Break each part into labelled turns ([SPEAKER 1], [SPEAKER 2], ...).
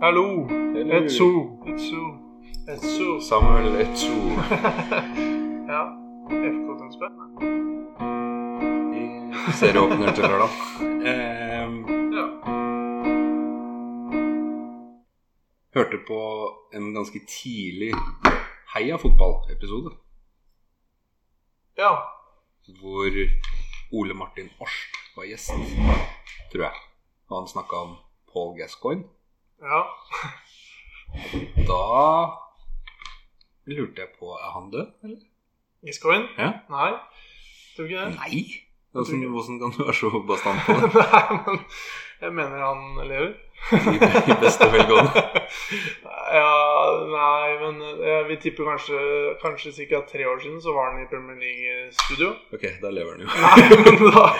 [SPEAKER 1] Hallo!
[SPEAKER 2] Hello.
[SPEAKER 1] Etso! Etso! Etso!
[SPEAKER 2] Samuel Etso.
[SPEAKER 1] ja. FK Tønsberg?
[SPEAKER 2] i Serieåpner til lørdag. Ehm,
[SPEAKER 1] Ja.
[SPEAKER 2] hørte på en ganske tidlig Heia fotball-episode.
[SPEAKER 1] ja.
[SPEAKER 2] Hvor Ole Martin Årst var gjest, tror jeg. Og han snakka om Paul Gascoigne.
[SPEAKER 1] Ja.
[SPEAKER 2] Da lurte jeg på Er han død, eller?
[SPEAKER 1] Giscoin?
[SPEAKER 2] Ja.
[SPEAKER 1] Nei. Tror ikke det.
[SPEAKER 2] Nei! Hvordan, hvordan kan du være så bastant på det?
[SPEAKER 1] Nei, men jeg mener han lever.
[SPEAKER 2] I, i beste velgående.
[SPEAKER 1] Ja, nei, men jeg vil tippe kanskje Kanskje ca. tre år siden så var han i Premier League-studio.
[SPEAKER 2] Ok, da lever han jo.
[SPEAKER 1] Nei, men da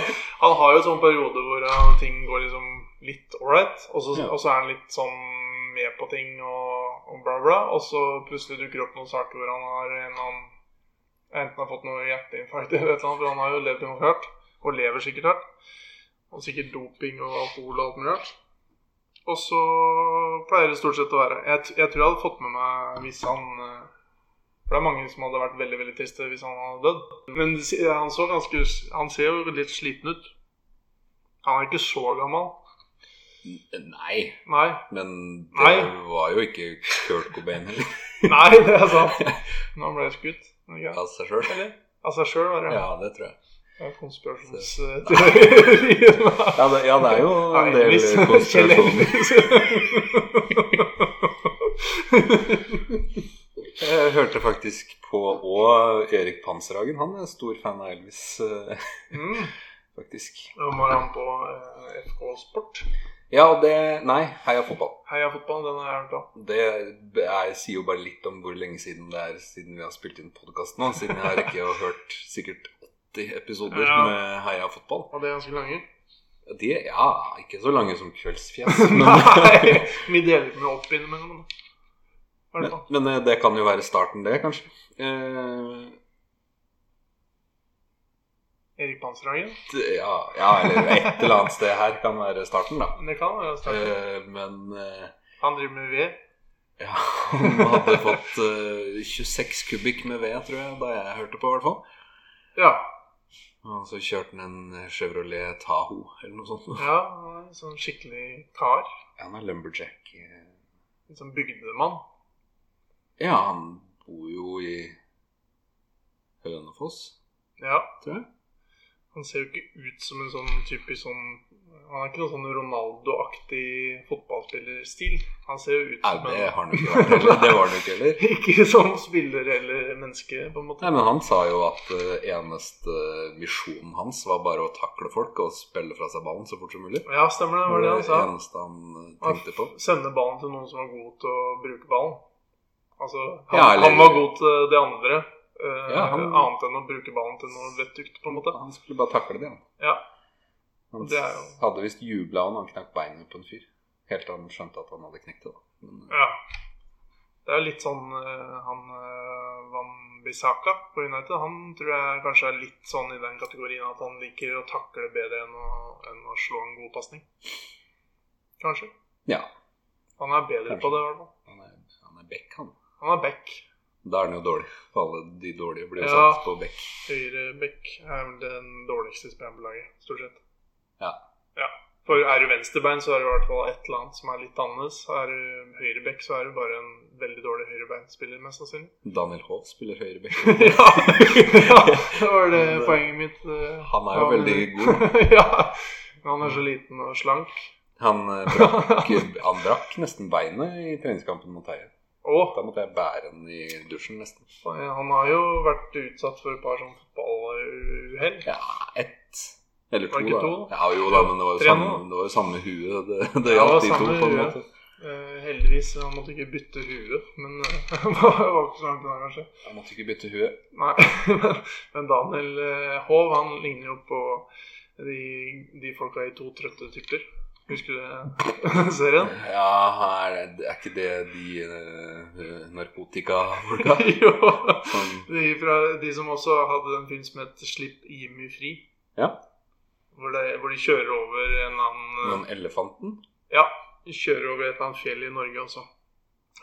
[SPEAKER 1] Han har jo en sånn periode hvor eh, ting går liksom litt ålreit, og, så-
[SPEAKER 2] Ja.
[SPEAKER 1] og så er han litt sånn med på ting og, og bla, bla. Og så plutselig dukker det opp noen saker hvor han har en eller annen Enten har fått noe hjerteinfarkt eller et eller annet, for han har jo levd ganske hardt. Og lever sikkert hardt. Og sikkert doping og alkohol og alt mulig rart. Og så pleier det stort sett å være Jeg, t- jeg tror jeg hadde fått med meg hvis han eh, For det er mange som hadde vært veldig veldig triste hvis han hadde dødd. Men det si- han, så ganske, s- han ser jo litt sliten ut. Han er ikke så gammel.
[SPEAKER 2] Nei,
[SPEAKER 1] Nei,
[SPEAKER 2] men det
[SPEAKER 1] Nei.
[SPEAKER 2] var jo ikke Kurt Cobain heller.
[SPEAKER 1] Nei det er sant. Men han ble skutt. Okay.
[SPEAKER 2] Av seg sjøl.
[SPEAKER 1] Eller? Av seg sjøl, var det.
[SPEAKER 2] Ja, det tror jeg.
[SPEAKER 1] Det er Konspirasjonsteorien.
[SPEAKER 2] Ja, det, ja, det er jo
[SPEAKER 1] Ja,
[SPEAKER 2] en del
[SPEAKER 1] Elvis. Kjell
[SPEAKER 2] konspirasjoner.
[SPEAKER 1] Elvis.
[SPEAKER 2] Jeg hørte faktisk på òg Erik Panserhagen. Han er stor fan av Elvis, eh,
[SPEAKER 1] mm.
[SPEAKER 2] faktisk.
[SPEAKER 1] Nå var han på eh, FK Sport.
[SPEAKER 2] Ja, og det Nei, heia fotball.
[SPEAKER 1] Heia fotball, den har jeg hørt om.
[SPEAKER 2] Det er, sier jo bare litt om hvor lenge siden det er siden vi har spilt inn podkast nå. Siden jeg har ikke hørt sikkert 80 episoder
[SPEAKER 1] Ja.
[SPEAKER 2] med heia fotball.
[SPEAKER 1] Og det er ganske lange.
[SPEAKER 2] De er ja, ikke så lange som Kveldsfjes, men,
[SPEAKER 1] Nei, vi deler den jo opp innimellom. da. I hvert
[SPEAKER 2] men,
[SPEAKER 1] fall.
[SPEAKER 2] men eh, det kan jo være starten, det, kanskje. Eh,
[SPEAKER 1] Erik Panserhagen.
[SPEAKER 2] det- ja, ja, eller et eller annet sted her kan være starten, da.
[SPEAKER 1] Men Det kan være sterkt.
[SPEAKER 2] Eh, men eh,
[SPEAKER 1] Han driver med ved.
[SPEAKER 2] ja, han hadde fått eh, 26 kubikk med ved, tror jeg, da jeg hørte på, i hvert fall.
[SPEAKER 1] Ja.
[SPEAKER 2] Og så kjørte han en Chevrolet Taho eller noe sånt.
[SPEAKER 1] ja han er en sånn skikkelig kar.
[SPEAKER 2] Han er lumberjack. eh.
[SPEAKER 1] En sånn bygdemann.
[SPEAKER 2] Ja, han bor jo i Hønefoss,
[SPEAKER 1] Ja.
[SPEAKER 2] tror jeg.
[SPEAKER 1] Han ser jo ikke ut som en sånn typisk sånn Han har ikke noen sånn Ronaldo-aktig fotballspillerstil. Han ser jo ut
[SPEAKER 2] Nei,
[SPEAKER 1] som
[SPEAKER 2] det
[SPEAKER 1] en
[SPEAKER 2] har han jo ikke vært heller. Det var han jo ikke heller.
[SPEAKER 1] Ikke som spiller eller menneske, på en måte.
[SPEAKER 2] Nei, men Han sa jo at eh, eneste eh, misjonen hans var bare å takle folk og spille fra seg ballen så fort som mulig.
[SPEAKER 1] Ja, stemmer det. var det han sa.
[SPEAKER 2] eneste han eh, tenkte på.
[SPEAKER 1] Sende ballen til noen som var god til å bruke ballen. Altså, han,
[SPEAKER 2] Ja, eller-
[SPEAKER 1] han var god til det andre, eh,
[SPEAKER 2] Ja, han-
[SPEAKER 1] annet enn å bruke ballen til noe vettugt, på en måte.
[SPEAKER 2] Han skulle bare takle det, han.
[SPEAKER 1] Ja.
[SPEAKER 2] Han
[SPEAKER 1] Det er jo-
[SPEAKER 2] hadde visst jubla han han knakk beinet på en fyr. Helt til han skjønte at han hadde knekt det. da. Men, eh,
[SPEAKER 1] Ja. Det er jo litt sånn eh, han eh, Van Bissaka på United. Han tror jeg kanskje er litt sånn i den kategorien at han liker å takle bedre enn å, enn å slå en god pasning. Kanskje.
[SPEAKER 2] ja,
[SPEAKER 1] Han er bedre
[SPEAKER 2] Kanskje.
[SPEAKER 1] på det, i hvert fall.
[SPEAKER 2] han er, han er bekk, han.
[SPEAKER 1] Han er back.
[SPEAKER 2] Da er han jo dårlig. For alle de dårlige blir jo
[SPEAKER 1] Ja.
[SPEAKER 2] satt på bekk.
[SPEAKER 1] Høyre back er vel den dårligste spilleren på laget, stort sett.
[SPEAKER 2] Ja.
[SPEAKER 1] ja. For er du venstrebein, så er det i hvert fall et eller annet som er litt annerledes. Er du høyre back, så er du bare en veldig dårlig høyrebeinspiller, mest sannsynlig.
[SPEAKER 2] Daniel Hov spiller høyre bekk.
[SPEAKER 1] ja, ja, det var det poenget mitt. eh,
[SPEAKER 2] Han er jo
[SPEAKER 1] var-
[SPEAKER 2] veldig
[SPEAKER 1] ja, men han er så liten og slank.
[SPEAKER 2] Han, eh, brakk, han brakk nesten beinet i treningskampen mot Teie.
[SPEAKER 1] Og
[SPEAKER 2] Da måtte jeg bære han i dusjen, nesten.
[SPEAKER 1] han har jo vært utsatt for et par sånn fotballuhell.
[SPEAKER 2] Ja, ett eller to.
[SPEAKER 1] Var det ikke
[SPEAKER 2] da.
[SPEAKER 1] to?
[SPEAKER 2] Ja, jo da, men det var jo
[SPEAKER 1] Tre
[SPEAKER 2] samme,
[SPEAKER 1] nå.
[SPEAKER 2] det var jo samme huet. Det, det
[SPEAKER 1] Ja, det
[SPEAKER 2] gjaldt de
[SPEAKER 1] var
[SPEAKER 2] to,
[SPEAKER 1] samme
[SPEAKER 2] på en
[SPEAKER 1] huet.
[SPEAKER 2] måte.
[SPEAKER 1] Eh, heldigvis han måtte ikke bytte hue, men eh, det var ikke så langt unna, kanskje.
[SPEAKER 2] Jeg måtte ikke bytte huet.
[SPEAKER 1] Nei, men, men Daniel eh, Hov, han ligner jo på de, de folka i To trøtte typer. Husker du det serien?
[SPEAKER 2] Ja, her, er- er ikke det de eh, narkotikafolka
[SPEAKER 1] jo.
[SPEAKER 2] som
[SPEAKER 1] De, fra, de som også hadde en film som het 'Slipp Jimmy fri'.
[SPEAKER 2] Ja.
[SPEAKER 1] Hvor, det, hvor de kjører over en annen
[SPEAKER 2] Den elefanten?
[SPEAKER 1] Ja, kjører over et eller annet fjell i Norge, og så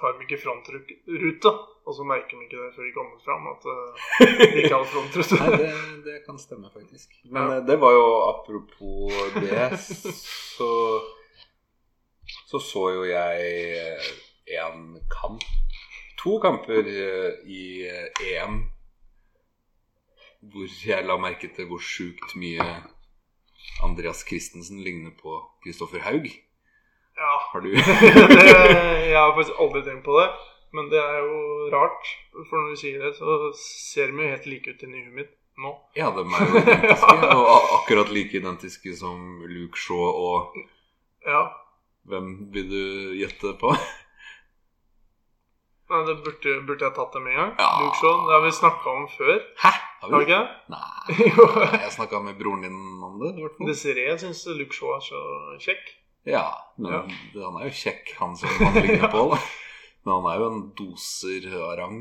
[SPEAKER 1] har de ikke frontrute. Og så merker de ikke det før de kommer fram, at eh, de ikke hadde
[SPEAKER 2] Nei,
[SPEAKER 1] frontrute.
[SPEAKER 2] det, det kan stemme, faktisk. Men eh, det var jo apropos det, så så, så jo jeg én kamp To kamper eh, i eh, EM hvor jeg la merke til hvor sjukt mye Andreas Christensen ligner på Kristoffer Haug.
[SPEAKER 1] Ja.
[SPEAKER 2] Har du
[SPEAKER 1] det, jeg har faktisk aldri tenkt på det. Men det er jo rart, for når du sier det, så ser de jo helt like ut inni huet mitt nå.
[SPEAKER 2] Ja, de er jo identiske. Og a- akkurat like identiske som Luke Shaw og
[SPEAKER 1] Ja.
[SPEAKER 2] Hvem vil du gjette på?
[SPEAKER 1] Nei, det burde, burde jeg tatt det med en gang.
[SPEAKER 2] Ja.
[SPEAKER 1] Luke Shaw, det har vi snakka om før.
[SPEAKER 2] Hæ? Har
[SPEAKER 1] Har
[SPEAKER 2] vi
[SPEAKER 1] vi
[SPEAKER 2] det?
[SPEAKER 1] ikke
[SPEAKER 2] Nei.
[SPEAKER 1] det? Jo.
[SPEAKER 2] Jeg snakka med broren din om det. i hvert fall.
[SPEAKER 1] Desiree syns Luke Shaw er så kjekk.
[SPEAKER 2] Ja, men
[SPEAKER 1] Ja.
[SPEAKER 2] det- han er jo kjekk, han som han ligner på. da Men han er jo en doser av rang.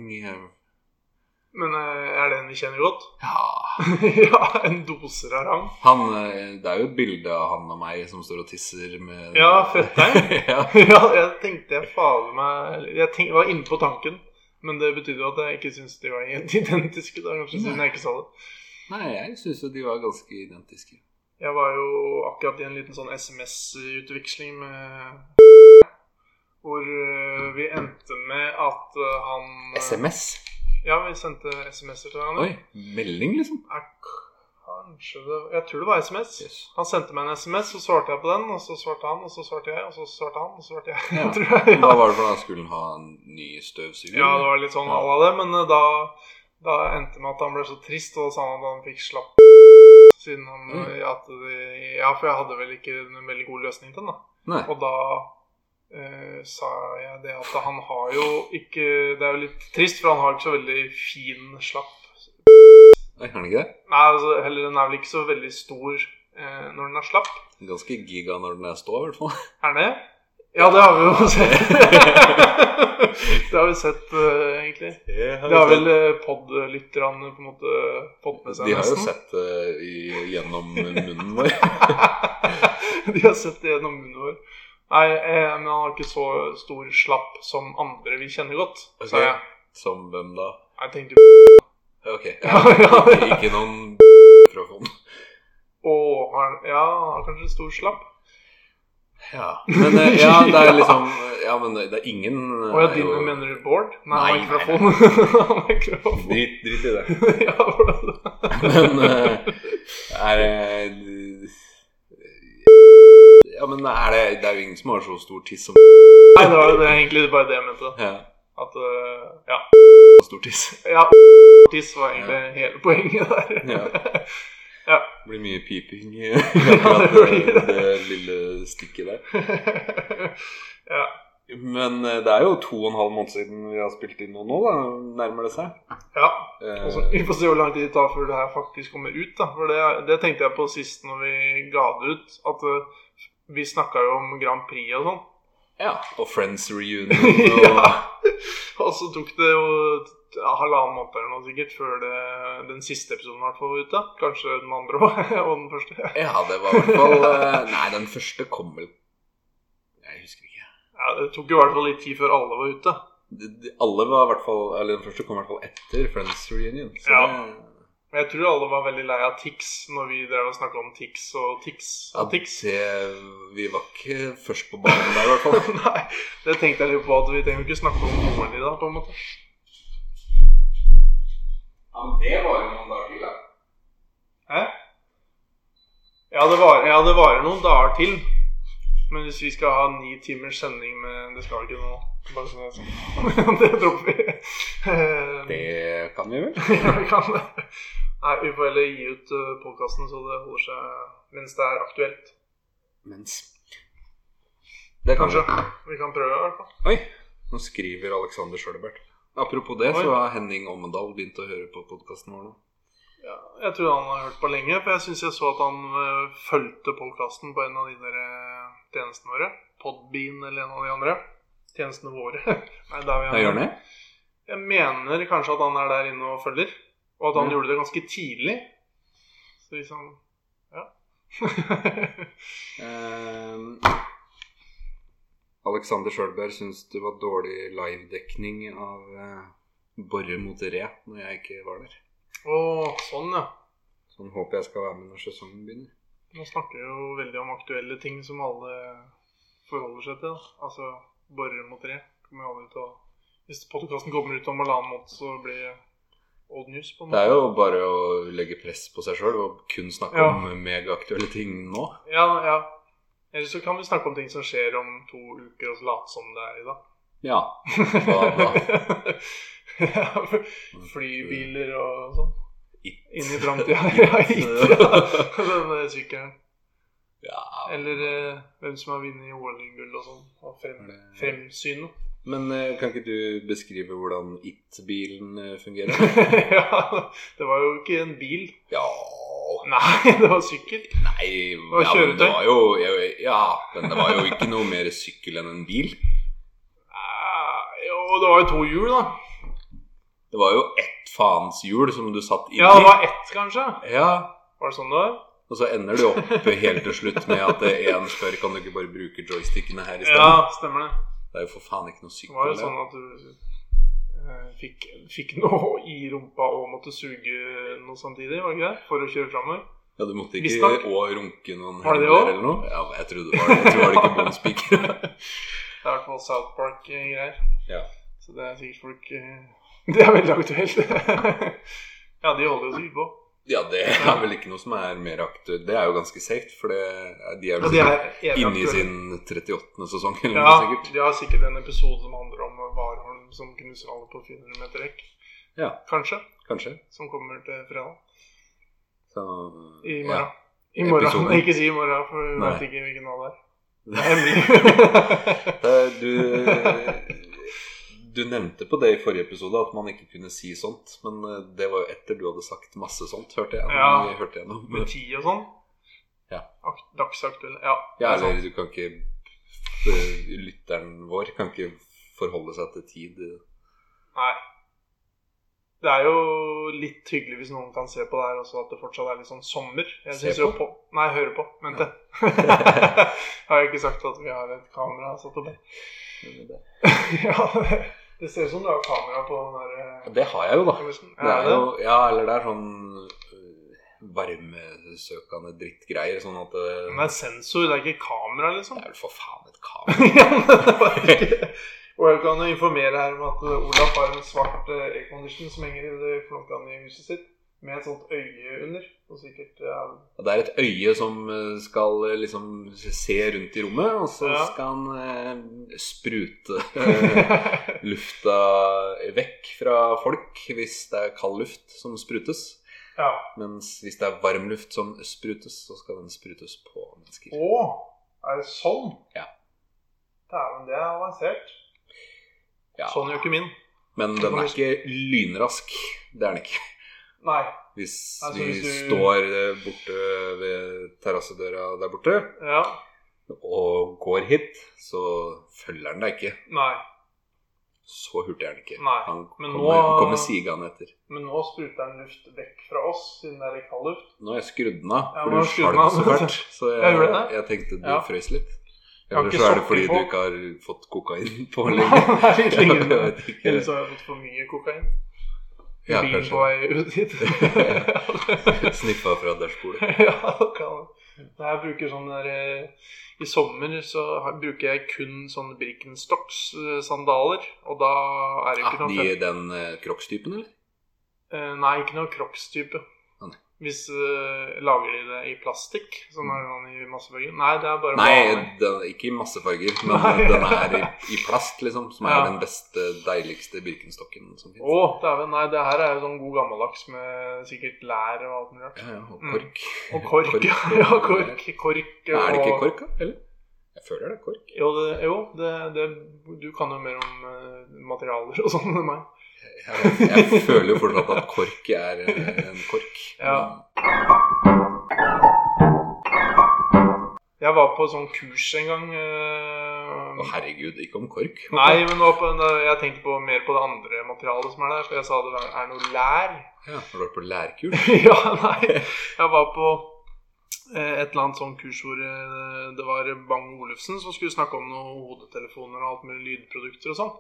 [SPEAKER 1] Men eh, er det en vi kjenner godt?
[SPEAKER 2] Ja
[SPEAKER 1] ja, en doser av rang.
[SPEAKER 2] han, eh, Det er jo et bilde av han og meg som står og tisser med
[SPEAKER 1] Ja, fetteren.
[SPEAKER 2] ja.
[SPEAKER 1] ja, jeg tenkte jeg fader meg eller, Jeg tenk- var inne på tanken, men det betydde jo at jeg ikke syntes de var helt identiske. Da, kanskje siden jeg ikke sa det
[SPEAKER 2] Nei, jeg syns jo de var ganske identiske.
[SPEAKER 1] Jeg var jo akkurat i en liten sånn SMS-utveksling med Hvor eh, vi endte med at eh, han eh,
[SPEAKER 2] SMS?
[SPEAKER 1] Ja, vi sendte SMS-er til hverandre.
[SPEAKER 2] Oi. Melding, liksom?
[SPEAKER 1] Er kanskje det Jeg tror det var SMS.
[SPEAKER 2] Yes.
[SPEAKER 1] Han sendte meg en SMS, så svarte jeg på den, og så svarte han, og så svarte jeg, og så svarte han, og så svarte jeg.
[SPEAKER 2] Ja.
[SPEAKER 1] tror jeg.
[SPEAKER 2] Hva var det for noe? Skulle han ha en ny støvsuger?
[SPEAKER 1] Ja, det var litt sånn
[SPEAKER 2] Ja.
[SPEAKER 1] à la det, men eh, da, da endte det med at han ble så trist, og da sa han at han fikk slapp siden han
[SPEAKER 2] Oi.
[SPEAKER 1] eh, at det, Ja, for jeg hadde vel ikke en veldig god løsning til den, da.
[SPEAKER 2] Nei.
[SPEAKER 1] Og da eh, sa jeg det at han har jo ikke Det er jo litt trist, for han har ikke så veldig fin slapp.
[SPEAKER 2] Nei, er han ikke det?
[SPEAKER 1] Nei, altså, heller den er vel ikke så veldig stor eh, når den er slapp.
[SPEAKER 2] Ganske giga når den er stå, i hvert fall.
[SPEAKER 1] Er den det? Ja, det har vi jo sett. det har vi sett, eh, egentlig. Det har vel eh, podlytterne på en måte fått med seg
[SPEAKER 2] De har jo
[SPEAKER 1] nesten.
[SPEAKER 2] sett det i, gjennom munnen vår.
[SPEAKER 1] De har sett det gjennom munnen vår. Nei, eh, men han har ikke så stor slapp som andre vi kjenner godt.
[SPEAKER 2] Ok.
[SPEAKER 1] Så jeg,
[SPEAKER 2] Som hvem da?
[SPEAKER 1] jeg tenkte jo
[SPEAKER 2] Ok.
[SPEAKER 1] Ja, ja,
[SPEAKER 2] Ikke,
[SPEAKER 1] ja.
[SPEAKER 2] ikke noen fra fond.
[SPEAKER 1] Å, har han- ja, han har kanskje stor slapp.
[SPEAKER 2] Ja. Men eh, ja, det er liksom Ja, men det er ingen eh,
[SPEAKER 1] Å ja, din mener du Bård? Nei, han har
[SPEAKER 2] Nei, nei,
[SPEAKER 1] mikrofon. Han har mikrofon.
[SPEAKER 2] Drit, drit i det.
[SPEAKER 1] ja, hvordan
[SPEAKER 2] Men eh, er det Ja, men er det Det er jo ingen som har så stor tiss som
[SPEAKER 1] Nei, det var jo det, egentlig bare det jeg mente.
[SPEAKER 2] ja,
[SPEAKER 1] At eh, ja.
[SPEAKER 2] Stor tiss.
[SPEAKER 1] ja Tiss var egentlig hele poenget der.
[SPEAKER 2] Ja.
[SPEAKER 1] Ja.
[SPEAKER 2] Det blir mye piping i akkurat det, det lille stikket der.
[SPEAKER 1] ja.
[SPEAKER 2] Men eh, det er jo to og en halv måned siden vi har spilt inn noe nå, da. Nærmer det seg.
[SPEAKER 1] ja.
[SPEAKER 2] Eh,
[SPEAKER 1] Og så- vi får se hvor lang tid det tar før det her faktisk kommer ut. da For det, det tenkte jeg på sist når vi ga det ut. At eh, vi snakka jo om Grand Prix og sånn.
[SPEAKER 2] ja, og Friends reunion. Og,
[SPEAKER 1] ja. Og så tok det jo t- ja, halvannen måned eller noe sikkert før det, den siste episoden i hvert fall var ute. Kanskje den andre òg, og den første.
[SPEAKER 2] ja. det var i hvert fall eh, Nei, den første kom vel Jeg husker ikke.
[SPEAKER 1] Ja, Det tok jo i hvert fall litt tid før alle var ute.
[SPEAKER 2] De, de, alle var i hvert fall Eller den første kom i hvert fall etter Friends reunion. Så
[SPEAKER 1] Ja.
[SPEAKER 2] det-
[SPEAKER 1] Men jeg tror alle var veldig lei av Tix når vi drev og snakka om Tix og Tix
[SPEAKER 2] ja,
[SPEAKER 1] og Tix.
[SPEAKER 2] det- vi var ikke først på banen der, i hvert fall.
[SPEAKER 1] Nei, det tenkte jeg litt på at vi trenger jo ikke snakke om moren i dag, på en måte.
[SPEAKER 2] Ja, men det var jo noen dager til, da.
[SPEAKER 1] Hæ? Ja, det varer, ja, det varer noen dager til. Men hvis vi skal ha ni timers sending med Det skal vi ikke nå. Bare sånn så det er sagt. Det dropper vi. Eh,
[SPEAKER 2] Det kan vi vel?
[SPEAKER 1] ja, vi kan det. Nei, vi får heller gi ut podkasten så det holder seg mens det er aktuelt.
[SPEAKER 2] Mens Det kan vi.
[SPEAKER 1] Kanskje. Vi kan prøve, i hvert fall.
[SPEAKER 2] Oi, nå skriver Alexander Sjølebert. Apropos det, så
[SPEAKER 1] Oi.
[SPEAKER 2] har Henning Ommedal begynt å høre på podkasten vår nå.
[SPEAKER 1] Ja, jeg tror han har hørt på lenge, for jeg syns jeg så at han eh, fulgte podkasten på en av de der eh, tjenestene våre. Podbean eller en av de andre. Tjenestene våre. Nei, der vi
[SPEAKER 2] Ja, gjør han det?
[SPEAKER 1] Jeg mener kanskje at han er der inne og følger. Og at han
[SPEAKER 2] Ja.
[SPEAKER 1] gjorde det ganske tidlig. Så hvis han Ja.
[SPEAKER 2] Ehm, Eh, Alexander Sjølberg syns det var dårlig livedekning av eh, Borre mot Re når jeg ikke var der.
[SPEAKER 1] Å, sånn, ja.
[SPEAKER 2] Så han håper jeg skal være med når sesongen begynner.
[SPEAKER 1] Nå snakker vi jo veldig om aktuelle ting som alle forholder seg til. da. Altså borer mot tre. Kommer jo alle ut av Hvis podkasten kommer ut om halvannen måned, så blir det old news. på en måte.
[SPEAKER 2] Det er jo bare å legge press på seg sjøl og kun snakke
[SPEAKER 1] Ja.
[SPEAKER 2] om megaaktuelle ting nå.
[SPEAKER 1] Ja, ja. Eller så kan vi snakke om ting som skjer om to uker, og så late som det er i dag.
[SPEAKER 2] Ja. Hva da?
[SPEAKER 1] Ja, Flybiler og sånn.
[SPEAKER 2] It.
[SPEAKER 1] Inn i framtida. Ja, hit, ja. Den eh, sykkelen.
[SPEAKER 2] Ja.
[SPEAKER 1] Eller eh, hvem som har vunnet OL-gull og sånn. Og frem, fremsynet.
[SPEAKER 2] Men eh, kan ikke du beskrive hvordan It-bilen eh, fungerer?
[SPEAKER 1] ja, det var jo ikke en bil.
[SPEAKER 2] ja
[SPEAKER 1] Nei, det var sykkel.
[SPEAKER 2] Nei,
[SPEAKER 1] var
[SPEAKER 2] ja, men det
[SPEAKER 1] kjøretøy.
[SPEAKER 2] var jo Ja, men det var jo ikke noe mer sykkel enn en bil.
[SPEAKER 1] Eh, Jo, det var jo to hjul, da.
[SPEAKER 2] Det var jo ett faens hjul som du satt inni.
[SPEAKER 1] Ja, det var ett, kanskje.
[SPEAKER 2] ja,
[SPEAKER 1] Var det sånn det var?
[SPEAKER 2] og så ender du opp helt til slutt med at én spør kan du ikke bare bruke joystickene her i
[SPEAKER 1] Ja,
[SPEAKER 2] stedet.
[SPEAKER 1] stemmer det.
[SPEAKER 2] Det er jo for faen ikke noe
[SPEAKER 1] Det
[SPEAKER 2] sykkel.
[SPEAKER 1] var jo
[SPEAKER 2] det.
[SPEAKER 1] sånn at du eh, fikk, fikk noe i rumpa og måtte suge noe samtidig, var det ikke det? For å kjøre framover.
[SPEAKER 2] Ja, Du måtte ikke
[SPEAKER 1] Visstnok.
[SPEAKER 2] og runke noen
[SPEAKER 1] Var det det
[SPEAKER 2] hender
[SPEAKER 1] også?
[SPEAKER 2] eller noe? Ja, jeg trodde det var det. Jeg tror det var ikke båndspiker.
[SPEAKER 1] Det er i hvert fall South Park-greier.
[SPEAKER 2] Ja.
[SPEAKER 1] Så det er sikkert folk eh, Det er veldig aktuelt. ja, de holder jo sikkert på.
[SPEAKER 2] Ja, det er vel ikke noe som er mer aktuelt. Det er jo ganske safe, for det, de er
[SPEAKER 1] Og
[SPEAKER 2] vel
[SPEAKER 1] de
[SPEAKER 2] sikkert
[SPEAKER 1] er evig
[SPEAKER 2] inne i
[SPEAKER 1] aktuelle.
[SPEAKER 2] sin 38. sesong eller
[SPEAKER 1] Ja,
[SPEAKER 2] noe sikkert.
[SPEAKER 1] de har sikkert en episode som handler om Warholm som knuser alle på 400 meter rekk.
[SPEAKER 2] Ja.
[SPEAKER 1] Kanskje.
[SPEAKER 2] Kanskje.
[SPEAKER 1] Som kommer til fredag.
[SPEAKER 2] Så,
[SPEAKER 1] I
[SPEAKER 2] ja.
[SPEAKER 1] morgen. I morgen.
[SPEAKER 2] Episoden.
[SPEAKER 1] Nei, ikke si i morgen, for vi
[SPEAKER 2] Nei.
[SPEAKER 1] vet ikke hvilken dag det er. Det er hemmelig.
[SPEAKER 2] Eh, Du, du nevnte på det i forrige episode at man ikke kunne si sånt, men eh, det var jo etter du hadde sagt masse sånt, hørte jeg.
[SPEAKER 1] Ja.
[SPEAKER 2] Vi hørte gjennom.
[SPEAKER 1] Med ti og sånn.
[SPEAKER 2] Ja.
[SPEAKER 1] Ak- Dagsaktuelle. Ja.
[SPEAKER 2] Ja, eller du kan ikke eh, Lytteren vår kan ikke forholde seg til tid. eh,
[SPEAKER 1] Nei. Det er jo litt hyggelig hvis noen kan se på det her også, at det fortsatt er litt sånn sommer. Jeg
[SPEAKER 2] Se
[SPEAKER 1] synes jo
[SPEAKER 2] på?
[SPEAKER 1] på. Nei, høre på. Vent, det. har jeg ikke sagt at vi har et kamera satt opp? ja, det, det ser ut som du har kamera på den der eh,
[SPEAKER 2] Det har jeg jo, da.
[SPEAKER 1] kammersen.
[SPEAKER 2] Det
[SPEAKER 1] Er
[SPEAKER 2] er jo, ja, eller det er sånn øh, varmesøkende drittgreier. Sånn at det,
[SPEAKER 1] Men det er sensor, det er ikke kamera, liksom.
[SPEAKER 2] det er vel for faen et kamera.
[SPEAKER 1] Ja, men det var ikke- Og jeg kan jo informere her om at eh, Olaf har en svart eh, aircondition som henger i det flokkene i huset sitt, med et sånt øye under. Og sikkert eh,
[SPEAKER 2] Det er et øye som øh, skal øh, liksom se rundt i rommet, og så
[SPEAKER 1] Ja.
[SPEAKER 2] skal han øh, sprute øh, lufta vekk fra folk hvis det er kald luft som sprutes.
[SPEAKER 1] Ja.
[SPEAKER 2] Mens hvis det er varm luft som sprutes, så skal den sprutes på mennesker.
[SPEAKER 1] Å, er det sånn?
[SPEAKER 2] Ja.
[SPEAKER 1] Dæven, det er avansert.
[SPEAKER 2] Ja.
[SPEAKER 1] Sånn gjør ikke min.
[SPEAKER 2] Men den er ikke lynrask. Det er den ikke.
[SPEAKER 1] Nei.
[SPEAKER 2] Hvis
[SPEAKER 1] Altså,
[SPEAKER 2] vi
[SPEAKER 1] hvis du-
[SPEAKER 2] står eh, borte ved terrassedøra der borte
[SPEAKER 1] Ja.
[SPEAKER 2] og går hit, så følger han deg ikke.
[SPEAKER 1] Nei.
[SPEAKER 2] Så hurtig er han ikke.
[SPEAKER 1] Nei,
[SPEAKER 2] Han
[SPEAKER 1] men
[SPEAKER 2] kommer,
[SPEAKER 1] nå-
[SPEAKER 2] han kommer sigende etter.
[SPEAKER 1] Men nå spruter den luft vekk fra oss, siden det er litt kald luft.
[SPEAKER 2] Nå har jeg skrudd den av,
[SPEAKER 1] Ja, nå har
[SPEAKER 2] for du
[SPEAKER 1] jeg skrudd den
[SPEAKER 2] sjalv
[SPEAKER 1] av.
[SPEAKER 2] så fælt. Så
[SPEAKER 1] Jeg
[SPEAKER 2] jeg,
[SPEAKER 1] gjorde det.
[SPEAKER 2] jeg tenkte du
[SPEAKER 1] Ja.
[SPEAKER 2] frøs litt.
[SPEAKER 1] Jeg har
[SPEAKER 2] Eller
[SPEAKER 1] ikke
[SPEAKER 2] så er det
[SPEAKER 1] sokker
[SPEAKER 2] fordi
[SPEAKER 1] på.
[SPEAKER 2] du ikke har fått kokain på lenge.
[SPEAKER 1] det er litt
[SPEAKER 2] Jeg
[SPEAKER 1] lenger
[SPEAKER 2] vet ikke.
[SPEAKER 1] Eller så har jeg fått for mye kokain.
[SPEAKER 2] Ja,
[SPEAKER 1] Bilen
[SPEAKER 2] kanskje.
[SPEAKER 1] på vei ut hit.
[SPEAKER 2] Sniffa fra dashbordet.
[SPEAKER 1] ja, det kan Nei, jeg bruker sånn der eh, I sommer så har- bruker jeg kun sånne Birkenstocks-sandaler. Og da er det jo ikke
[SPEAKER 2] Ah,
[SPEAKER 1] noe
[SPEAKER 2] de, den eh, Crocs-typen, eller?
[SPEAKER 1] Eh, nei, ikke noe Crocs-type.
[SPEAKER 2] Å, nei. Mm.
[SPEAKER 1] Hvis eh, Lager de det i plastikk? Som er sånn i massefarger? Nei, det er bare vanlig.
[SPEAKER 2] Nei, den, ikke i masse farger, men
[SPEAKER 1] Nei.
[SPEAKER 2] den er i, i plast, liksom. Som er
[SPEAKER 1] Ja.
[SPEAKER 2] den beste, deiligste Birkenstokken som fins.
[SPEAKER 1] Å, dæven. Nei, det her er jo sånn god gammeldags med sikkert lær og alt mulig rart.
[SPEAKER 2] Ja, ja, og
[SPEAKER 1] Mm.
[SPEAKER 2] kork.
[SPEAKER 1] Og kork.
[SPEAKER 2] Kork,
[SPEAKER 1] ja,
[SPEAKER 2] og-
[SPEAKER 1] ja, kork, kork
[SPEAKER 2] Er det ikke
[SPEAKER 1] og-
[SPEAKER 2] kork, da? Eller? Jeg føler det er kork.
[SPEAKER 1] Jo, det, jo det, det, du kan jo mer om eh, materialer og sånn enn meg.
[SPEAKER 2] Jeg, jeg føler jo fortsatt at kork er eh, en kork.
[SPEAKER 1] Ja. Jeg var på sånn kurs en gang. eh,
[SPEAKER 2] Å, herregud, ikke om kork.
[SPEAKER 1] Nei, men det var på, en- jeg tenkte på mer på det andre materialet som er der. For jeg sa det er noe lær.
[SPEAKER 2] Ja, har du vært på lærkurs?
[SPEAKER 1] ja, nei. Jeg var på eh, et eller annet sånn kurs hvor eh, det var Bang Olufsen som skulle snakke om noen hodetelefoner og alt med lydprodukter og sånn.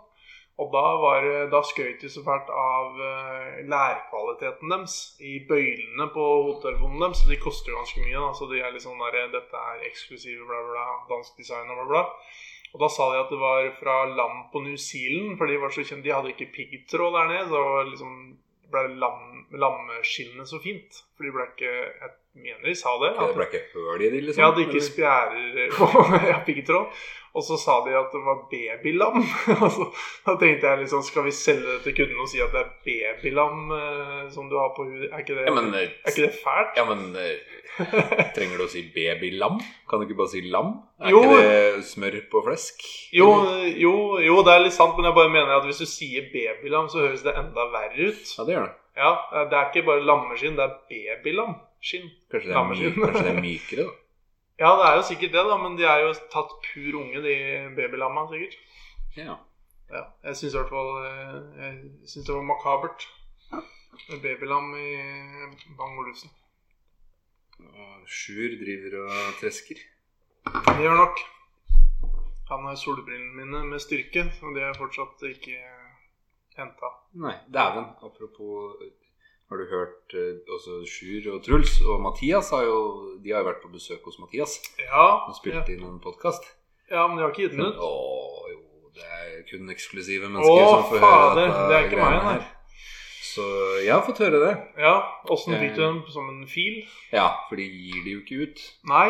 [SPEAKER 1] Og da, var, det- da skrøt de så fælt av eh, lærkvaliteten deres i bøylene på hodetelefonen deres. De koster jo ganske mye. da, så de er litt sånn der, Dette er eksklusive, bla, bla, bla, dansk design og bla, bla. Og da sa de at det var fra lam på New Zealand, for de var så kjent, de hadde ikke piggtråd der nede. Så det var liksom ble lam, lammeskinnet så fint. For de ble ikke Jeg mener de sa det.
[SPEAKER 2] Det
[SPEAKER 1] At
[SPEAKER 2] ble ikke høl i de, liksom?
[SPEAKER 1] jeg hadde ikke
[SPEAKER 2] eller?
[SPEAKER 1] spjærer på ja, piggtråd. Og så sa de at det var babylam. Og så- da tenkte jeg liksom Skal vi selge det til kunden og si at det er babylam eh, som du har på hudet? Er ikke det,
[SPEAKER 2] ja, men, eh,
[SPEAKER 1] er ikke det fælt?
[SPEAKER 2] ja, men eh, trenger du å si babylam? Kan du ikke bare si lam? Er
[SPEAKER 1] Jo.
[SPEAKER 2] ikke det smør på flesk?
[SPEAKER 1] Jo,
[SPEAKER 2] Eller?
[SPEAKER 1] jo, jo, det er litt sant, men jeg bare mener at hvis du sier babylam, så høres det enda verre ut.
[SPEAKER 2] Ja, det gjør det.
[SPEAKER 1] Ja, det er ikke bare lammeskinn, det er babylamskinn.
[SPEAKER 2] Kanskje det er,
[SPEAKER 1] Lammeskinn.
[SPEAKER 2] myk, kanskje det er mykere, da.
[SPEAKER 1] Ja, det er jo sikkert det, da, men de er jo tatt pur unge, de babylamma, sikkert.
[SPEAKER 2] Ja.
[SPEAKER 1] Ja, jeg syns i hvert fall eh, Jeg syns det var makabert. Med babylam i eh, Bang Olufsen.
[SPEAKER 2] Og Sjur driver og tresker.
[SPEAKER 1] Det gjør nok. Han har solbrillene mine med styrke, og de er fortsatt ikke henta.
[SPEAKER 2] Nei, dæven. Apropos Har du hørt eh, også Sjur og Truls og Mathias har jo De har jo vært på besøk hos Mathias
[SPEAKER 1] Ja,
[SPEAKER 2] og
[SPEAKER 1] ja,
[SPEAKER 2] spilt inn en podkast.
[SPEAKER 1] ja, men de har ikke gitt den ut.
[SPEAKER 2] Å jo, det er kun eksklusive mennesker
[SPEAKER 1] Å,
[SPEAKER 2] som får
[SPEAKER 1] fader,
[SPEAKER 2] høre dette
[SPEAKER 1] det er ikke meg,
[SPEAKER 2] greiene
[SPEAKER 1] nei.
[SPEAKER 2] her. Så jeg har fått høre det.
[SPEAKER 1] Ja, Åssen fikk du den? Som en fil?
[SPEAKER 2] Ja, for de gir det jo ikke ut.
[SPEAKER 1] Nei.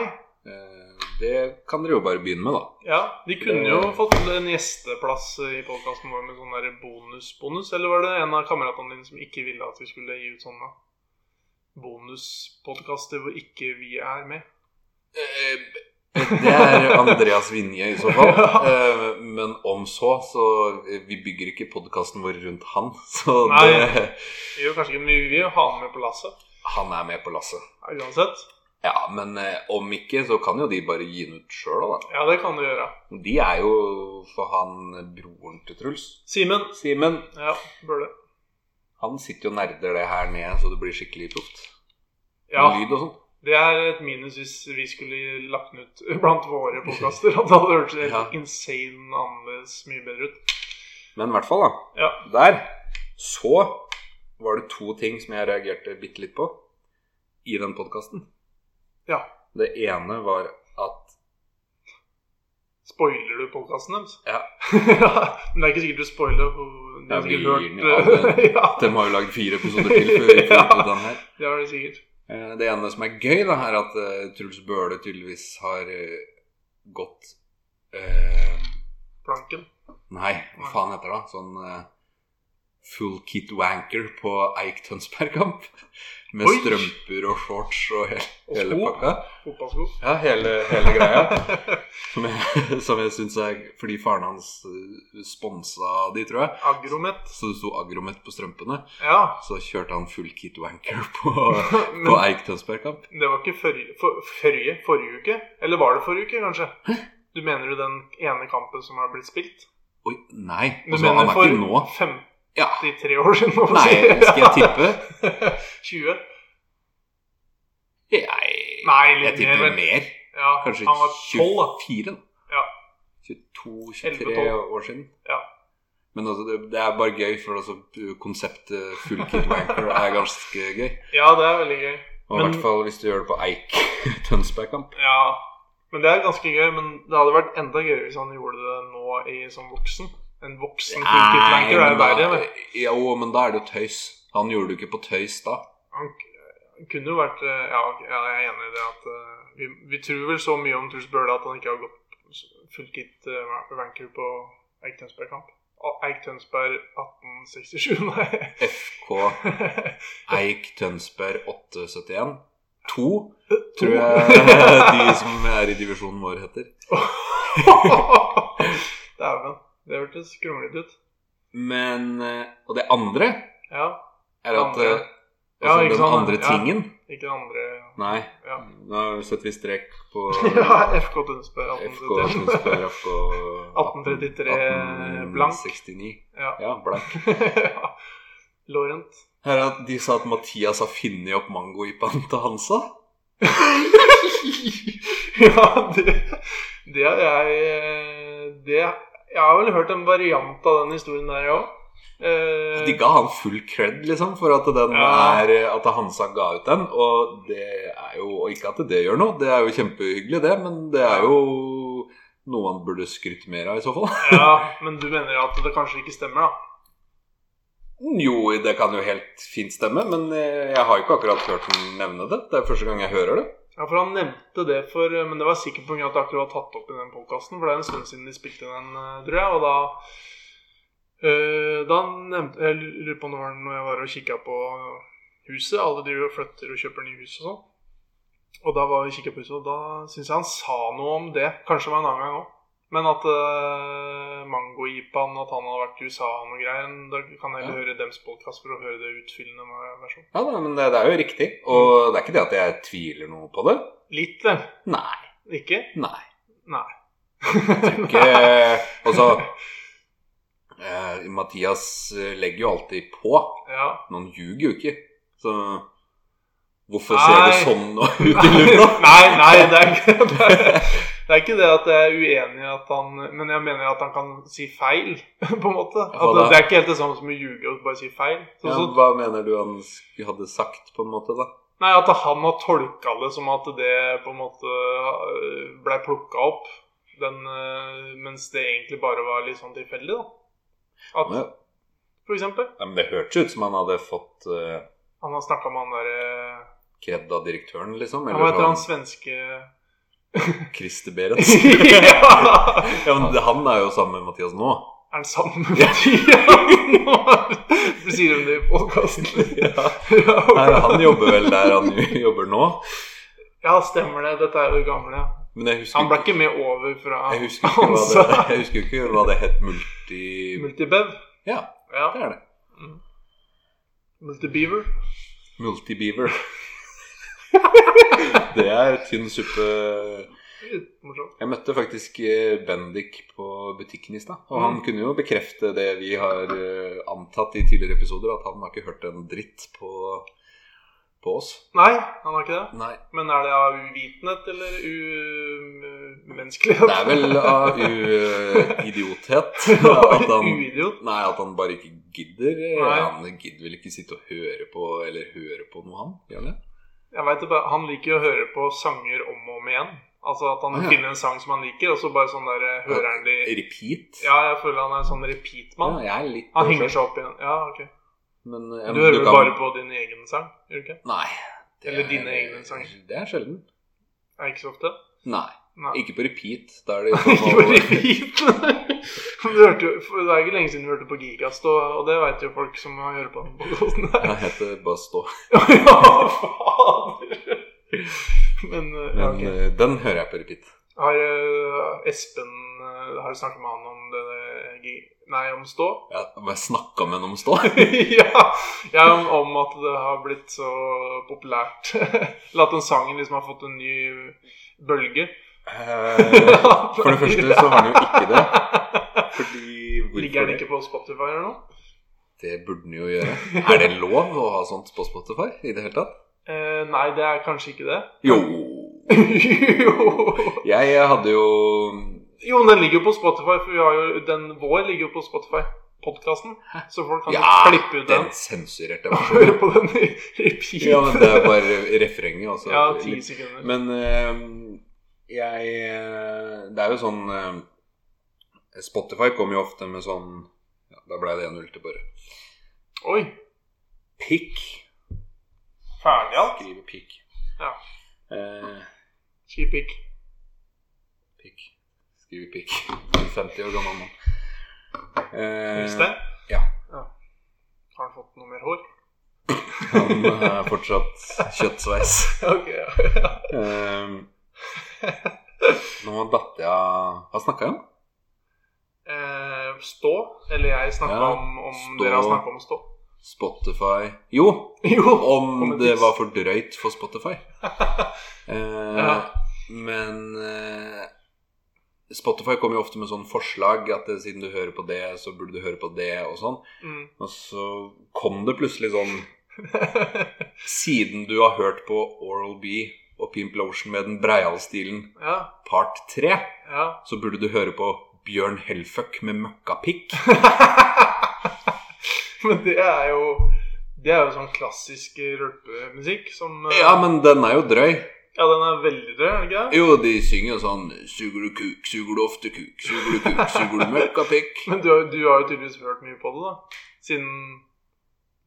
[SPEAKER 2] Eh, Det kan dere jo bare begynne med, da.
[SPEAKER 1] Ja, De kunne jo fått en gjesteplass i podkasten vår med sånn der bonus-bonus. Eller var det en av kameratene dine som ikke ville at vi skulle gi ut sånne bonuspodkaster hvor ikke vi er med?
[SPEAKER 2] Eh, Det er Andreas Vinje i så fall. Eh, Men om så, så eh, Vi bygger ikke podkasten vår rundt han. Så
[SPEAKER 1] Nei.
[SPEAKER 2] det,
[SPEAKER 1] Vi gjør kanskje ikke, men vi vil jo ha han med på lasset.
[SPEAKER 2] han er med på lasset.
[SPEAKER 1] Ja, Uansett.
[SPEAKER 2] Ja, men eh, om ikke, så kan jo de bare gi den ut sjøl, da.
[SPEAKER 1] Ja, det kan du gjøre.
[SPEAKER 2] De er jo for han broren til Truls.
[SPEAKER 1] Simen.
[SPEAKER 2] Simen,
[SPEAKER 1] Ja, bør det.
[SPEAKER 2] han sitter jo og nerder det her ned, så det blir skikkelig proft. Med
[SPEAKER 1] Ja,
[SPEAKER 2] Lyd og sånn.
[SPEAKER 1] det er et minus hvis vi skulle lagt den ut blant våre podkaster. Da hadde det hørtes helt
[SPEAKER 2] Ja.
[SPEAKER 1] insane annerledes mye bedre ut.
[SPEAKER 2] Men i hvert fall, da.
[SPEAKER 1] Ja.
[SPEAKER 2] Der så var det to ting som jeg reagerte bitte litt på i den podkasten.
[SPEAKER 1] Ja.
[SPEAKER 2] Det ene var at
[SPEAKER 1] Spoiler du podkasten deres?
[SPEAKER 2] Ja.
[SPEAKER 1] Men det er ikke sikkert du spoiler. for De
[SPEAKER 2] Ja,
[SPEAKER 1] har
[SPEAKER 2] vi
[SPEAKER 1] sikkert hørt
[SPEAKER 2] gir den jo alle.
[SPEAKER 1] ja,
[SPEAKER 2] de har jo lagd fire episoder til før vi får ut den her.
[SPEAKER 1] Det har de sikkert.
[SPEAKER 2] Eh, Det ene som er gøy, da, er at eh, Truls Bøhle tydeligvis har eh, gått eh,
[SPEAKER 1] Planken.
[SPEAKER 2] Nei, hva faen heter det? da? Sånn eh, full kit wanker på Eik Tønsbergkamp. Med
[SPEAKER 1] Oi!
[SPEAKER 2] strømper og shorts og hele,
[SPEAKER 1] Og
[SPEAKER 2] hele
[SPEAKER 1] sko.
[SPEAKER 2] pakka.
[SPEAKER 1] Fotballsko.
[SPEAKER 2] Ja, hele, hele greia. Som jeg, som jeg syns er Fordi faren hans eh, sponsa de, tror jeg.
[SPEAKER 1] Agromet.
[SPEAKER 2] Så det sto Agromet på strømpene.
[SPEAKER 1] Ja.
[SPEAKER 2] Så kjørte han full kit wanker på,
[SPEAKER 1] Men
[SPEAKER 2] på Eik Tønsbergkamp.
[SPEAKER 1] det var ikke forrige, for, forrige, forrige uke? Eller var det forrige uke, kanskje? Du mener jo den ene kampen som har blitt spilt?
[SPEAKER 2] Oi, nei.
[SPEAKER 1] Du
[SPEAKER 2] Altså,
[SPEAKER 1] mener
[SPEAKER 2] han er ikke nå.
[SPEAKER 1] for
[SPEAKER 2] Ja.
[SPEAKER 1] 53 år siden? må vi
[SPEAKER 2] Nei,
[SPEAKER 1] si.
[SPEAKER 2] skal jeg tippe?
[SPEAKER 1] 20?
[SPEAKER 2] Jeg,
[SPEAKER 1] Nei,
[SPEAKER 2] jeg
[SPEAKER 1] litt
[SPEAKER 2] tipper
[SPEAKER 1] mer. men-
[SPEAKER 2] mer.
[SPEAKER 1] Ja,
[SPEAKER 2] Kanskje
[SPEAKER 1] han var 12, da.
[SPEAKER 2] 24, da.
[SPEAKER 1] Ja.
[SPEAKER 2] 22-23
[SPEAKER 1] 11-12.
[SPEAKER 2] år siden.
[SPEAKER 1] Ja.
[SPEAKER 2] Men altså, det, det er bare gøy, for altså, konseptet full kit wanker er ganske gøy.
[SPEAKER 1] Ja, det er veldig gøy.
[SPEAKER 2] Og i
[SPEAKER 1] Men-
[SPEAKER 2] hvert fall hvis du gjør det på Eik Tønsbergkamp.
[SPEAKER 1] Ja, men det er ganske gøy. Men det hadde vært enda gøyere hvis han gjorde det nå i som voksen. En voksen funkitlanker er jo
[SPEAKER 2] men
[SPEAKER 1] verre.
[SPEAKER 2] da,
[SPEAKER 1] men
[SPEAKER 2] jo, men da er det jo tøys. Han gjorde det jo ikke på tøys da.
[SPEAKER 1] Han k- kunne jo vært eh, Ja, ok, ja, jeg er enig i det at eh, vi, vi tror vel så mye om Truls Bøhle at han ikke har gått full kit eh, ranker på Eik Tønsberg-kamp. Og Eik Tønsberg 1867, nei.
[SPEAKER 2] FK Eik Tønsberg 871. To, tror jeg de som er i divisjonen vår, heter.
[SPEAKER 1] Dæven. Det hørtes kronglete ut.
[SPEAKER 2] Men eh, Og det andre
[SPEAKER 1] Ja,
[SPEAKER 2] er at
[SPEAKER 1] Andre.
[SPEAKER 2] eh,
[SPEAKER 1] Ja,
[SPEAKER 2] altså,
[SPEAKER 1] ikke
[SPEAKER 2] Den
[SPEAKER 1] sant,
[SPEAKER 2] andre
[SPEAKER 1] ja.
[SPEAKER 2] tingen
[SPEAKER 1] ikke det andre
[SPEAKER 2] Nei,
[SPEAKER 1] Ja.
[SPEAKER 2] nå setter vi strek på
[SPEAKER 1] Ja, FK Tønsberg
[SPEAKER 2] FK
[SPEAKER 1] 1871.
[SPEAKER 2] Tønsberg FK
[SPEAKER 1] 1833 blank.
[SPEAKER 2] 69.
[SPEAKER 1] Ja.
[SPEAKER 2] Ja, blank.
[SPEAKER 1] Ja. Lorent.
[SPEAKER 2] Her er at de sa at Mathias har funnet opp mangoypaen til Hansa.
[SPEAKER 1] ja, det, det er jeg eh, det, Jeg har vel hørt en variant av den historien der, jeg òg.
[SPEAKER 2] De ga han full cred liksom, for at, den
[SPEAKER 1] Eh. Ja.
[SPEAKER 2] er, at Hansa ga ut den. Og det er jo og ikke at det gjør noe, det er jo kjempehyggelig, det, men det er jo noe han burde skryte mer av i så fall.
[SPEAKER 1] ja, men du mener at det kanskje ikke stemmer, da?
[SPEAKER 2] Jo, det kan jo helt fint stemme, men eh, jeg har jo ikke akkurat hørt den nevne det. Det er første gang jeg hører det.
[SPEAKER 1] Ja, for han nevnte det for Men det var sikkert pga. at det akkurat var tatt opp i den podkasten. For det er en stund siden de spilte den, eh, tror jeg. Og da eh, Da nevnte Jeg lurer på om det var når jeg var og kikka på huset. Alle driver og flytter og kjøper nye hus og sånn. Og da var vi og kikket på huset, og da syns jeg han sa noe om det. Kanskje det var en annen gang òg. Men at uh, mango-jipaen, at han hadde vært i USA og noe greier Da kan jeg heller høre dems podkast for å høre det utfyllende med versjonen.
[SPEAKER 2] Ja, da, men det, det er jo riktig. Og det er ikke det at jeg tviler noe på det.
[SPEAKER 1] Litt, vel?
[SPEAKER 2] Nei.
[SPEAKER 1] Ikke?
[SPEAKER 2] Nei.
[SPEAKER 1] Nei.
[SPEAKER 2] Ikke Altså eh, Mathias eh, legger jo alltid på,
[SPEAKER 1] Ja.
[SPEAKER 2] men han ljuger jo ikke. Så hvorfor
[SPEAKER 1] Nei.
[SPEAKER 2] ser det sånn ut i lufta?
[SPEAKER 1] Nei, nei, det er ikke det. Er, det er ikke det at jeg er uenig i at han Men jeg mener at han kan si feil, på en måte.
[SPEAKER 2] Ja,
[SPEAKER 1] At
[SPEAKER 2] da-
[SPEAKER 1] det, det er ikke helt det samme som å ljuge og bare si feil. Så,
[SPEAKER 2] Ja,
[SPEAKER 1] så,
[SPEAKER 2] hva mener du han sk- hadde sagt, på en måte, da?
[SPEAKER 1] nei, At han har tolka det som at det på en måte øh, ble plukka opp, den, øh, mens det egentlig bare var litt sånn tilfeldig, da. At,
[SPEAKER 2] Ja,
[SPEAKER 1] for eksempel,
[SPEAKER 2] men det hørtes ut som han hadde fått eh,
[SPEAKER 1] han har snakka med han derre
[SPEAKER 2] kred av direktøren, liksom.
[SPEAKER 1] Hva heter
[SPEAKER 2] Eller
[SPEAKER 1] han
[SPEAKER 2] sånn
[SPEAKER 1] svenske
[SPEAKER 2] Christer Berets.
[SPEAKER 1] Ja!
[SPEAKER 2] Ja, men det- han er jo sammen med Mathias nå.
[SPEAKER 1] Er den sammen med Mathias? Du sier om det i podkasten.
[SPEAKER 2] Ja. Nei, han jobber vel der han jobber nå.
[SPEAKER 1] Ja, stemmer det. Dette er jo det gamle.
[SPEAKER 2] Men jeg husker
[SPEAKER 1] Han ble ikke med over fra
[SPEAKER 2] Jeg husker ikke hva
[SPEAKER 1] Hansa.
[SPEAKER 2] det, jeg husker ikke hva det het multi...
[SPEAKER 1] Multibev.
[SPEAKER 2] Ja,
[SPEAKER 1] Ja.
[SPEAKER 2] det er det.
[SPEAKER 1] Multibeaver.
[SPEAKER 2] Multibeaver. Det er tynn suppe.
[SPEAKER 1] Litt Morsomt.
[SPEAKER 2] Jeg møtte faktisk eh, Bendik på butikken i stad. Og han
[SPEAKER 1] Mm.
[SPEAKER 2] kunne jo bekrefte det vi har eh, antatt i tidligere episoder, at han har ikke hørt en dritt på, på oss.
[SPEAKER 1] Nei, han har ikke det.
[SPEAKER 2] Nei.
[SPEAKER 1] Men er det av uvitenhet eller umenneskelighet?
[SPEAKER 2] Det er vel av u-idiothet at han
[SPEAKER 1] Uidiot.
[SPEAKER 2] Nei, at han bare ikke gidder.
[SPEAKER 1] Nei.
[SPEAKER 2] Han gidder vel ikke sitte og høre på Eller høre på noe, han? Gjør han det?
[SPEAKER 1] Jeg vet det bare, Han liker jo å høre på sanger om og om igjen. Altså at han
[SPEAKER 2] Ah, ja.
[SPEAKER 1] finner en sang som han liker, og så bare sånn der eh, hører han de
[SPEAKER 2] Repeat?
[SPEAKER 1] Ja, jeg føler han er en sånn repeat-mann.
[SPEAKER 2] Ja, jeg er litt
[SPEAKER 1] Han henger seg opp igjen. Ja, ok.
[SPEAKER 2] Men, eh,
[SPEAKER 1] Du hører
[SPEAKER 2] du
[SPEAKER 1] vel
[SPEAKER 2] kan-
[SPEAKER 1] bare på din egen sang? Gjør du ikke?
[SPEAKER 2] Nei. det
[SPEAKER 1] Eller
[SPEAKER 2] er-
[SPEAKER 1] dine egne sanger.
[SPEAKER 2] Det er sjelden.
[SPEAKER 1] Er ikke så ofte?
[SPEAKER 2] Nei.
[SPEAKER 1] Nei.
[SPEAKER 2] Ikke på repeat. Da er det
[SPEAKER 1] Ikke
[SPEAKER 2] jo
[SPEAKER 1] på
[SPEAKER 2] sånn
[SPEAKER 1] repeat. Men du hørte jo, for det er ikke lenge siden du hørte på Gigast, og, og det veit jo folk som hører på den podkasten
[SPEAKER 2] å
[SPEAKER 1] her.
[SPEAKER 2] Jeg heter bare stå.
[SPEAKER 1] ja, fader! Men eh, ja,
[SPEAKER 2] Men
[SPEAKER 1] ok.
[SPEAKER 2] eh, den hører jeg på repeat.
[SPEAKER 1] Har eh, Espen eh, Har du snakka med han om det eh, gi- Nei, om stå?
[SPEAKER 2] Ja, må jeg snakke med henne om stå?
[SPEAKER 1] ja, ja om, om at det har blitt så populært. Eller at den sangen liksom har fått en ny bølge.
[SPEAKER 2] Eh, For det første så har han jo ikke det. Fordi
[SPEAKER 1] Ligger
[SPEAKER 2] hvorfor
[SPEAKER 1] den
[SPEAKER 2] det?
[SPEAKER 1] ikke på Spotify eller noe?
[SPEAKER 2] Det burde han jo gjøre. Er det lov å ha sånt på Spotify i det hele tatt?
[SPEAKER 1] Eh, nei, det er kanskje ikke det.
[SPEAKER 2] Jo.
[SPEAKER 1] jo.
[SPEAKER 2] Jeg hadde jo
[SPEAKER 1] jo, den ligger jo på Spotify, for vi har jo, den vår ligger jo på Spotify. Podkasten. Så folk kan jo
[SPEAKER 2] Ja,
[SPEAKER 1] klippe ut den
[SPEAKER 2] den sensurerte
[SPEAKER 1] og
[SPEAKER 2] versjonen.
[SPEAKER 1] høre på den i repeat.
[SPEAKER 2] Ja, men det er bare refrenget. Altså.
[SPEAKER 1] Ja, ti sekunder.
[SPEAKER 2] Men eh, jeg eh, Det er jo sånn eh, Spotify kommer jo ofte med sånn ja, Da ble det 1-0 til Børre.
[SPEAKER 1] Oi.
[SPEAKER 2] Pikk.
[SPEAKER 1] Ferdig alt?
[SPEAKER 2] Skrive pikk.
[SPEAKER 1] Ja.
[SPEAKER 2] Eh,
[SPEAKER 1] Skriv pikk.
[SPEAKER 2] pikk. Skrive pikk. En 50 år gammel mann.
[SPEAKER 1] Husk
[SPEAKER 2] Eh,
[SPEAKER 1] det.
[SPEAKER 2] ja.
[SPEAKER 1] Har han fått noe mer hår?
[SPEAKER 2] han er eh, fortsatt kjøttsveis.
[SPEAKER 1] Ok, ja.
[SPEAKER 2] Eh, nå datt jeg av Hva snakka jeg om?
[SPEAKER 1] Eh, stå? Eller jeg snakka
[SPEAKER 2] Ja,
[SPEAKER 1] om, om
[SPEAKER 2] stå.
[SPEAKER 1] Dere har snakka om stå.
[SPEAKER 2] Spotify Jo,
[SPEAKER 1] Jo.
[SPEAKER 2] om
[SPEAKER 1] Kom med
[SPEAKER 2] det
[SPEAKER 1] tips.
[SPEAKER 2] var for drøyt for Spotify. Eh,
[SPEAKER 1] Ja.
[SPEAKER 2] Men eh, Spotify kommer jo ofte med sånn forslag at eh, siden du hører på det, så burde du høre på det, og sånn.
[SPEAKER 1] Mm.
[SPEAKER 2] Og så kom det plutselig sånn Siden du har hørt på Oral B og Pimp Lotion med den Breial-stilen
[SPEAKER 1] Ja,
[SPEAKER 2] part 3,
[SPEAKER 1] ja.
[SPEAKER 2] så burde du høre på Bjørn Hellfuck med møkkapikk.
[SPEAKER 1] Men det er jo Det er jo sånn klassisk eh, rølpemusikk som eh,
[SPEAKER 2] Ja, men den er jo drøy.
[SPEAKER 1] ja, den er veldig død, er den ikke det?
[SPEAKER 2] Jo, de synger jo sånn Suger du kuk, suger du ofte kuk, suger du kuk, suger du møkkapikk.
[SPEAKER 1] Men du, har- du har jo tydeligvis hørt mye på det, da. Siden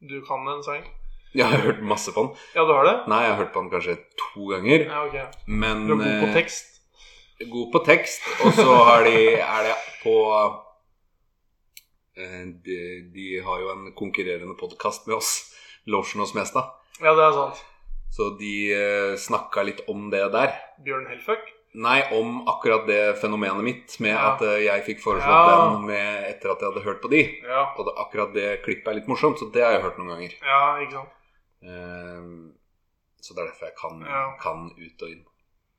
[SPEAKER 1] du kan den sangen.
[SPEAKER 2] Jeg har hørt masse på den.
[SPEAKER 1] Ja, du har det?
[SPEAKER 2] Nei, jeg har hørt på den kanskje to ganger.
[SPEAKER 1] Ja, ok.
[SPEAKER 2] Men
[SPEAKER 1] Du er god på
[SPEAKER 2] eh,
[SPEAKER 1] tekst.
[SPEAKER 2] god på tekst. Og så har de, er det på eh, de, de har jo en konkurrerende podkast med oss, Lotion og Smestad.
[SPEAKER 1] Ja, det er sant.
[SPEAKER 2] Så de eh, snakka litt om det der.
[SPEAKER 1] Bjørn Hellfuck.
[SPEAKER 2] Nei, om akkurat det fenomenet mitt med
[SPEAKER 1] Ja.
[SPEAKER 2] at eh, jeg fikk foreslått
[SPEAKER 1] Ja.
[SPEAKER 2] den med, etter at jeg hadde hørt på de.
[SPEAKER 1] Ja.
[SPEAKER 2] Og det, akkurat det klippet er litt morsomt, så det har jeg hørt noen ganger.
[SPEAKER 1] ja, ikke sant.
[SPEAKER 2] Eh, så det er derfor jeg kan,
[SPEAKER 1] Ja.
[SPEAKER 2] kan ut og inn.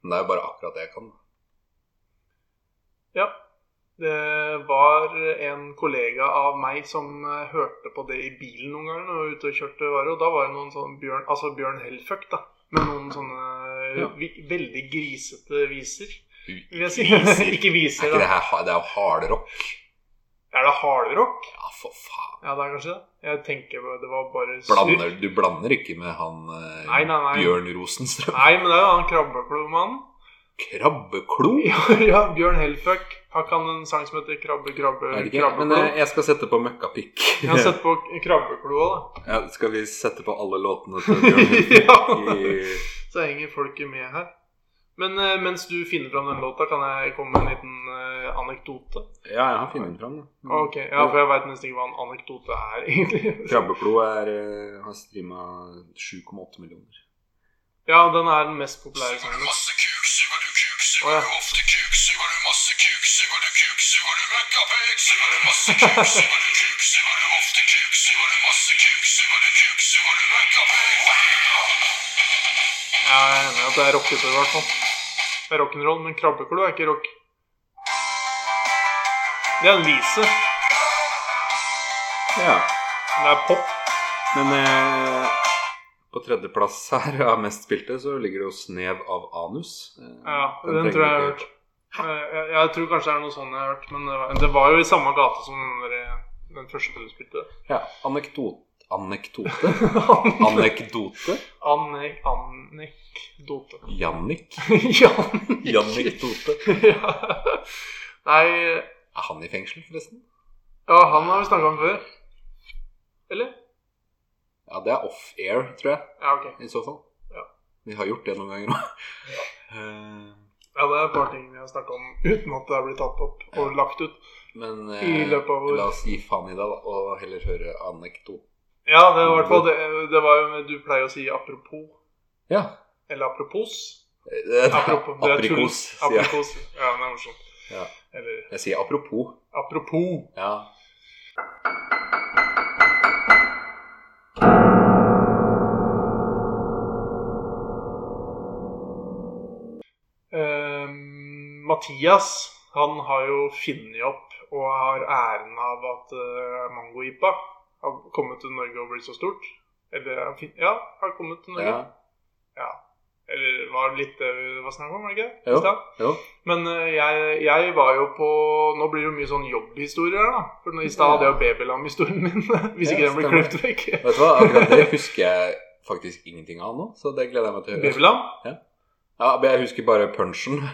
[SPEAKER 2] Men det er jo bare akkurat det jeg kan.
[SPEAKER 1] Ja. Det var en kollega av meg som eh, hørte på det i bilen noen ganger når jeg var ute og kjørte varer. Og da var det noen sånn Bjørn, altså Bjørn Hellfuck, da. Med noen sånne eh,
[SPEAKER 2] Ja.
[SPEAKER 1] vi, veldig grisete viser.
[SPEAKER 2] Er
[SPEAKER 1] Vil jeg si.
[SPEAKER 2] Viser?
[SPEAKER 1] Ikke viser,
[SPEAKER 2] ikke det
[SPEAKER 1] da.
[SPEAKER 2] her ha- Det er jo hardrock.
[SPEAKER 1] Er det hardrock?
[SPEAKER 2] Ja, for faen.
[SPEAKER 1] Ja, det er kanskje det. Jeg tenker bare- det var bare surr.
[SPEAKER 2] Blander, du blander ikke med han eh,
[SPEAKER 1] Nei, nei, nei.
[SPEAKER 2] Bjørn Rosenstrøm?
[SPEAKER 1] Nei, men det er jo han krabbeklomannen.
[SPEAKER 2] Krabbeklo?
[SPEAKER 1] Ja, ja, Bjørn Hellfuck. Har ikke han en sang som heter Krabbe, krabbe,
[SPEAKER 2] Jeg vet ikke, men
[SPEAKER 1] krabbeklo?
[SPEAKER 2] eh, jeg skal sette på møkkapikk.
[SPEAKER 1] Jeg har sett på krabbeklo òg, da.
[SPEAKER 2] Ja, skal vi sette på alle låtene til Bjørn Rosenstrøm?
[SPEAKER 1] Ja.
[SPEAKER 2] I-
[SPEAKER 1] Så henger folket med her. Men eh, mens du finner fram den låta, kan jeg komme med en liten eh, anekdote? Ah,
[SPEAKER 2] Ja, jeg har funnet den fram. da.
[SPEAKER 1] Ok, ja, For jeg veit nesten ikke hva en anekdote er, egentlig.
[SPEAKER 2] Krabbeklo er, eh, har streama 7,8 millioner.
[SPEAKER 1] Ja, den er den mest populære sangen.
[SPEAKER 2] masse kuk, suger du kuk,
[SPEAKER 1] Å,
[SPEAKER 2] suger
[SPEAKER 1] ja.
[SPEAKER 2] du ofte kuk, suger du masse kuk, suger du kuk, suger du
[SPEAKER 3] eh?
[SPEAKER 2] møkkapikk, suger du masse kuk, suger du kuk, suger du ofte kuk, suger du masse kuk, suger du kuk, suger du møkkapikk.
[SPEAKER 3] eh?
[SPEAKER 1] Jeg er enig i at det er rockete, i hvert fall. Det er rock'n'roll, men krabbeklo er ikke rock. Det er en vise.
[SPEAKER 2] Ja,
[SPEAKER 1] men Det er pop.
[SPEAKER 2] men eh, på tredjeplass her av mest spilte så ligger det jo Snev av anus. Eh,
[SPEAKER 1] Ja, den,
[SPEAKER 2] trenger
[SPEAKER 1] tror jeg jeg har
[SPEAKER 2] vi
[SPEAKER 1] hørt.
[SPEAKER 2] ikke-
[SPEAKER 1] Eh, Jeg, jeg tror kanskje det er noe sånn jeg har hørt, men det var, det var jo i samme gate som den, der, eh, den første du spilte.
[SPEAKER 2] Ja, anekdote. Anekdote? Anekdote?
[SPEAKER 1] Anne- Anekdote.
[SPEAKER 2] Jannik?
[SPEAKER 1] Jan.
[SPEAKER 2] Jannikdote?
[SPEAKER 1] Ja. Nei
[SPEAKER 2] Er han i fengsel, forresten?
[SPEAKER 1] Ja, han har vi snakka om før. Eller?
[SPEAKER 2] Ja, det er off-air, tror jeg.
[SPEAKER 1] Ja, ok.
[SPEAKER 2] I så fall.
[SPEAKER 1] Ja.
[SPEAKER 2] Vi har gjort det noen ganger Eh, òg.
[SPEAKER 1] Ja, Det er et par ting vi har snakka om uten at det er blitt tatt opp og lagt ut.
[SPEAKER 2] Men eh,
[SPEAKER 1] I løpet av vår-
[SPEAKER 2] la oss gi faen i det, da, og heller høre anekdote.
[SPEAKER 1] Ja, det var i hvert fall det, det var jo Du pleier å si apropos.
[SPEAKER 2] Ja.
[SPEAKER 1] Eller apropos.
[SPEAKER 2] Eh,
[SPEAKER 1] Apropos. Det er tull.
[SPEAKER 2] Aprikos, sier jeg.
[SPEAKER 1] Aprikos. Ja, det er morsomt.
[SPEAKER 2] Ja.
[SPEAKER 1] Eller
[SPEAKER 2] Jeg sier apropos.
[SPEAKER 1] apropos.
[SPEAKER 2] Ja.
[SPEAKER 1] Ehm, Mathias han har jo funnet opp og har æren av at uh, mangojipa har kommet til Norge og blitt så stort. Eller har fin- ja, har kommet til Norge.
[SPEAKER 2] ja.
[SPEAKER 1] Eller var det litt det vi var snakk om? var det ikke? det? I
[SPEAKER 2] Jo.
[SPEAKER 1] stad?
[SPEAKER 2] Jo.
[SPEAKER 1] Men eh, jeg, jeg var jo på Nå blir det jo mye sånn jobbhistorier her, da. For nå- I stad
[SPEAKER 2] Ja.
[SPEAKER 1] hadde jeg jo babylam-historien min. Hvis ikke den
[SPEAKER 2] Ja,
[SPEAKER 1] blir
[SPEAKER 2] stemmer.
[SPEAKER 1] klippet vekk.
[SPEAKER 2] Vet du hva, akkurat det husker jeg faktisk ingenting av nå, så det gleder jeg meg til å høre.
[SPEAKER 1] Babylam?
[SPEAKER 2] Ja, men Jeg husker bare punchen.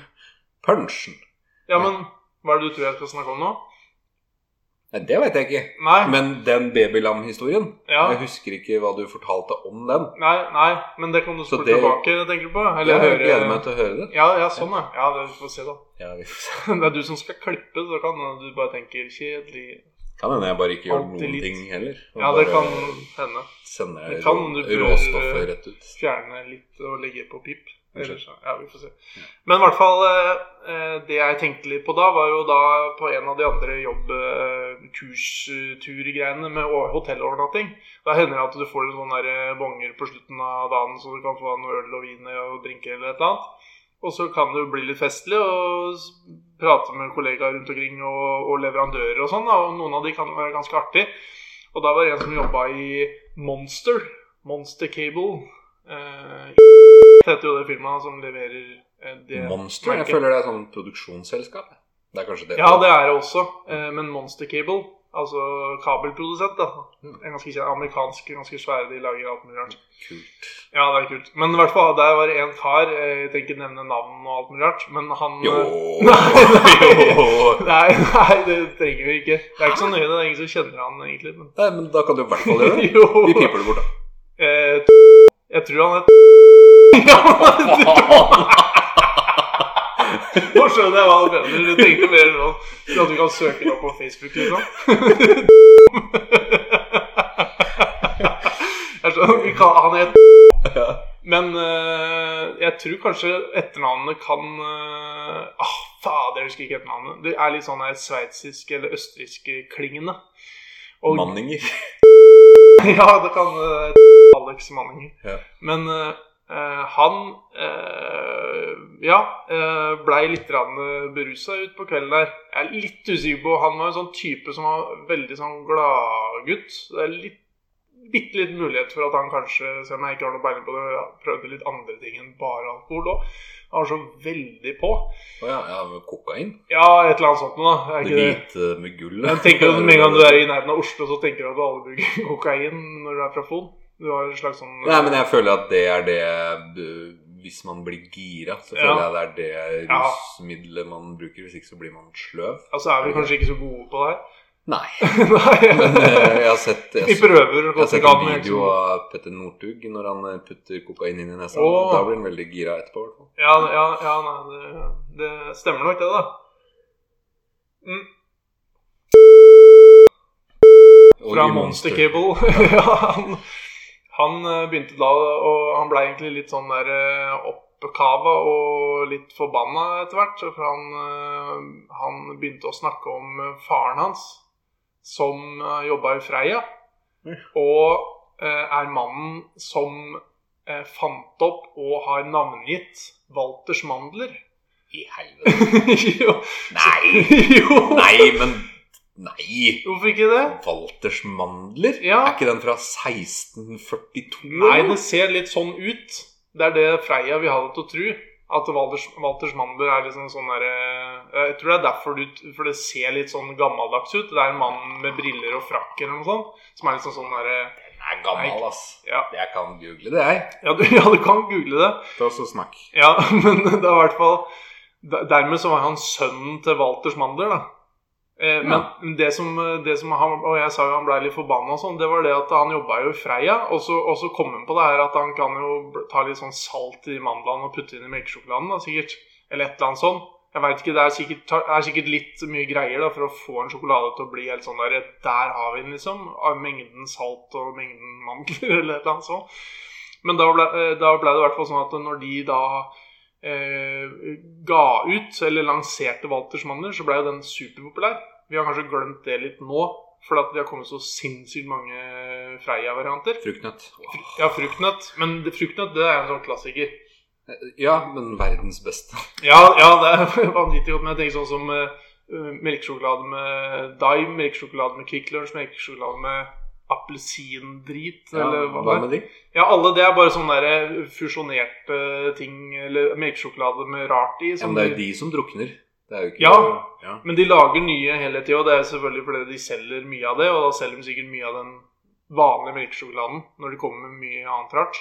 [SPEAKER 2] Punchen?
[SPEAKER 1] Ja, men hva er det du tror jeg skal snakke om nå?
[SPEAKER 2] Nei, det veit jeg ikke.
[SPEAKER 1] Nei.
[SPEAKER 2] Men den babylam-historien
[SPEAKER 1] ja.
[SPEAKER 2] Jeg husker ikke hva du fortalte om den.
[SPEAKER 1] Nei, nei, men det kan du
[SPEAKER 2] Så
[SPEAKER 1] spørre
[SPEAKER 2] det-
[SPEAKER 1] tilbake, tenker du på?
[SPEAKER 2] Jeg
[SPEAKER 1] Eller
[SPEAKER 2] gleder meg til å høre det.
[SPEAKER 1] Ja, ja, sånn, ja. ja det får vi se, da.
[SPEAKER 2] Ja, vi får se.
[SPEAKER 1] Det er du som skal klippe, så kan du bare tenke kjedelig
[SPEAKER 2] Kan hende jeg bare ikke gjør
[SPEAKER 1] Alltid
[SPEAKER 2] noen
[SPEAKER 1] litt.
[SPEAKER 2] ting heller. og
[SPEAKER 1] Ja, det
[SPEAKER 2] bare
[SPEAKER 1] kan hende.
[SPEAKER 2] Sender
[SPEAKER 1] det kan,
[SPEAKER 2] rå-
[SPEAKER 1] du bør-
[SPEAKER 2] råstoffet rett ut.
[SPEAKER 1] Fjerne litt og legge på pip.
[SPEAKER 2] Kanskje.
[SPEAKER 1] Eller så, ja, vi får se. Men i hvert fall, eh, eh, det jeg tenkte litt på da, var jo da på en av de andre jobbkursturgreiene med å- hotellovernatting. Da hender det at du får litt sånne der eh, bonger på slutten av dagen, så du kan få noe øl og vin og drinker eller et eller annet. Og så kan det jo bli litt festlig og s- prate med kollegaer rundt omkring og, og leverandører og sånn. da, Og noen av de kan være ganske artige. Og da var det en som jobba i Monster. Monster Cable. Eh, heter jo det firmaet som leverer eh, det
[SPEAKER 2] Monster. Jeg
[SPEAKER 1] merket.
[SPEAKER 2] føler det er sånn produksjonsselskap. Det er kanskje det.
[SPEAKER 1] Ja, det er det også. Eh, Men Monster Cable, altså kabelprodusent, da.
[SPEAKER 2] Mm.
[SPEAKER 1] En ganske kjent amerikansk, ganske svære, de lager alt mulig rart.
[SPEAKER 2] Kult.
[SPEAKER 1] Ja, det er kult. Men i hvert fall, der var det en kar, eh, jeg trenger ikke nevne navn og alt mulig rart, men han
[SPEAKER 2] Jo.
[SPEAKER 1] eh,
[SPEAKER 2] Nei. jo.
[SPEAKER 1] Nei, nei, det trenger vi ikke. Det er ikke så nøye, det er ingen som kjenner han egentlig. Men...
[SPEAKER 2] Nei, men da kan du i hvert fall gjøre det.
[SPEAKER 1] Jo.
[SPEAKER 2] Vi piper det bort, da.
[SPEAKER 1] Eh, t- jeg tror han er Ja, men nå skjønner jeg hva han mener. Du tenkte mer sånn sånn at du kan søke det opp på Facebook, liksom. Jeg skjønner, vi kan, han het
[SPEAKER 2] Ja.
[SPEAKER 1] Men eh, jeg tror kanskje etternavnet kan eh, Ah, fader, jeg husker ikke etternavnet. Det er litt sånn her sveitsisk eller østerriksk klingende. Og
[SPEAKER 2] Manninger.
[SPEAKER 1] ja, det kan eh, Alex Manninger.
[SPEAKER 2] Ja.
[SPEAKER 1] Men eh, eh, han eh, ja, uh, blei litt berusa ut på kvelden der. Jeg er litt usikker på Han var en sånn type som var veldig sånn gladgutt. Det er litt bitte litt mulighet for at han kanskje, selv om jeg ikke har noe peiling på det, prøvde litt andre ting enn bare alkohol òg. Han var så veldig på.
[SPEAKER 2] Å ja, ja, med kokain.
[SPEAKER 1] Ja, et eller annet sånt noe, da. Er
[SPEAKER 2] Det
[SPEAKER 1] ikke det?
[SPEAKER 2] hvite med gullet.
[SPEAKER 1] Jeg tenker at Med en gang du er i nærheten av Oslo, så tenker du at alle bruker kokain når du er fra Fon. Du har en slags sånn
[SPEAKER 2] Nei, men jeg føler at det er det du- Hvis man blir gira, så føler
[SPEAKER 1] Ja.
[SPEAKER 2] jeg det er det
[SPEAKER 1] Ja.
[SPEAKER 2] rusmiddelet man bruker. Hvis ikke så blir man sløv.
[SPEAKER 1] Altså er vi kanskje ikke så gode på det her.
[SPEAKER 2] Nei. Men eh,
[SPEAKER 1] Nei.
[SPEAKER 2] jeg har sett jeg
[SPEAKER 1] Vi
[SPEAKER 2] så-
[SPEAKER 1] prøver å
[SPEAKER 2] Jeg
[SPEAKER 1] gå
[SPEAKER 2] har
[SPEAKER 1] til
[SPEAKER 2] sett en
[SPEAKER 1] gaten.
[SPEAKER 2] video
[SPEAKER 1] liksom.
[SPEAKER 2] av Petter Northug når han eh, putter kokain inn i nesa.
[SPEAKER 1] Åh.
[SPEAKER 2] Da blir han veldig gira etterpå. i hvert fall.
[SPEAKER 1] Ja, ja, ja nei, det, det stemmer nok, det, da. Mm,
[SPEAKER 2] Og
[SPEAKER 1] fra
[SPEAKER 2] i
[SPEAKER 1] Monster Cable. ja, han, han eh, begynte da, og han ble egentlig litt sånn der eh, oppkava og litt forbanna etter hvert. For han, eh, han begynte å snakke om eh, faren hans, som eh, jobba i Freia.
[SPEAKER 2] Mm.
[SPEAKER 1] Og eh, er mannen som eh, fant opp og har navngitt Walters mandler.
[SPEAKER 2] I helvete.
[SPEAKER 1] jo.
[SPEAKER 2] Nei!
[SPEAKER 1] jo!
[SPEAKER 2] Nei, men Nei!
[SPEAKER 1] Hvorfor ikke det?
[SPEAKER 2] Walters mandler?
[SPEAKER 1] Ja.
[SPEAKER 2] Er ikke den fra 1642?
[SPEAKER 1] Nei,
[SPEAKER 2] eller?
[SPEAKER 1] det ser litt sånn ut. Det er det Freia vil ha det til å tro. At Walters, Walters Mandler er liksom sånn derre Jeg tror det er derfor du For det ser litt sånn gammeldags ut. Det er en mann med briller og frakk eller noe sånt. Som er liksom sånn derre
[SPEAKER 2] Den er gammel, ass.
[SPEAKER 1] ja,
[SPEAKER 2] Jeg kan google det, jeg.
[SPEAKER 1] ja, du- ja, du kan google det.
[SPEAKER 2] Ta oss og snakk.
[SPEAKER 1] Ja, men det er i hvert fall der- Dermed så var han sønnen til Walters Mandler, da. Eh, men det som, det som han, Og jeg sa jo han blei litt forbanna og sånn, det var det at han jobba jo i Freia. Og så, og så kom han på det her at han kan jo bl- ta litt sånn salt i mandlene og putte inn i melkesjokoladen, da, sikkert. Eller et eller annet sånn. Jeg vet ikke, Det er sikkert, ta- er sikkert litt mye greier da, for å få en sjokolade til å bli helt sånn der Der har vi den, liksom. Av mengden salt og mengden mandler, eller et eller annet sånt. Men da ble, eh, da ble det i hvert fall sånn at når de da eh, ga ut, eller lanserte Walters Mandler, så ble jo den superpopulær. Vi har kanskje glemt det litt nå, fordi at det har kommet så sinnssykt mange Freia-varianter.
[SPEAKER 2] Fruktnøtt.
[SPEAKER 1] Ja, fruktnøtt. Men det- fruktnøtt det er en sånn klassiker.
[SPEAKER 2] Ja, men verdens beste.
[SPEAKER 1] Ja, ja det er vanvittig godt, men jeg tenker sånn som eh, eh, melkesjokolade med dime, melkesjokolade med Kvikk Lunsj, melkesjokolade med appelsindrit,
[SPEAKER 2] Ja,
[SPEAKER 1] eller hva det
[SPEAKER 2] hva
[SPEAKER 1] er.
[SPEAKER 2] med de?
[SPEAKER 1] Ja, alle det er bare sånne der eh, fusjonerte ting, eller melkesjokolade med rart i.
[SPEAKER 2] Ja, men det er jo de som drukner. Det er jo ikke
[SPEAKER 1] Ja.
[SPEAKER 2] ja.
[SPEAKER 1] Men de lager nye hele tida, og det er selvfølgelig fordi de selger mye av det. Og da selger de sikkert mye av den vanlige melkesjokoladen når de kommer med mye annet rart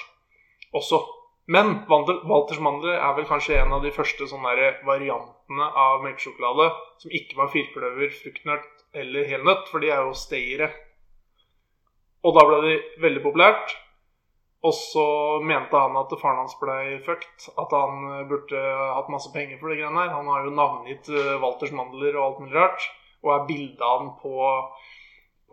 [SPEAKER 1] også. Men Wander- Walters mandler er vel kanskje en av de første sånne der variantene av melkesjokolade som ikke var firkløver, fruktnøtt eller helnøtt, for de er jo stayere. Og da ble de veldig populært. Og så mente han at faren hans ble fucked. At han eh, burde hatt masse penger for det greiene her. Han har jo navngitt eh, Walters Mandler og alt mulig rart. Og er bildet av han på,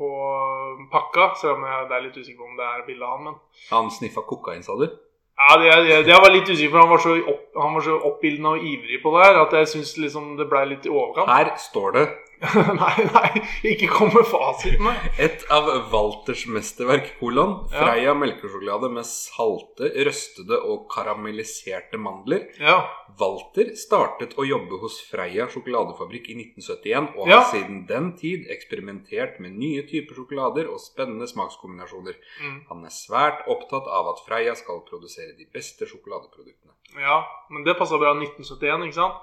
[SPEAKER 1] på eh, pakka. Selv om jeg det er litt usikker på om det er bildet av han, men
[SPEAKER 2] Han sniffa kokain, sa du?
[SPEAKER 1] ja, det, jeg, jeg var litt usikker, for han var så, opp, han var så oppildna og ivrig på det her at jeg syns liksom det ble litt i overkant.
[SPEAKER 2] Her står det
[SPEAKER 1] nei, nei, ikke kom med fasiten. nei.
[SPEAKER 2] Et av Walters mesterverk, kolon.
[SPEAKER 1] Ja.
[SPEAKER 2] Freia melkesjokolade med salte, røstede og karamelliserte mandler.
[SPEAKER 1] Ja,
[SPEAKER 2] Walter startet å jobbe hos Freia sjokoladefabrikk i 1971, og
[SPEAKER 1] Ja.
[SPEAKER 2] har siden den tid eksperimentert med nye typer sjokolader og spennende smakskombinasjoner.
[SPEAKER 1] mm,
[SPEAKER 2] Han er svært opptatt av at Freia skal produsere de beste sjokoladeproduktene.
[SPEAKER 1] ja. Men det passa bra i 1971, ikke sant?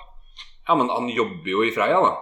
[SPEAKER 2] Ja, men han jobber jo i Freia, da.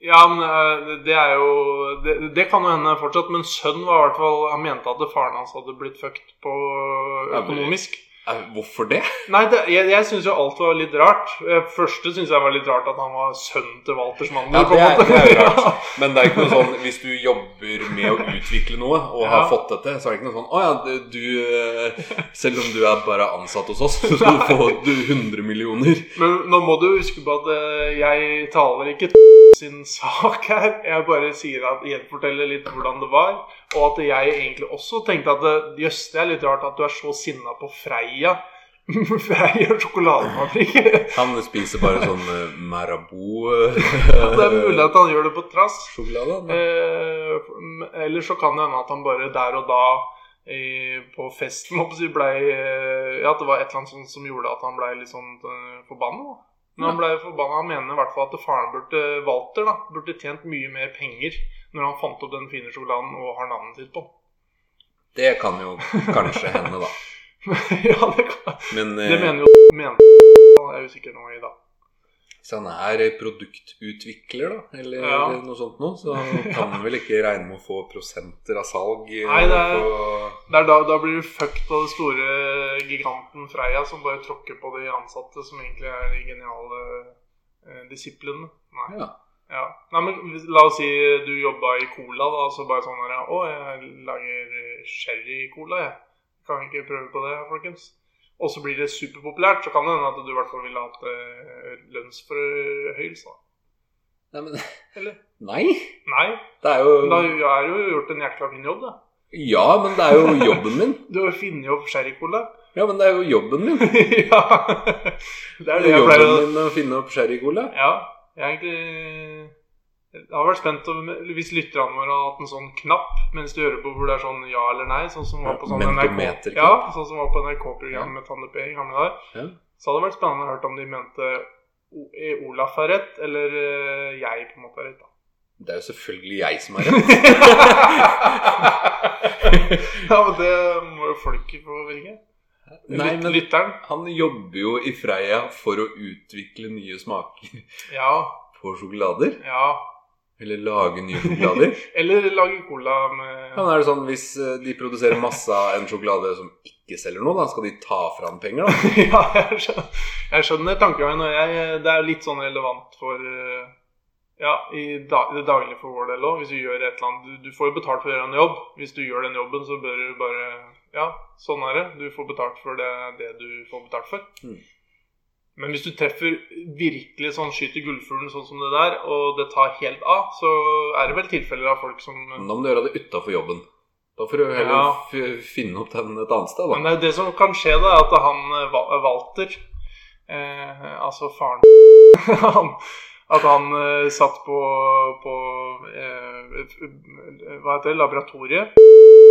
[SPEAKER 1] Ja, men eh, det er jo Det, det kan jo hende fortsatt, men sønnen var i hvert fall Han mente at faren hans hadde blitt fucked på eh,
[SPEAKER 2] Ja, men-
[SPEAKER 1] økonomisk.
[SPEAKER 2] Eh, Hvorfor det?
[SPEAKER 1] Nei, det, jeg, jeg syns jo alt var litt rart. Eh, Første syns jeg var litt rart at han var sønnen til Walters mandel.
[SPEAKER 2] Ja,
[SPEAKER 1] på en
[SPEAKER 2] det er-
[SPEAKER 1] måte.
[SPEAKER 2] det er jo rart.
[SPEAKER 1] Ja.
[SPEAKER 2] Men det er ikke noe sånn hvis du jobber med å utvikle noe og har
[SPEAKER 1] Ja.
[SPEAKER 2] fått dette, så er det ikke noe sånn Å ja, du- du eh, Selv om du er bare ansatt hos oss, så skal du få du, 100 millioner.
[SPEAKER 1] Men nå må du huske på at eh, jeg taler ikke sin sak her. Jeg bare sier at gjenforteller litt hvordan det var. Og at jeg egentlig også tenkte at eh, jøss, det er litt rart at du er så sinna på Freia. Freia sjokoladefabrikk. ja,
[SPEAKER 2] Han spiser bare sånn eh, Marabou
[SPEAKER 1] det er mulig at han gjør det på trass.
[SPEAKER 2] sjokolade.
[SPEAKER 1] Eh, m- eller så kan det hende at han bare der og da i, på festen håper jeg, ble, eh, ja, At det var et eller annet sånt som gjorde at han ble litt sånn eh, forbanna. da. Men han ble forbanna Han mener i hvert fall at faren burde Walter da, burde tjent mye mer penger når han fant opp den fine sjokoladen og har navnet sitt på.
[SPEAKER 2] Det kan jo kanskje hende, da.
[SPEAKER 1] ja, det, kan,
[SPEAKER 2] Men
[SPEAKER 1] det
[SPEAKER 2] eh,
[SPEAKER 1] mener jo mente, Han er usikker nå i dag.
[SPEAKER 2] hvis han er produktutvikler, da, eller
[SPEAKER 1] Ja.
[SPEAKER 2] noe sånt noe, så kan han vel ikke regne med å få prosenter av salg eh,
[SPEAKER 1] Nei, det er-
[SPEAKER 2] på
[SPEAKER 1] Det er da, da blir du fucked av den store giganten Freia som bare tråkker på de ansatte som egentlig er de geniale eh, disiplene. Nei.
[SPEAKER 2] ja.
[SPEAKER 1] Ja. Nei, men hvis- la oss si du jobba i Cola, da, så bare sånn her Å, jeg lager eh, sherry-cola, jeg. Kan vi ikke prøve på det, folkens? Og så blir det superpopulært, så kan det hende at du i hvert fall ville hatt eh, lønnsforhøyelse, da.
[SPEAKER 2] Nei, men
[SPEAKER 1] Eller?
[SPEAKER 2] Nei!
[SPEAKER 1] Nei,
[SPEAKER 2] Det er jo
[SPEAKER 1] men da er du jo gjort en jækla fin jobb, da.
[SPEAKER 2] Ja, men det er jo jobben min.
[SPEAKER 1] Du har jo funnet opp sherry-cola.
[SPEAKER 2] Ja, men det er jo jobben min.
[SPEAKER 1] ja. Det
[SPEAKER 2] Det
[SPEAKER 1] er
[SPEAKER 2] er
[SPEAKER 1] det jeg pleier
[SPEAKER 2] jobben
[SPEAKER 1] å
[SPEAKER 2] min å finne opp sherrycola.
[SPEAKER 1] Ja, jeg er egentlig Jeg har vært spent om, hvis lytterne våre hadde hatt en sånn knapp mens de hører på hvor det er sånn ja eller nei, sånn som var på sånn NRK
[SPEAKER 2] Mentometerknapp.
[SPEAKER 1] Ja, sånn som var på NRK-programmet med Tanne P i gamle dager.
[SPEAKER 2] Ja.
[SPEAKER 1] Så hadde det vært spennende å høre om de mente O- eh, Olaf er rett, eller eh, jeg på en måte er rett. da.
[SPEAKER 2] Det er jo selvfølgelig jeg som har rett.
[SPEAKER 1] ja, men det må jo folket få velge.
[SPEAKER 2] Nei,
[SPEAKER 1] Lyt-
[SPEAKER 2] men
[SPEAKER 1] Lytteren.
[SPEAKER 2] han jobber jo i Freia for å utvikle nye smaker
[SPEAKER 1] Ja,
[SPEAKER 2] på sjokolader.
[SPEAKER 1] ja.
[SPEAKER 2] Eller lage nye sjokolader.
[SPEAKER 1] Eller lage cola med
[SPEAKER 2] Ja, men er det sånn Hvis eh, de produserer masse av en sjokolade som ikke selger noe, da skal de ta fra han penger, da?
[SPEAKER 1] ja, jeg skjønner, jeg skjønner tankegangen. Og jeg, det er litt sånn relevant for eh, Ja, i da, det daglige for vår del òg. Hvis du gjør et eller annet du, du får jo betalt for å gjøre en jobb. Hvis du gjør den jobben, så bør du bare Ja, sånn er det. Du får betalt for det, det du får betalt for.
[SPEAKER 2] Mm.
[SPEAKER 1] Men hvis du treffer virkelig sånn skyter gullfuglen sånn som det der, og det tar helt av, så er det vel tilfeller av folk som
[SPEAKER 2] Men da må du gjøre det utafor jobben. Da får du heller
[SPEAKER 1] Ja.
[SPEAKER 2] f finne opp den et annet sted, da.
[SPEAKER 1] Men det, er jo det som kan skje, da, er at han eh, Wa- Walter, eh, altså faren han, At han eh, satt på, på eh, f- Hva heter det? Laboratoriet?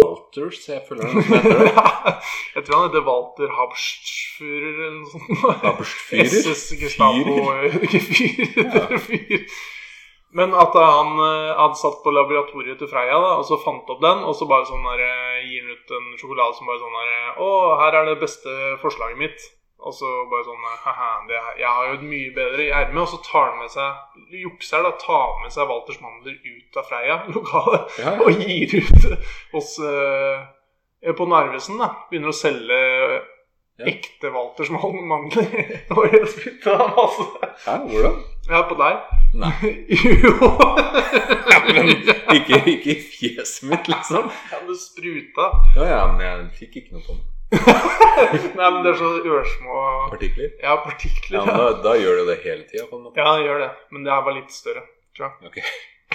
[SPEAKER 2] Walters, jeg føler det er noe som heter det.
[SPEAKER 1] Jeg tror han heter Walter Habschtführer eller noe sånt.
[SPEAKER 2] Laberstfyrer.
[SPEAKER 1] SS Gestapo Geführer. Fyr. Men at eh, han eh, hadde satt på laboratoriet til Freia da, og så fant opp den, og så bare sånn der, eh, gir han ut en sjokolade som bare sånn der eh, Å, her er det beste forslaget mitt. Og så bare sånn eh, Haha, det, her- jeg har jo et mye bedre i ermet. Og så tar han med seg jukser, da. Tar med seg Walters mandler ut av Freia lokalet
[SPEAKER 2] Ja, ja.
[SPEAKER 1] og gir ut oss eh, på Narvesen. da Begynner å selge
[SPEAKER 2] Ja.
[SPEAKER 1] ekte Walters man- mandler. Det var helt spytt av masse.
[SPEAKER 2] Hæ, hvordan?
[SPEAKER 1] Ja, på deg.
[SPEAKER 2] Nei.
[SPEAKER 1] jo!
[SPEAKER 2] Ja, men ikke, ikke i fjeset mitt, liksom.
[SPEAKER 1] Ja, du spruta.
[SPEAKER 2] Ja, ja, men jeg fikk ikke noe på den.
[SPEAKER 1] Nei, men det er så ørsmå
[SPEAKER 2] Partikler?
[SPEAKER 1] Ja,
[SPEAKER 2] Ja,
[SPEAKER 1] partikler.
[SPEAKER 2] men
[SPEAKER 1] Ja,
[SPEAKER 2] da, da gjør du det hele tida, på en måte.
[SPEAKER 1] ja det gjør det. Men det her var litt større.
[SPEAKER 2] Ok.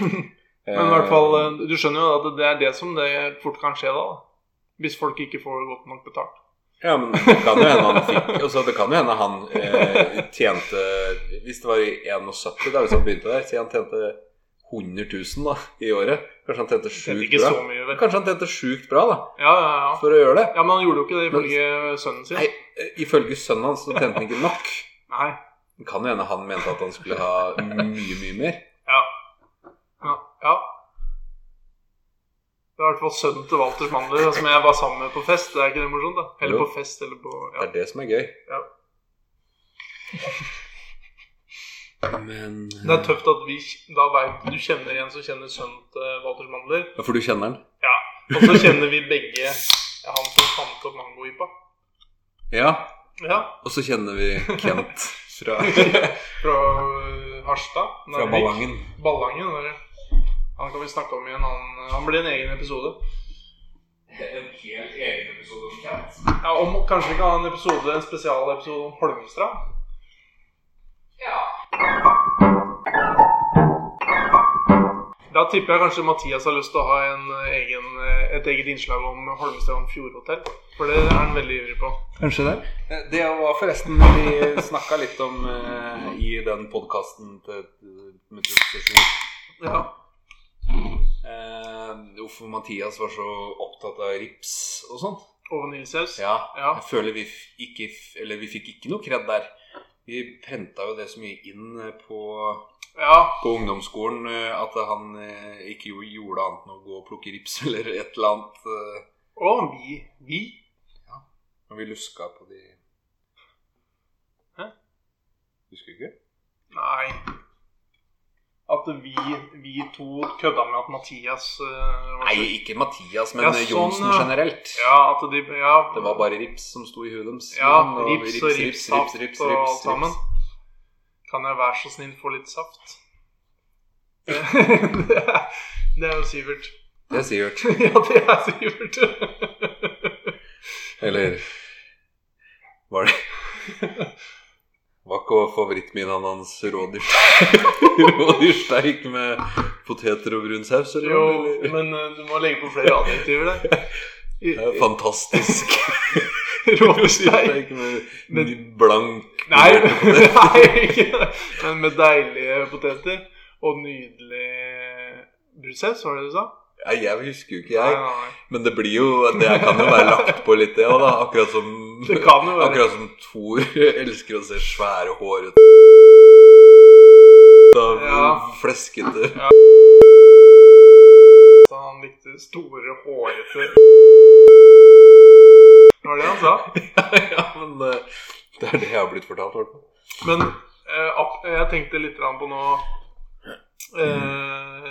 [SPEAKER 1] Men i hvert fall, eh, du skjønner jo at det er det som det fort kan skje da. da. Hvis folk ikke får godt nok betalt.
[SPEAKER 2] Eh, Ja, men det kan jo hende han fikk altså, Det kan jo hende han eh, tjente Hvis det var i 71, da hvis han begynte der, si han tjente 100 000 da, i året. Kanskje han tjente
[SPEAKER 1] Tjente
[SPEAKER 2] sjukt
[SPEAKER 1] ikke så
[SPEAKER 2] bra.
[SPEAKER 1] mye, vel.
[SPEAKER 2] Kanskje han tjente sjukt bra da,
[SPEAKER 1] Ja, ja, ja.
[SPEAKER 2] for å gjøre det.
[SPEAKER 1] ja, men han gjorde jo ikke det ifølge sønnen sin.
[SPEAKER 2] Nei, ifølge sønnen hans så tjente han ikke nok.
[SPEAKER 1] Nei.
[SPEAKER 2] Det kan jo hende han mente at han skulle ha mye, mye mer.
[SPEAKER 1] Ja. Ja. ja. Det er i hvert fall sønnen til Walter Mandler som jeg var sammen med på fest. Det er ikke det morsomt, da? Eller
[SPEAKER 2] Jo.
[SPEAKER 1] på fest, eller på
[SPEAKER 2] Det
[SPEAKER 1] ja.
[SPEAKER 2] er det som er gøy.
[SPEAKER 1] Ja.
[SPEAKER 2] Men
[SPEAKER 1] Det er tøft at vi da vet, du kjenner en som kjenner sønnen til Walter Mandler.
[SPEAKER 2] eh, Ja, for du kjenner den?
[SPEAKER 1] Ja. Og så kjenner vi begge ja, han som fant opp mangoipa.
[SPEAKER 2] Ja.
[SPEAKER 1] Ja.
[SPEAKER 2] Og så kjenner vi Kent fra,
[SPEAKER 1] Fra øh, Harstad.
[SPEAKER 2] fra
[SPEAKER 1] Narvik.
[SPEAKER 2] Ballangen.
[SPEAKER 1] Ballangen. Eller? Han kan vi snakke om i en annen Han blir en egen episode.
[SPEAKER 2] En helt egen episode om Kent?
[SPEAKER 1] Ja, om Kanskje vi kan ha en episode, en spesialepisode om Holmestrand? Ja. Da tipper jeg kanskje Mathias har lyst til å ha en eh, egen, eh, et eget innslag om Holmestrand fjordhotell. For det er han veldig ivrig på.
[SPEAKER 2] Kanskje det. Eh, Det var forresten Vi snakka litt om eh, i den podkasten til med Truls Stasjon,
[SPEAKER 1] Ja.
[SPEAKER 2] eh, hvorfor Mathias var så opptatt av rips og sånt.
[SPEAKER 1] Og vaniljesaus.
[SPEAKER 2] Ja.
[SPEAKER 1] Ja.
[SPEAKER 2] Jeg føler vi, f- ikke, f- eller vi fikk ikke noe kred der. Vi prenta jo det så mye inn eh, på,
[SPEAKER 1] ja.
[SPEAKER 2] på ungdomsskolen eh, at han eh, ikke jo- gjorde annet enn å gå og plukke rips eller et eller annet. eh,
[SPEAKER 1] Og vi. Vi.
[SPEAKER 2] Når vi luska på de
[SPEAKER 1] Hæ?
[SPEAKER 2] Husker du ikke?
[SPEAKER 1] Nei. At vi, vi to kødda med at Mathias eh, var
[SPEAKER 2] Nei, ikke Mathias, men
[SPEAKER 1] Ja,
[SPEAKER 2] eh,
[SPEAKER 1] sånn,
[SPEAKER 2] Johnsen
[SPEAKER 1] ja.
[SPEAKER 2] generelt.
[SPEAKER 1] Ja, at de ja.
[SPEAKER 2] Det var bare rips som sto i huet deres.
[SPEAKER 1] Ja,
[SPEAKER 2] liksom, og
[SPEAKER 1] rips og ripssaft og alt sammen. Kan jeg være så snill få litt saft? Det er- det er jo Sivert.
[SPEAKER 2] Det er Sivert.
[SPEAKER 1] Ja, det er Sivert.
[SPEAKER 2] Eller var det Var ikke favorittmiddagen hans rådyr... rådyrsteik med poteter og brun saus? eller
[SPEAKER 1] Jo,
[SPEAKER 2] hva, eller?
[SPEAKER 1] men eh, du må legge på flere adjektiver der.
[SPEAKER 2] Det er Fantastisk
[SPEAKER 1] Rådyrsteik.
[SPEAKER 2] steik med
[SPEAKER 1] Men-
[SPEAKER 2] blank
[SPEAKER 1] Nei,
[SPEAKER 2] brød på det.
[SPEAKER 1] nei, ikke det. Men med deilige poteter og nydelig brunsaus, var det du sa?
[SPEAKER 2] Nei, Jeg husker jo ikke,
[SPEAKER 1] Nei,
[SPEAKER 2] jeg.
[SPEAKER 1] nei, nei.
[SPEAKER 2] Men det blir jo Det kan jo være lagt på litt, det òg, da. Akkurat som
[SPEAKER 1] Det kan jo være.
[SPEAKER 2] Akkurat som Thor elsker å se svære, hårete Av
[SPEAKER 1] Ja.
[SPEAKER 2] fleskete
[SPEAKER 1] Så han likte store, hårete Det var det han sa.
[SPEAKER 2] Ja, men eh, det er det jeg har blitt fortalt, i hvert fall.
[SPEAKER 1] Men eh, ap- jeg tenkte litt grann på nå eh,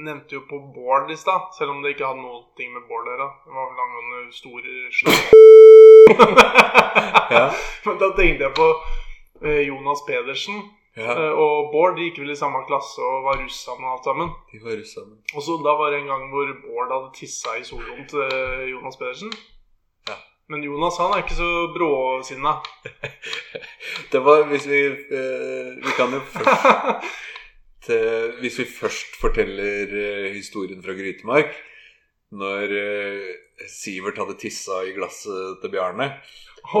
[SPEAKER 1] Nevnte jo på Bård i stad, selv om det ikke hadde noe ting med Bård å gjøre. Det var vel angående store slag.
[SPEAKER 2] Ja,
[SPEAKER 1] Men da tenkte jeg på eh, Jonas Pedersen
[SPEAKER 2] ja
[SPEAKER 1] eh, og Bård. De gikk vel i samme klasse og var russ sammen og alt sammen.
[SPEAKER 2] de var russ sammen.
[SPEAKER 1] Og så da var det en gang hvor Bård hadde tissa i soloen til eh, Jonas Pedersen.
[SPEAKER 2] Ja.
[SPEAKER 1] Men Jonas han er ikke så bråsinna.
[SPEAKER 2] Det var hvis vi eh, Vi kan jo først eh, Hvis vi først forteller eh, historien fra Grytemark Når eh, Sivert hadde tissa i glasset til Bjarne,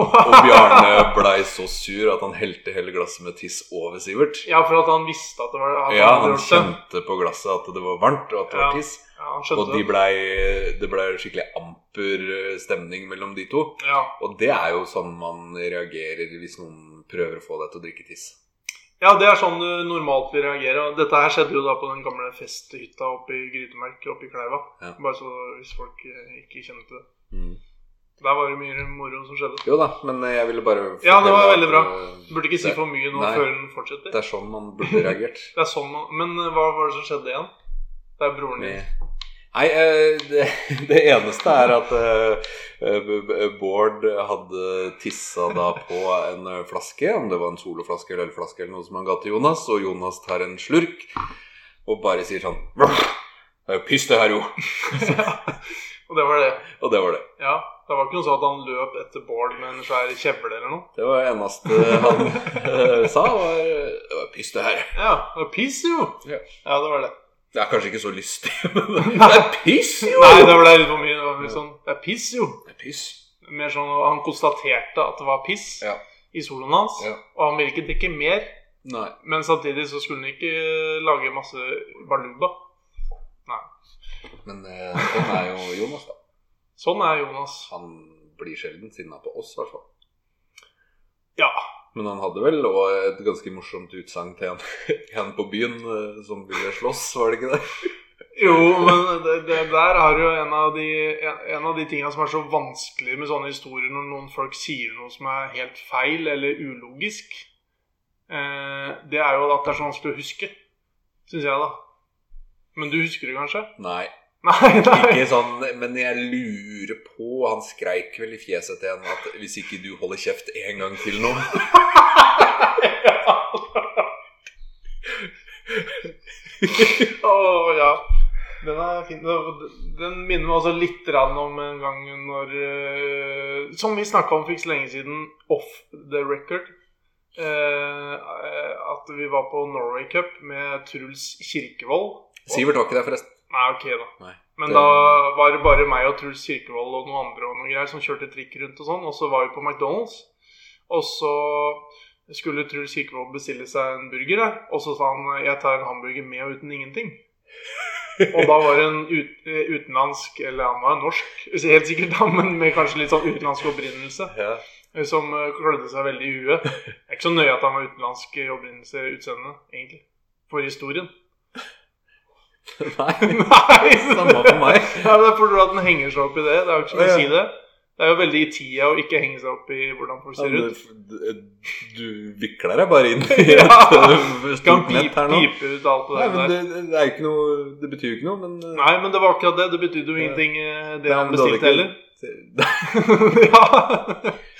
[SPEAKER 2] og Bjarne blei så sur at han helte hele glasset med tiss over Sivert
[SPEAKER 1] ja, for at han visste at det var at
[SPEAKER 2] Ja,
[SPEAKER 1] hadde
[SPEAKER 2] han
[SPEAKER 1] gjort det.
[SPEAKER 2] kjente på glasset at det var varmt, og at det var
[SPEAKER 1] Ja,
[SPEAKER 2] tiss.
[SPEAKER 1] Ja, han
[SPEAKER 2] Og
[SPEAKER 1] skjønte
[SPEAKER 2] de
[SPEAKER 1] det.
[SPEAKER 2] blei, det blei skikkelig amper eh, stemning mellom de to.
[SPEAKER 1] Ja.
[SPEAKER 2] Og det er jo sånn man reagerer hvis noen prøver å få deg til å drikke tiss.
[SPEAKER 1] ja, det er sånn du normalt vil reagere. Og dette her skjedde jo da på den gamle festhytta oppe i Grytemerk oppe i Kleiva.
[SPEAKER 2] Ja.
[SPEAKER 1] Bare så hvis folk eh, ikke kjenner til det.
[SPEAKER 2] Mm.
[SPEAKER 1] Der var det mye moro som skjedde.
[SPEAKER 2] Jo da, men jeg ville bare
[SPEAKER 1] Ja, det var
[SPEAKER 2] fortelle
[SPEAKER 1] veldig
[SPEAKER 2] at,
[SPEAKER 1] bra.
[SPEAKER 2] eh,
[SPEAKER 1] Burde ikke si
[SPEAKER 2] Det-
[SPEAKER 1] for mye nå
[SPEAKER 2] nei.
[SPEAKER 1] før den fortsetter.
[SPEAKER 2] Det er sånn man burde reagert.
[SPEAKER 1] Det er sånn man, Men eh, hva var det som skjedde igjen? Det er broren din.
[SPEAKER 2] Med Nei, eh, det, det eneste er at eh, eh, B- B- Bård hadde tissa da på en eh, flaske, om det var en soloflaske eller ølflaske eller noe som han ga til Jonas, og Jonas tar en slurk og bare sier sånn «Brr, Det er jo piss, det her, jo.
[SPEAKER 1] Og det var det.
[SPEAKER 2] Og det var det.
[SPEAKER 1] Ja, Det var ikke noe sånn at han løp etter Bård med en svær kjevle eller noe.
[SPEAKER 2] Det var det eneste han eh, sa, var Det var piss, det her.
[SPEAKER 1] Ja, det var piss, jo.
[SPEAKER 2] Ja.
[SPEAKER 1] ja, det var det.
[SPEAKER 2] Det er kanskje ikke så lystig, men det er piss, jo!
[SPEAKER 1] Nei, det ble litt for mye. Det var litt sånn Det er piss, jo.
[SPEAKER 2] Det er piss.
[SPEAKER 1] Mer sånn Han konstaterte at det var piss
[SPEAKER 2] Ja.
[SPEAKER 1] i soloen hans,
[SPEAKER 2] Ja.
[SPEAKER 1] og han ville ikke drikke mer.
[SPEAKER 2] Nei.
[SPEAKER 1] Men samtidig så skulle han ikke lage masse baluba.
[SPEAKER 2] Men eh, sånn er jo Jonas, da.
[SPEAKER 1] Sånn er Jonas.
[SPEAKER 2] Han blir sjelden sinna på oss, i hvert fall.
[SPEAKER 1] Ja.
[SPEAKER 2] Men han hadde vel òg et ganske morsomt utsagn til en, en på byen eh, som ville slåss, var det ikke det?
[SPEAKER 1] Jo, men det, det der er jo en av, de, en, en av de tingene som er så vanskelig med sånne historier, når noen folk sier noe som er helt feil eller ulogisk. Eh, det er jo at det er så vanskelig å huske, syns jeg, da. Men du husker det kanskje?
[SPEAKER 2] Nei,
[SPEAKER 1] Nei, nei.
[SPEAKER 2] ikke sånn, men jeg lurer på Han skreik vel i fjeset til henne at hvis ikke du holder kjeft en gang til nå
[SPEAKER 1] Å ja. Den er fin. Den- Den minner meg også litt grann om en gang når eh, Som vi snakka om for ikke så lenge siden, off the record. eh, eh, at vi var på Norway Cup med Truls Kirkevold.
[SPEAKER 2] Sivert var ikke der, forresten.
[SPEAKER 1] Nei, ok, da.
[SPEAKER 2] Nei.
[SPEAKER 1] Men
[SPEAKER 2] Det-
[SPEAKER 1] da var det bare meg og Truls Kirkevold og noen andre og noen greier som kjørte trikk rundt og sånn, og så var vi på McDonald's. Og så skulle Truls Kirkevold bestille seg en burger, da. og så sa han 'jeg tar en hamburger med og uten ingenting'. Og da var det en ut, eh, utenlandsk, eller han var norsk, helt sikkert, da, men med kanskje litt sånn utenlandsk opprinnelse,
[SPEAKER 2] Ja.
[SPEAKER 1] eh, som eh, klødde seg veldig i huet. Det er ikke så nøye at han var utenlandsk i opprinnelse utseende, egentlig. For historien.
[SPEAKER 2] Nei,
[SPEAKER 1] Nei!
[SPEAKER 2] samme for meg.
[SPEAKER 1] Ja, men Det er fordi at den henger seg opp i det. Det er jo ikke så mye
[SPEAKER 2] Ja, ja.
[SPEAKER 1] å si det. Det er jo veldig i tida å ikke henge seg opp i hvordan folk ser ut.
[SPEAKER 2] Du,
[SPEAKER 1] eh,
[SPEAKER 2] du vikler deg bare inn i
[SPEAKER 1] Ja.
[SPEAKER 2] et øh,
[SPEAKER 1] Kan
[SPEAKER 2] stort nett
[SPEAKER 1] pipe,
[SPEAKER 2] her nå.
[SPEAKER 1] pipe ut alt det
[SPEAKER 2] Nei, men
[SPEAKER 1] der.
[SPEAKER 2] det, det er jo ikke noe Det betyr jo ikke noe, men øh,
[SPEAKER 1] Nei, men det var akkurat det. Det betydde jo ingenting, eh, det han
[SPEAKER 2] men du hadde
[SPEAKER 1] bestilte heller.
[SPEAKER 2] ikke-
[SPEAKER 1] ja.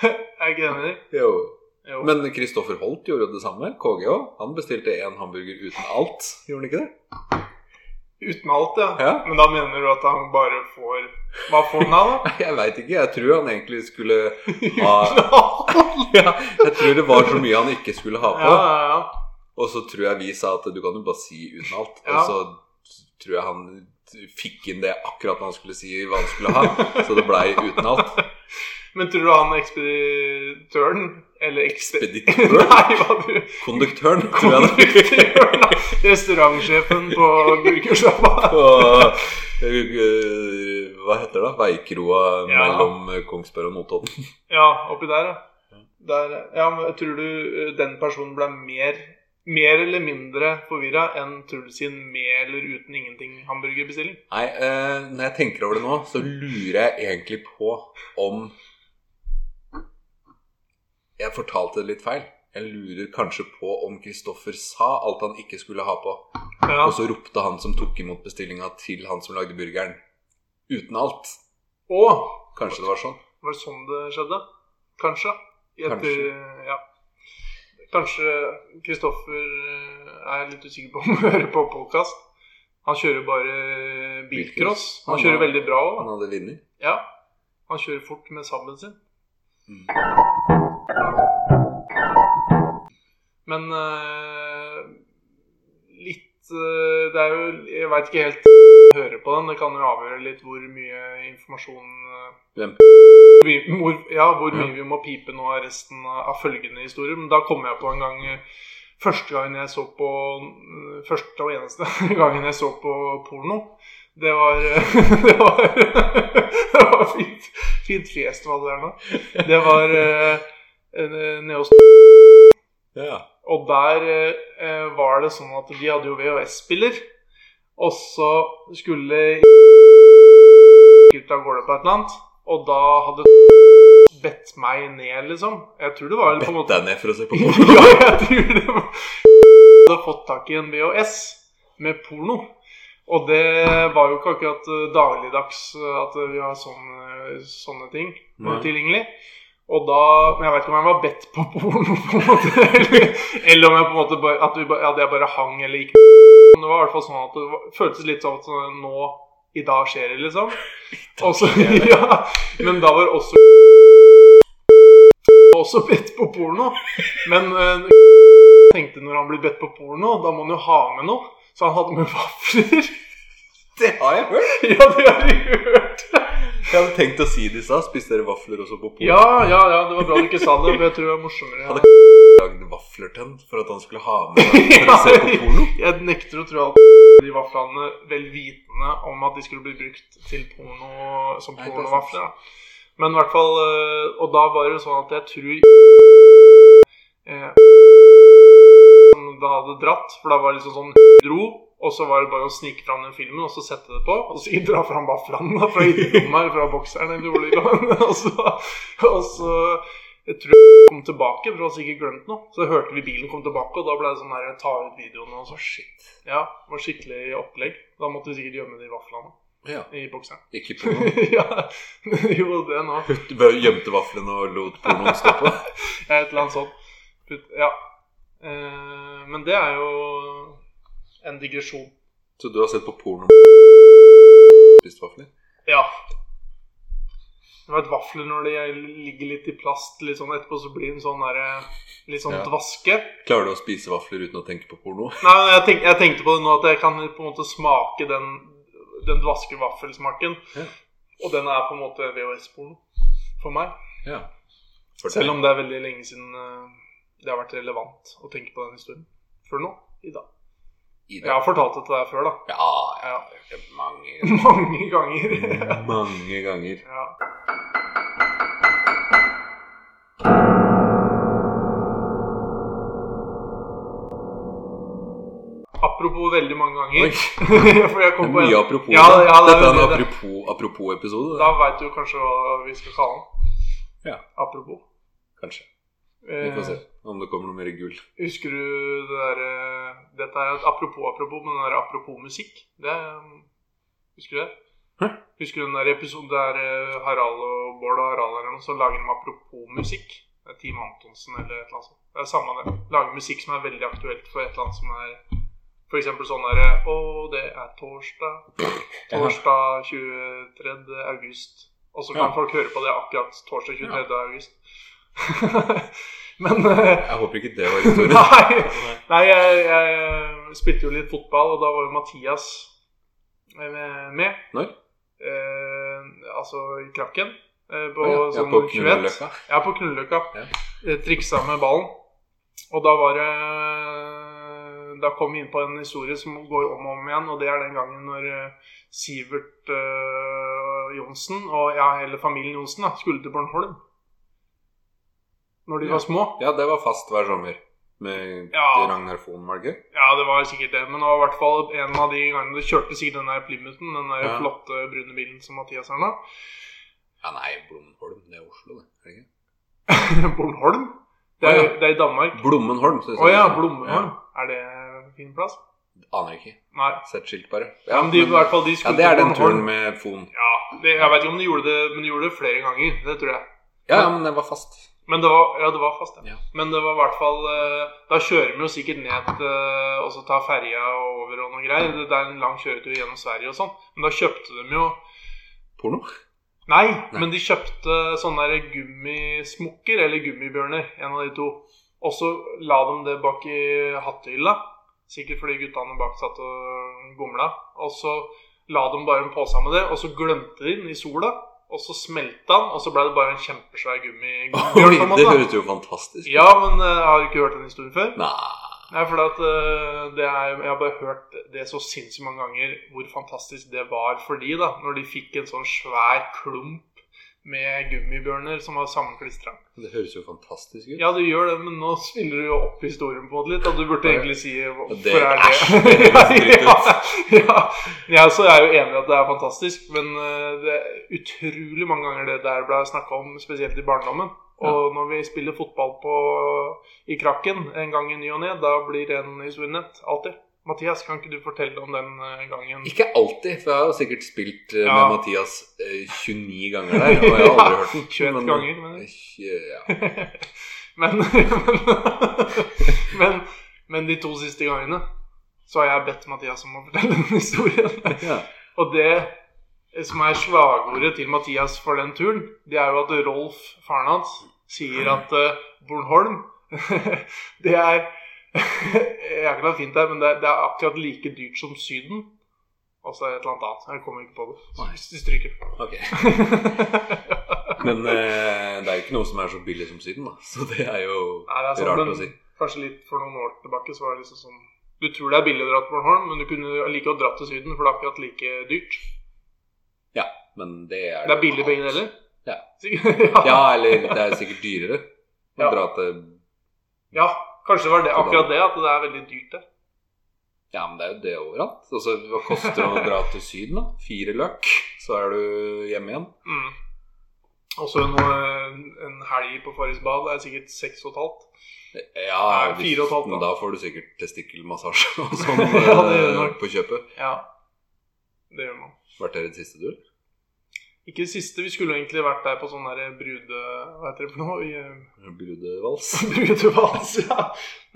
[SPEAKER 1] Jeg er ikke enig.
[SPEAKER 2] Jo.
[SPEAKER 1] Jo.
[SPEAKER 2] Men Kristoffer Holt gjorde jo det samme. KG òg. Han bestilte én hamburger uten alt. Gjorde han ikke det?
[SPEAKER 1] Uten alt, ja.
[SPEAKER 2] Ja.
[SPEAKER 1] Men da mener du at han bare får Hva får han av, da?
[SPEAKER 2] Jeg veit ikke. Jeg tror han egentlig skulle ha
[SPEAKER 1] Uten alt?
[SPEAKER 2] ja, Jeg tror det var så mye han ikke skulle ha
[SPEAKER 1] Ja,
[SPEAKER 2] på.
[SPEAKER 1] ja, ja.
[SPEAKER 2] Og så tror jeg vi sa at du kan jo bare si uten alt.
[SPEAKER 1] Ja.
[SPEAKER 2] Og så tror jeg han fikk inn det akkurat når han skulle si hva han skulle ha. Så det blei uten alt.
[SPEAKER 1] Men tror du han ekspeditøren Eller ekspeditøren?
[SPEAKER 2] Speditøren.
[SPEAKER 1] Nei, hva du
[SPEAKER 2] Konduktøren, tror jeg det.
[SPEAKER 1] Konduktøren, da. Restaurantsjefen på burgersjappa.
[SPEAKER 2] Og, øh, hva heter det? da? Veikroa
[SPEAKER 1] Ja.
[SPEAKER 2] mellom Kongsberg og Notodden.
[SPEAKER 1] Ja, oppi der, ja. Der, ja men tror du eh, den personen ble mer mer eller mindre forvirra enn Truls sin med eller uten ingenting-hamburgerbestilling?
[SPEAKER 2] Nei, eh, når jeg tenker over det nå, så lurer jeg egentlig på om Jeg fortalte det litt feil. Jeg lurer kanskje på om Kristoffer sa alt han ikke skulle ha på.
[SPEAKER 1] Ja.
[SPEAKER 2] Og så ropte han som tok imot bestillinga til han som lagde burgeren. Uten alt.
[SPEAKER 1] Å!
[SPEAKER 2] Kanskje det var sånn.
[SPEAKER 1] Var det sånn det skjedde? Kanskje. I Etter,
[SPEAKER 2] Kanskje.
[SPEAKER 1] Ja. Kanskje Kristoffer eh, er litt usikker på om han hører på podkast. Han kjører bare bilcross. Han kjører veldig bra òg.
[SPEAKER 2] Han hadde vunnet.
[SPEAKER 1] Ja. Han kjører fort med sabben sin.
[SPEAKER 2] Mm.
[SPEAKER 1] Men eh, litt eh, Det er jo Jeg veit ikke helt hører på den. Det kan jo avgjøre litt hvor mye informasjon eh,
[SPEAKER 2] Hvem?
[SPEAKER 1] vi, hvor, ja, hvor mye
[SPEAKER 2] Ja.
[SPEAKER 1] vi må pipe nå av resten av, av følgende historier. Men da kom jeg på en gang eh, Første gangen jeg så på eh, Første og eneste gangen jeg så på porno. Det var eh, Det var, det var fint, fint fjes du hadde der nå. Det var eh, en- nede hos
[SPEAKER 2] Ja.
[SPEAKER 1] Og der eh, var det sånn at de hadde jo VHS-spiller. Og så skulle ut av gårde på et eller annet. Og da hadde bedt meg ned, liksom. Jeg tror det var vel på en
[SPEAKER 2] Bett
[SPEAKER 1] måte
[SPEAKER 2] deg ned for å se på porno.
[SPEAKER 1] ja, jeg tror det var hadde fått tak i en VHS med porno. Og det var jo ikke akkurat eh, dagligdags eh, at vi har sånne, sånne ting eh,
[SPEAKER 2] Nei.
[SPEAKER 1] tilgjengelig. Og da Men jeg vet ikke om jeg var bedt på porno, på en måte. Eller, eller om jeg på en måte bare, at, vi, bare- at jeg bare hang eller gikk Men Det var i hvert fall sånn at det var, føltes litt som at sånn, nå I dag skjer det, liksom. Og så-
[SPEAKER 2] skjer det.
[SPEAKER 1] ja, men da var også også bedt på porno. Men eh, tenkte når han blir bedt på porno, da må han jo ha med noe. Så han hadde med vafler.
[SPEAKER 2] Det har jeg hørt.
[SPEAKER 1] ja, det har vi hørt.
[SPEAKER 2] Jeg hadde tenkt å si det i stad. Spiste dere vafler også på porno?
[SPEAKER 1] Ja, ja, ja, det var bra du ikke sa det, for jeg tror det var morsommere.
[SPEAKER 2] lagde vafler til han for at han skulle ha med seg for å se på porno.
[SPEAKER 1] Jeg nekter å tro at de vaflene vel vitende om at de skulle bli brukt til porno som
[SPEAKER 2] Nei, det er
[SPEAKER 1] pornovafler. da. Men i hvert fall eh, Og da var det jo sånn at jeg tror eh, Som da hadde dratt, for da var det liksom sånn dro. Og så var det bare å snike fram den filmen og så sette det på. Og så dra fram vaflene da, fra innerlomma eller fra bokseren. Eller hvor det lå. og så, og så jeg tror jeg kom tilbake, for jeg hadde sikkert glemt noe. Så hørte vi bilen kom tilbake, og da ble det sånn her ta ut videoene og så shit. Ja, det var skikkelig opplegg. Da måtte vi sikkert gjemme de vaflene
[SPEAKER 2] Ja,
[SPEAKER 1] i bokseren.
[SPEAKER 2] ikke porno.
[SPEAKER 1] ja, jo, det nå.
[SPEAKER 2] Mm. Putt, bare gjemte vaflene og lot pornoen stå på.
[SPEAKER 1] Ja, Et eller annet sånt. Putt- Ja. Eh, Men det er jo en digresjon.
[SPEAKER 2] Så du har sett på porno spist vafler?
[SPEAKER 1] Ja. Du vet, vafler når de ligger litt i plast litt sånn etterpå, så blir den sånn der, eh, litt sånn
[SPEAKER 2] Ja.
[SPEAKER 1] dvaske.
[SPEAKER 2] Klarer du å spise vafler uten å tenke på porno?
[SPEAKER 1] Nei, men jeg, tenk, jeg tenkte på det nå at jeg kan på en måte smake den, den dvaske vaffelsmaken.
[SPEAKER 2] Ja.
[SPEAKER 1] Og den er på en måte VHS-porno for meg.
[SPEAKER 2] Ja. For
[SPEAKER 1] Selv om det er veldig lenge siden eh, det har vært relevant å tenke på den historien. Før nå. I dag.
[SPEAKER 2] I
[SPEAKER 1] Jeg
[SPEAKER 2] det.
[SPEAKER 1] har fortalt dette der før, da.
[SPEAKER 2] Ja, ja.
[SPEAKER 1] Ja.
[SPEAKER 2] det er Mange,
[SPEAKER 1] Mange
[SPEAKER 2] Mm.
[SPEAKER 1] ganger.
[SPEAKER 2] mange ganger.
[SPEAKER 1] ja. Apropos veldig mange
[SPEAKER 2] Oi,
[SPEAKER 1] ganger. For jeg
[SPEAKER 2] det
[SPEAKER 1] kom på
[SPEAKER 2] er
[SPEAKER 1] en
[SPEAKER 2] mye apropos.
[SPEAKER 1] Ja, ja, det er
[SPEAKER 2] Dette er en
[SPEAKER 1] veldig det.
[SPEAKER 2] apropos- apropos-episode.
[SPEAKER 1] Da
[SPEAKER 2] da.
[SPEAKER 1] veit du kanskje hva vi skal kalle den.
[SPEAKER 2] Ja.
[SPEAKER 1] Apropos.
[SPEAKER 2] Kanskje. Vi
[SPEAKER 1] Eh,
[SPEAKER 2] får se om det kommer noe mer gull.
[SPEAKER 1] husker du det derre Dette er et apropos apropos, men den der apropos musikk. Det er, Husker du det?
[SPEAKER 2] Hæ?
[SPEAKER 1] Husker du den der episoden der eh, Harald og Bård og Harald eller noe, så lager de apropos musikk? Det er Team Antonsen eller et eller annet sånt. Det er samme det. Lager musikk som er veldig aktuelt for et eller annet som er for eksempel sånn derre Å, det er torsdag. Torsdag 23. august. Og så kan
[SPEAKER 2] Ja.
[SPEAKER 1] folk høre på det akkurat torsdag 23. august. Men eh,
[SPEAKER 2] Jeg håper ikke det var historien.
[SPEAKER 1] Nei, nei jeg, jeg spilte jo litt fotball, og da var jo Mathias eh, med.
[SPEAKER 2] Når?
[SPEAKER 1] Eh, altså i Krakken. Eh, på
[SPEAKER 2] Å, ja. Ja,
[SPEAKER 1] sånn
[SPEAKER 2] på
[SPEAKER 1] 21.
[SPEAKER 2] Knullløkka.
[SPEAKER 1] Ja, på Knulløkka.
[SPEAKER 2] Ja.
[SPEAKER 1] Eh, Triksa med ballen. Og da var det Da kom vi inn på en historie som går om og om igjen, og det er den gangen når eh, Sivert eh, Johnsen og ja, hele familien Johnsen da, skulle til Bornholm. Når de
[SPEAKER 2] Ja.
[SPEAKER 1] var små.
[SPEAKER 2] Ja, det var fast hver sommer. Med
[SPEAKER 1] Ja.
[SPEAKER 2] Ragnar Fohn, var det ikke?
[SPEAKER 1] Ja, det var sikkert det, men det var i hvert fall en av de gangene du kjørte sikkert den der Plymouthen, den der
[SPEAKER 2] Ja.
[SPEAKER 1] flotte brune bilen som Mathias har nå.
[SPEAKER 2] Ja, nei, Blommenholm. Det er Oslo, det. Er det ikke?
[SPEAKER 1] Bornholm? Det er,
[SPEAKER 2] Å, ja.
[SPEAKER 1] det er i Danmark.
[SPEAKER 2] Blommenholm. synes
[SPEAKER 1] Å
[SPEAKER 2] jeg.
[SPEAKER 1] ja, Blommenholm. Er det en fin plass?
[SPEAKER 2] Ja, aner ikke.
[SPEAKER 1] Nei.
[SPEAKER 2] Sett skilt, bare.
[SPEAKER 1] Ja, men de, i hvert fall de
[SPEAKER 2] ja,
[SPEAKER 1] skulle
[SPEAKER 2] det er
[SPEAKER 1] til
[SPEAKER 2] den turen
[SPEAKER 1] Bornholm.
[SPEAKER 2] med Fohn.
[SPEAKER 1] Ja, det, jeg vet ikke om de gjorde det, men de gjorde det flere ganger. Det tror jeg.
[SPEAKER 2] Ja, ja, men det var fast.
[SPEAKER 1] Men det var, ja, det var fast, ja.
[SPEAKER 2] Ja.
[SPEAKER 1] Men det var i hvert fall eh, Da kjører vi jo sikkert ned eh, og så tar ferja over og noe greier. Det det er en lang kjøretur gjennom Sverige og sånn. Men da kjøpte de jo
[SPEAKER 2] Porno?
[SPEAKER 1] Nei, men de kjøpte sånne der gummismokker eller gummibjørner. En av de to. Og så la de det bak i hattehylla. Sikkert fordi guttene bak satt og gomla. Og så la de bare en pose med det, og så glemte de den i sola. Og så smelta den, og så ble det bare en kjempesvær gummi-
[SPEAKER 2] Oi,
[SPEAKER 1] gummibjørn. på en
[SPEAKER 2] det
[SPEAKER 1] måte.
[SPEAKER 2] høres jo fantastisk ut.
[SPEAKER 1] Ja, men eh, har du ikke hørt den historien før?
[SPEAKER 2] Nei
[SPEAKER 1] Nei, for at, eh, det er, jeg har bare hørt det så sinnssykt mange ganger hvor fantastisk det var for de da, når de fikk en sånn svær klump med gummibjørner som var sammenklistra.
[SPEAKER 2] Det høres jo fantastisk ut.
[SPEAKER 1] Ja, du gjør det, men nå spiller du jo opp historien på det litt, og du burde egentlig si eh, hvorfor
[SPEAKER 2] Det-
[SPEAKER 1] er
[SPEAKER 2] æsj,
[SPEAKER 1] det
[SPEAKER 2] det høres dritt
[SPEAKER 1] ja,
[SPEAKER 2] ut.
[SPEAKER 1] ja, ja, så jeg er jo enig i at det er fantastisk, men eh, det er utrolig mange ganger det der ble snakka om, spesielt i barndommen. Og når vi spiller fotball på, i Krakken en gang i ny og ne, da blir det en historie nett. Alltid. Mathias, kan ikke du fortelle om den eh, gangen?
[SPEAKER 2] Ikke alltid, for jeg har jo sikkert spilt eh,
[SPEAKER 1] Ja.
[SPEAKER 2] med Mathias eh, 29 ganger der, og jeg har aldri hørt den.
[SPEAKER 1] 21
[SPEAKER 2] Men,
[SPEAKER 1] ganger, mener
[SPEAKER 2] eh,
[SPEAKER 1] jeg.
[SPEAKER 2] tjue- ja.
[SPEAKER 1] men, men, men de to siste gangene så har jeg bedt Mathias om å fortelle den historien.
[SPEAKER 2] ja.
[SPEAKER 1] Og det som er slagordet til Mathias for den turen, det er jo at Rolf, faren hans, sier at eh, Bornholm Det er Jeg vet ikke hva fint det er, men det er, det er akkurat like dyrt som Syden. Og så er det et eller annet annet. Jeg kommer ikke på det.
[SPEAKER 2] Nei.
[SPEAKER 1] Stryker.
[SPEAKER 2] Ok. Men eh, det er jo ikke noe som er så billig som Syden, da. Så det er jo
[SPEAKER 1] Nei, det er sant,
[SPEAKER 2] rart
[SPEAKER 1] men
[SPEAKER 2] å si.
[SPEAKER 1] kanskje litt for noen år tilbake så var det liksom sånn Du tror det er billig å dra til Bornholm, men du kunne like godt dratt til Syden, for det er akkurat like dyrt.
[SPEAKER 2] Ja, men det er
[SPEAKER 1] Det er billig begge deler.
[SPEAKER 2] Ja.
[SPEAKER 1] Sikkert-
[SPEAKER 2] Ja, eller det er sikkert dyrere å
[SPEAKER 1] Ja.
[SPEAKER 2] dra til
[SPEAKER 1] ja, kanskje det var det, akkurat det, at det er veldig dyrt der.
[SPEAKER 2] Ja, men det er jo det overalt. Altså, hva koster det å dra til Syden, da? Fire løk, så er du hjemme igjen.
[SPEAKER 1] Mm. Og så en, eh, en helg på Farris bad er sikkert seks og et halvt.
[SPEAKER 2] Ja,
[SPEAKER 1] Nei,
[SPEAKER 2] hvis,
[SPEAKER 1] fire og et halvt, da.
[SPEAKER 2] men da får du sikkert testikkelmassasje og sånn
[SPEAKER 1] Ja, det gjør du
[SPEAKER 2] eh,
[SPEAKER 1] nok.
[SPEAKER 2] på kjøpet.
[SPEAKER 1] Ja, det gjør man.
[SPEAKER 2] Vært der i det siste, du?
[SPEAKER 1] Ikke det siste. Vi skulle egentlig vært der på sånn der brude... Hva heter det for noe? I, eh,
[SPEAKER 2] Brudevals?
[SPEAKER 1] Brudevals, ja.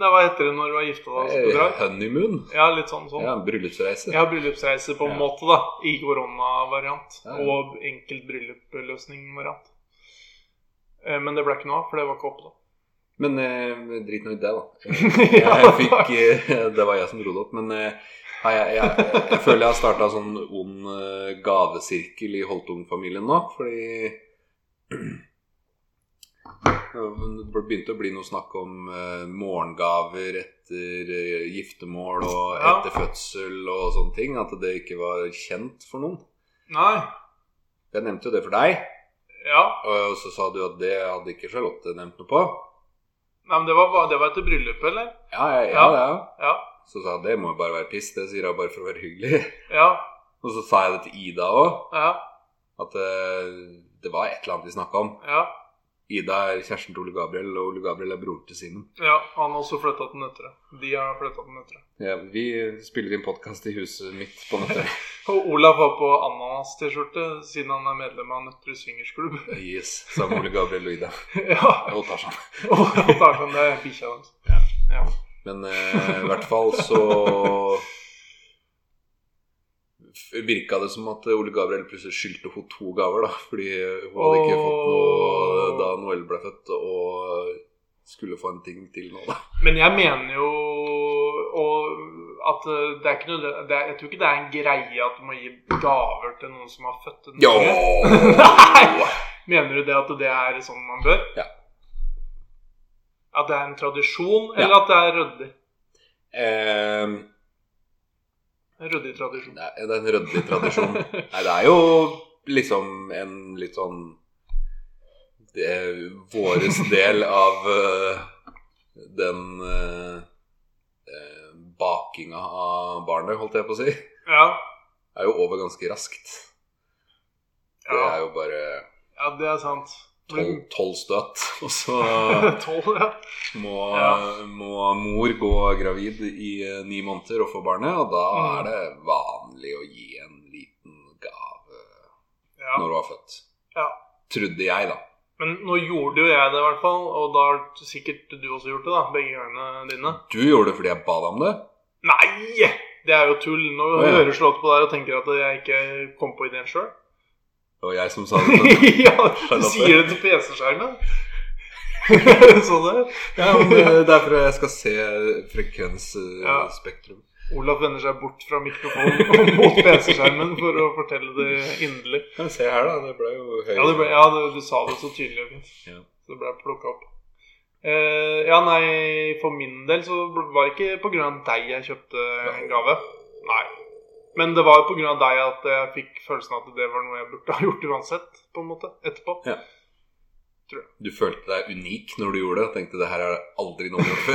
[SPEAKER 1] Nei, hva heter det når du var gifta deg og skulle
[SPEAKER 2] Eh,
[SPEAKER 1] dra?
[SPEAKER 2] Honeymoon?
[SPEAKER 1] Ja, litt sånn sånn.
[SPEAKER 2] Ja, bryllupsreise.
[SPEAKER 1] Ja, bryllupsreise på en
[SPEAKER 2] Ja.
[SPEAKER 1] måte, da. I koronavariant.
[SPEAKER 2] Ja, ja.
[SPEAKER 1] Og enkelt bryllupsløsning-variant. Eh, Men det ble ikke noe av, for det var ikke oppe da.
[SPEAKER 2] Men eh, drit nå i det, da.
[SPEAKER 1] Ja,
[SPEAKER 2] Jeg fikk, eh, det var jeg som dro det opp, men eh, nei, jeg, jeg, jeg føler jeg har starta sånn ond eh, gavesirkel i Holtung-familien nå, fordi det begynte å bli noe snakk om eh, morgengaver etter eh, giftermål og
[SPEAKER 1] Ja.
[SPEAKER 2] etter fødsel og sånne ting. At det ikke var kjent for noen.
[SPEAKER 1] Nei.
[SPEAKER 2] Jeg nevnte jo det for deg,
[SPEAKER 1] Ja.
[SPEAKER 2] og så sa du at det hadde ikke Charlotte nevnt noe på.
[SPEAKER 1] Nei, men det var, det var etter bryllupet, eller?
[SPEAKER 2] Ja, ja, ja,
[SPEAKER 1] Ja.
[SPEAKER 2] ja.
[SPEAKER 1] Ja.
[SPEAKER 2] Så sa jeg det må jo bare være piss, det sier jeg bare for å være hyggelig.
[SPEAKER 1] Ja.
[SPEAKER 2] Og så sa jeg det til Ida òg,
[SPEAKER 1] Ja.
[SPEAKER 2] at eh, det var et eller annet vi snakka om.
[SPEAKER 1] Ja.
[SPEAKER 2] Ida er kjæresten til Ole Gabriel, og Ole Gabriel er broren til Simen.
[SPEAKER 1] ja. Han har også flytta til Nøtterøy. De har flytta til Nøtterøy.
[SPEAKER 2] Ja, vi spiller inn podkast i huset mitt på nettet.
[SPEAKER 1] Og Olav har på ananas-T-skjorte siden han er medlem av Nøtterøy swingersklubb.
[SPEAKER 2] yes, sammen med Ole Gabriel og Ida.
[SPEAKER 1] ja.
[SPEAKER 2] Og Tarzan.
[SPEAKER 1] Og han tar sånn det er bikkja hans.
[SPEAKER 2] Ja.
[SPEAKER 1] Ja.
[SPEAKER 2] Men eh, i hvert fall så virka det som at Ole Gabriel plutselig skyldte henne to gaver, da. Fordi hun hadde ikke fått noe da Noel ble født, og skulle få en ting til nå, da.
[SPEAKER 1] Men jeg mener jo og at eh, det er ikke noe, det er, Jeg tror ikke det er en greie at du må gi gaver til noen som har født en
[SPEAKER 2] Jo!
[SPEAKER 1] unge. Nei! Mener du det at det er sånn man bør?
[SPEAKER 2] Ja.
[SPEAKER 1] At det er en tradisjon,
[SPEAKER 2] Ja.
[SPEAKER 1] eller at det er ryddig?
[SPEAKER 2] Eh,
[SPEAKER 1] En Ryddig tradisjon.
[SPEAKER 2] det er det er en rødlig tradisjon. Nei, det er jo liksom en litt sånn det er Våres del av eh, den eh, eh, bakinga av barnet, holdt jeg på å si,
[SPEAKER 1] Ja.
[SPEAKER 2] er jo over ganske raskt. Det
[SPEAKER 1] Ja.
[SPEAKER 2] er jo bare
[SPEAKER 1] ja, det er sant.
[SPEAKER 2] tolv tolv støt, og så
[SPEAKER 1] Tolv, ja.
[SPEAKER 2] må,
[SPEAKER 1] Ja.
[SPEAKER 2] må mor gå gravid i eh, ni måneder og få barnet, og da
[SPEAKER 1] Mm.
[SPEAKER 2] er det vanlig å gi en liten gave
[SPEAKER 1] ja.
[SPEAKER 2] når hun var født.
[SPEAKER 1] Ja.
[SPEAKER 2] Trodde jeg, da.
[SPEAKER 1] Men nå gjorde jo jeg det, i hvert fall. Og da har sikkert du også gjort det, da. Begge gangene dine.
[SPEAKER 2] Du gjorde det fordi jeg ba deg om det?
[SPEAKER 1] Nei! Det er jo tull. Nå
[SPEAKER 2] Å, ja.
[SPEAKER 1] hører Charlotte på deg og tenker at jeg ikke kom på ideen sjøl.
[SPEAKER 2] Det var jeg som sa det. til-
[SPEAKER 1] ja, du
[SPEAKER 2] Charlotte.
[SPEAKER 1] sier det til Sånn PC-skjermen. Så det.
[SPEAKER 2] Ja, men det det er fordi jeg skal se
[SPEAKER 1] Ja.
[SPEAKER 2] frekvensspektrum.
[SPEAKER 1] Olaf vender seg bort fra mikrofonen og mot PC-skjermen for å fortelle det inderlig.
[SPEAKER 2] Kan vi se her, da. Det ble jo høyere.
[SPEAKER 1] Ja, det ble, ja du, du sa det så tydelig. Fint.
[SPEAKER 2] Ja.
[SPEAKER 1] Så det ble plukka opp. Eh, ja, nei, for min del så var det ikke pga. deg jeg kjøpte en gave. Nei. Men det var jo pga. deg at jeg fikk følelsen at det var noe jeg burde ha gjort uansett. på en måte, etterpå.
[SPEAKER 2] Du følte deg unik når du gjorde det. og Tenkte det her er aldri noen gjort før.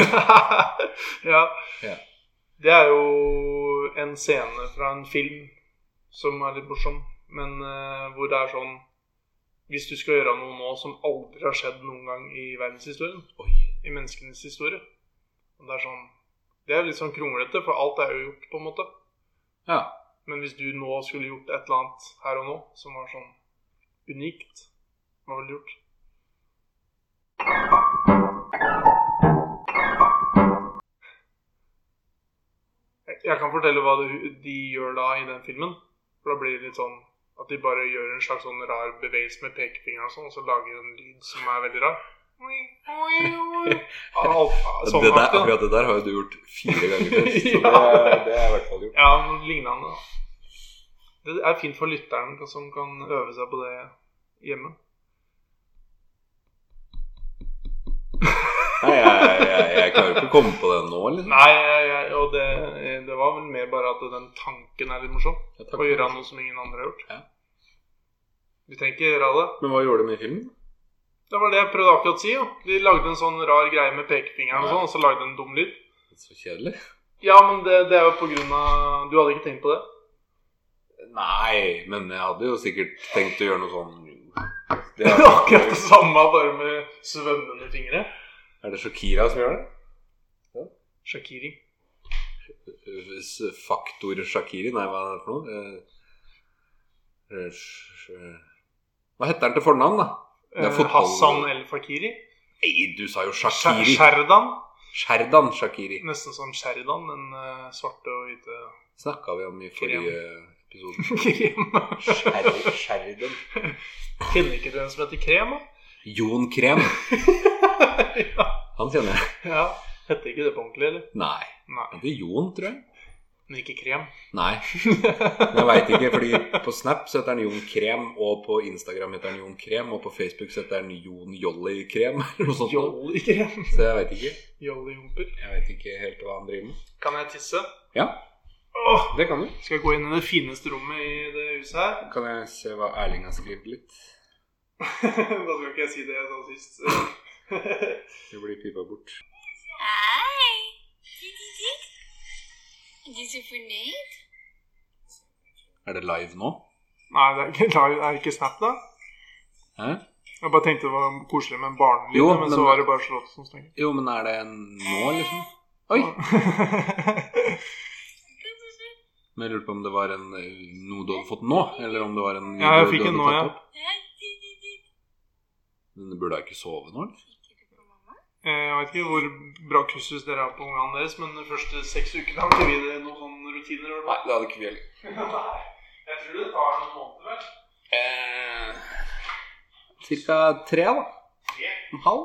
[SPEAKER 1] ja.
[SPEAKER 2] Ja.
[SPEAKER 1] Det er jo en scene fra en film som er litt morsom, men eh, hvor det er sånn Hvis du skal gjøre noe nå som aldri har skjedd noen gang i verdenshistorien,
[SPEAKER 2] Oi.
[SPEAKER 1] i menneskenes historie. Og det er sånn Det er litt sånn kronglete, for alt er jo gjort, på en måte.
[SPEAKER 2] Ja.
[SPEAKER 1] Men hvis du nå skulle gjort et eller annet her og nå som var sånn unikt, hva ville du gjort? Jeg- Jeg kan fortelle hva det- de gjør da i den filmen. For da blir det litt sånn at de bare gjør en slags sånn rar bevegelse med pekefingeren og sånn, og så lager de en lyd som er veldig rar. Alt, sånn
[SPEAKER 2] det der,
[SPEAKER 1] aktig, da.
[SPEAKER 2] akkurat det der har jo du gjort fire ganger før. Så
[SPEAKER 1] Ja.
[SPEAKER 2] det, det er i hvert fall gjort.
[SPEAKER 1] Ja, noe lignende. da. Det er fint for lytteren som kan øve seg på det hjemme.
[SPEAKER 2] Nei, jeg, jeg, jeg klarer ikke å komme på den nå, liksom.
[SPEAKER 1] Nei, jeg, jeg, og det, det var vel mer bare at den tanken er litt morsom.
[SPEAKER 2] Jeg
[SPEAKER 1] Å
[SPEAKER 2] takker.
[SPEAKER 1] gjøre noe som ingen andre har gjort.
[SPEAKER 2] Ja.
[SPEAKER 1] Vi trenger ikke gjøre det.
[SPEAKER 2] Men hva gjorde de i filmen?
[SPEAKER 1] Det var det jeg prøvde akkurat å si. Jo. De lagde en sånn rar greie med pekefingeren og
[SPEAKER 2] Ja.
[SPEAKER 1] sånn, og så lagde de en dum lyd.
[SPEAKER 2] Så kjedelig.
[SPEAKER 1] Ja, men det, det er jo på grunn av Du hadde ikke tenkt på det?
[SPEAKER 2] Nei, men jeg hadde jo sikkert tenkt å gjøre noe sånn det
[SPEAKER 1] Det
[SPEAKER 2] er,
[SPEAKER 1] er akkurat det samme, bare med svømmende fingre.
[SPEAKER 2] er det Shakira som gjør det?
[SPEAKER 1] Shakiri.
[SPEAKER 2] S- Faktor Shakiri? Nei, hva er det for noe? Eh, eh, sj- eh, Hva heter han til fornavn, da? Det er
[SPEAKER 1] Eh,
[SPEAKER 2] fotball-
[SPEAKER 1] Hassan El Fakiri.
[SPEAKER 2] Nei, du sa jo
[SPEAKER 1] Sher-
[SPEAKER 2] Shakiri.
[SPEAKER 1] Sherdan.
[SPEAKER 2] Sherdan Shakiri.
[SPEAKER 1] Nesten som Sherdan, den eh, svarte og hvite
[SPEAKER 2] Snakka vi om i forrige episode.
[SPEAKER 1] krem.
[SPEAKER 2] Sher- Sherdan.
[SPEAKER 1] Kjenner ikke du en som heter Krem? da?
[SPEAKER 2] Jon Krem.
[SPEAKER 1] ja.
[SPEAKER 2] Han kjenner jeg.
[SPEAKER 1] ja. Heter ikke det på ordentlig, eller?
[SPEAKER 2] Nei.
[SPEAKER 1] Nei.
[SPEAKER 2] Han heter Jon, tror jeg.
[SPEAKER 1] Men ikke Krem.
[SPEAKER 2] Nei. Men jeg veit ikke, fordi på Snap så heter han Jon Krem, og på Instagram heter han Jon Krem, og på Facebook så heter han Jon Jolly Krem, eller noe sånt. noe.
[SPEAKER 1] Jolly Krem.
[SPEAKER 2] Så jeg veit ikke.
[SPEAKER 1] Jolly Humper.
[SPEAKER 2] Jeg veit ikke helt hva han driver med.
[SPEAKER 1] Kan jeg tisse?
[SPEAKER 2] Ja,
[SPEAKER 1] Åh,
[SPEAKER 2] det kan du.
[SPEAKER 1] skal jeg gå inn i det fineste rommet i det huset her?
[SPEAKER 2] Kan jeg se hva Erling har skrevet litt?
[SPEAKER 1] da skal ikke jeg si det jeg sa sist.
[SPEAKER 2] Det blir pipa bort.
[SPEAKER 3] Hei! Titt, titt, titt. Er du så fornøyd?
[SPEAKER 2] Er det live nå?
[SPEAKER 1] Nei, det er ikke, det er ikke Snap, da.
[SPEAKER 2] Hæ?
[SPEAKER 1] Jeg bare tenkte det var koselig med en barnelyd,
[SPEAKER 2] Jo,
[SPEAKER 1] men,
[SPEAKER 2] men-
[SPEAKER 1] så var det bare slått som stengte.
[SPEAKER 2] Jo, men er det en nå, liksom? Oi! Men jeg lurte på om det var en, eh, noe du hadde fått nå, eller om det var en
[SPEAKER 1] Ja, jeg
[SPEAKER 2] du-
[SPEAKER 1] fikk
[SPEAKER 2] du
[SPEAKER 1] en nå,
[SPEAKER 2] hadde tatt
[SPEAKER 1] ja.
[SPEAKER 2] opp.
[SPEAKER 3] Hei, titt, titt, titt.
[SPEAKER 2] Men du burde da ikke sove nå, eller?
[SPEAKER 3] Tenker du på mamma?
[SPEAKER 1] Eh, Jeg vet ikke hvor bra kusshus dere har på ungene deres, men de første seks ukene har ikke vi det noen sånne rutiner. gjør
[SPEAKER 2] det hadde ikke vi heller.
[SPEAKER 1] vi? Nei. Jeg tror det tar noen måneder, vel.
[SPEAKER 2] Eh, Cirka tre, da. En halv.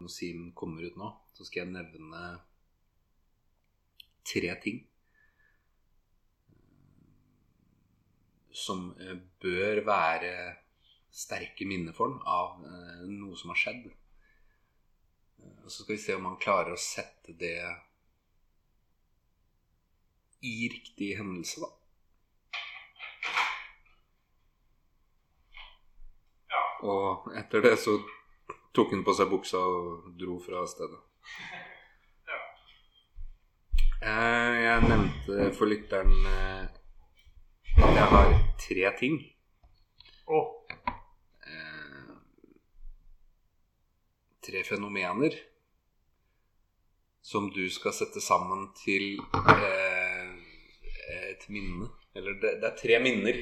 [SPEAKER 2] Når Sim kommer ut nå, så skal jeg nevne tre ting eh, som eh, bør være sterke minner for den av eh, noe som har skjedd. Og så skal vi se om han klarer å sette det i riktig hendelse, da.
[SPEAKER 1] Ja.
[SPEAKER 2] Og etter det så tok han på seg buksa og dro fra stedet.
[SPEAKER 1] Ja.
[SPEAKER 2] Eh, Jeg nevnte for lytteren eh, at jeg har tre ting.
[SPEAKER 1] Åh,
[SPEAKER 2] Eh, Tre fenomener som du skal sette sammen til eh, et minne. Eller det, det er tre minner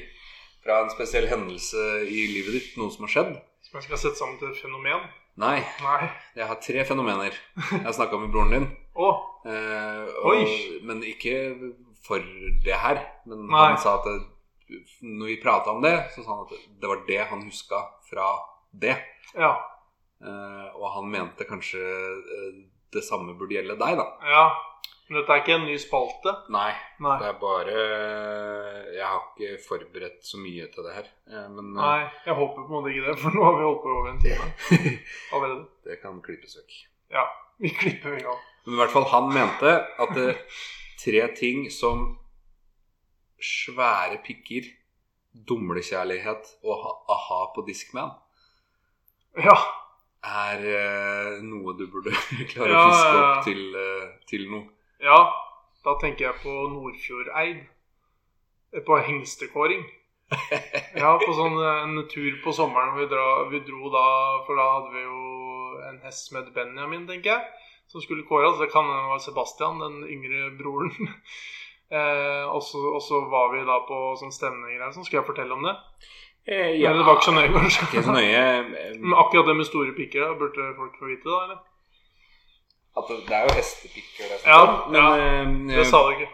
[SPEAKER 2] fra en spesiell hendelse i livet ditt. Noe som har skjedd.
[SPEAKER 1] som jeg skal sette sammen til et fenomen?
[SPEAKER 2] Nei,
[SPEAKER 1] Nei.
[SPEAKER 2] jeg har tre fenomener. Jeg snakka med broren din.
[SPEAKER 1] Åh,
[SPEAKER 2] Eh,
[SPEAKER 1] Oi.
[SPEAKER 2] og, men ikke for det her. Men
[SPEAKER 1] Nei.
[SPEAKER 2] han sa at det, når vi prata om det, så sa han at det var det han huska fra det.
[SPEAKER 1] ja.
[SPEAKER 2] Eh, og han mente kanskje eh, det samme burde gjelde deg, da.
[SPEAKER 1] Ja. Men dette er ikke en ny spalte?
[SPEAKER 2] Nei,
[SPEAKER 1] Nei.
[SPEAKER 2] det er bare Jeg har ikke forberedt så mye til det her. eh, Men eh,
[SPEAKER 1] Nei, jeg håper på en måte ikke det, for nå har vi holdt på i over en time allerede.
[SPEAKER 2] det kan klippes vekk.
[SPEAKER 1] Vi klipper en gang.
[SPEAKER 2] Men i hvert fall han mente at det tre ting som svære pikker, dumlekjærlighet og ha- a-ha på Discman
[SPEAKER 1] Ja.
[SPEAKER 2] er eh, noe du burde klare å
[SPEAKER 1] Ja,
[SPEAKER 2] fiske
[SPEAKER 1] ja, ja.
[SPEAKER 2] opp til, eh, til noe.
[SPEAKER 1] ja. Da tenker jeg på Nordfjordeid. Eh, På hengstekåring. Ja, på sånn eh, en tur på sommeren hvor vi, dra, vi dro da For da hadde vi jo en hest som het Benjamin, tenker jeg. Som skulle kåres. Det kan hende det var Sebastian, den yngre broren. Eh, og så og så var vi da på sånn stemnegreier. Sånn, skal jeg fortelle om det?
[SPEAKER 2] ja.
[SPEAKER 1] Eller det var ikke så nøye, kanskje?
[SPEAKER 2] Ikke så nøye. eh,
[SPEAKER 1] Men akkurat det med store pikker, da, burde folk få vite, da? eller?
[SPEAKER 2] At det, det er jo hestepikker det er
[SPEAKER 1] Ja,
[SPEAKER 2] sant, da. men, eh,
[SPEAKER 1] Det sa du ikke.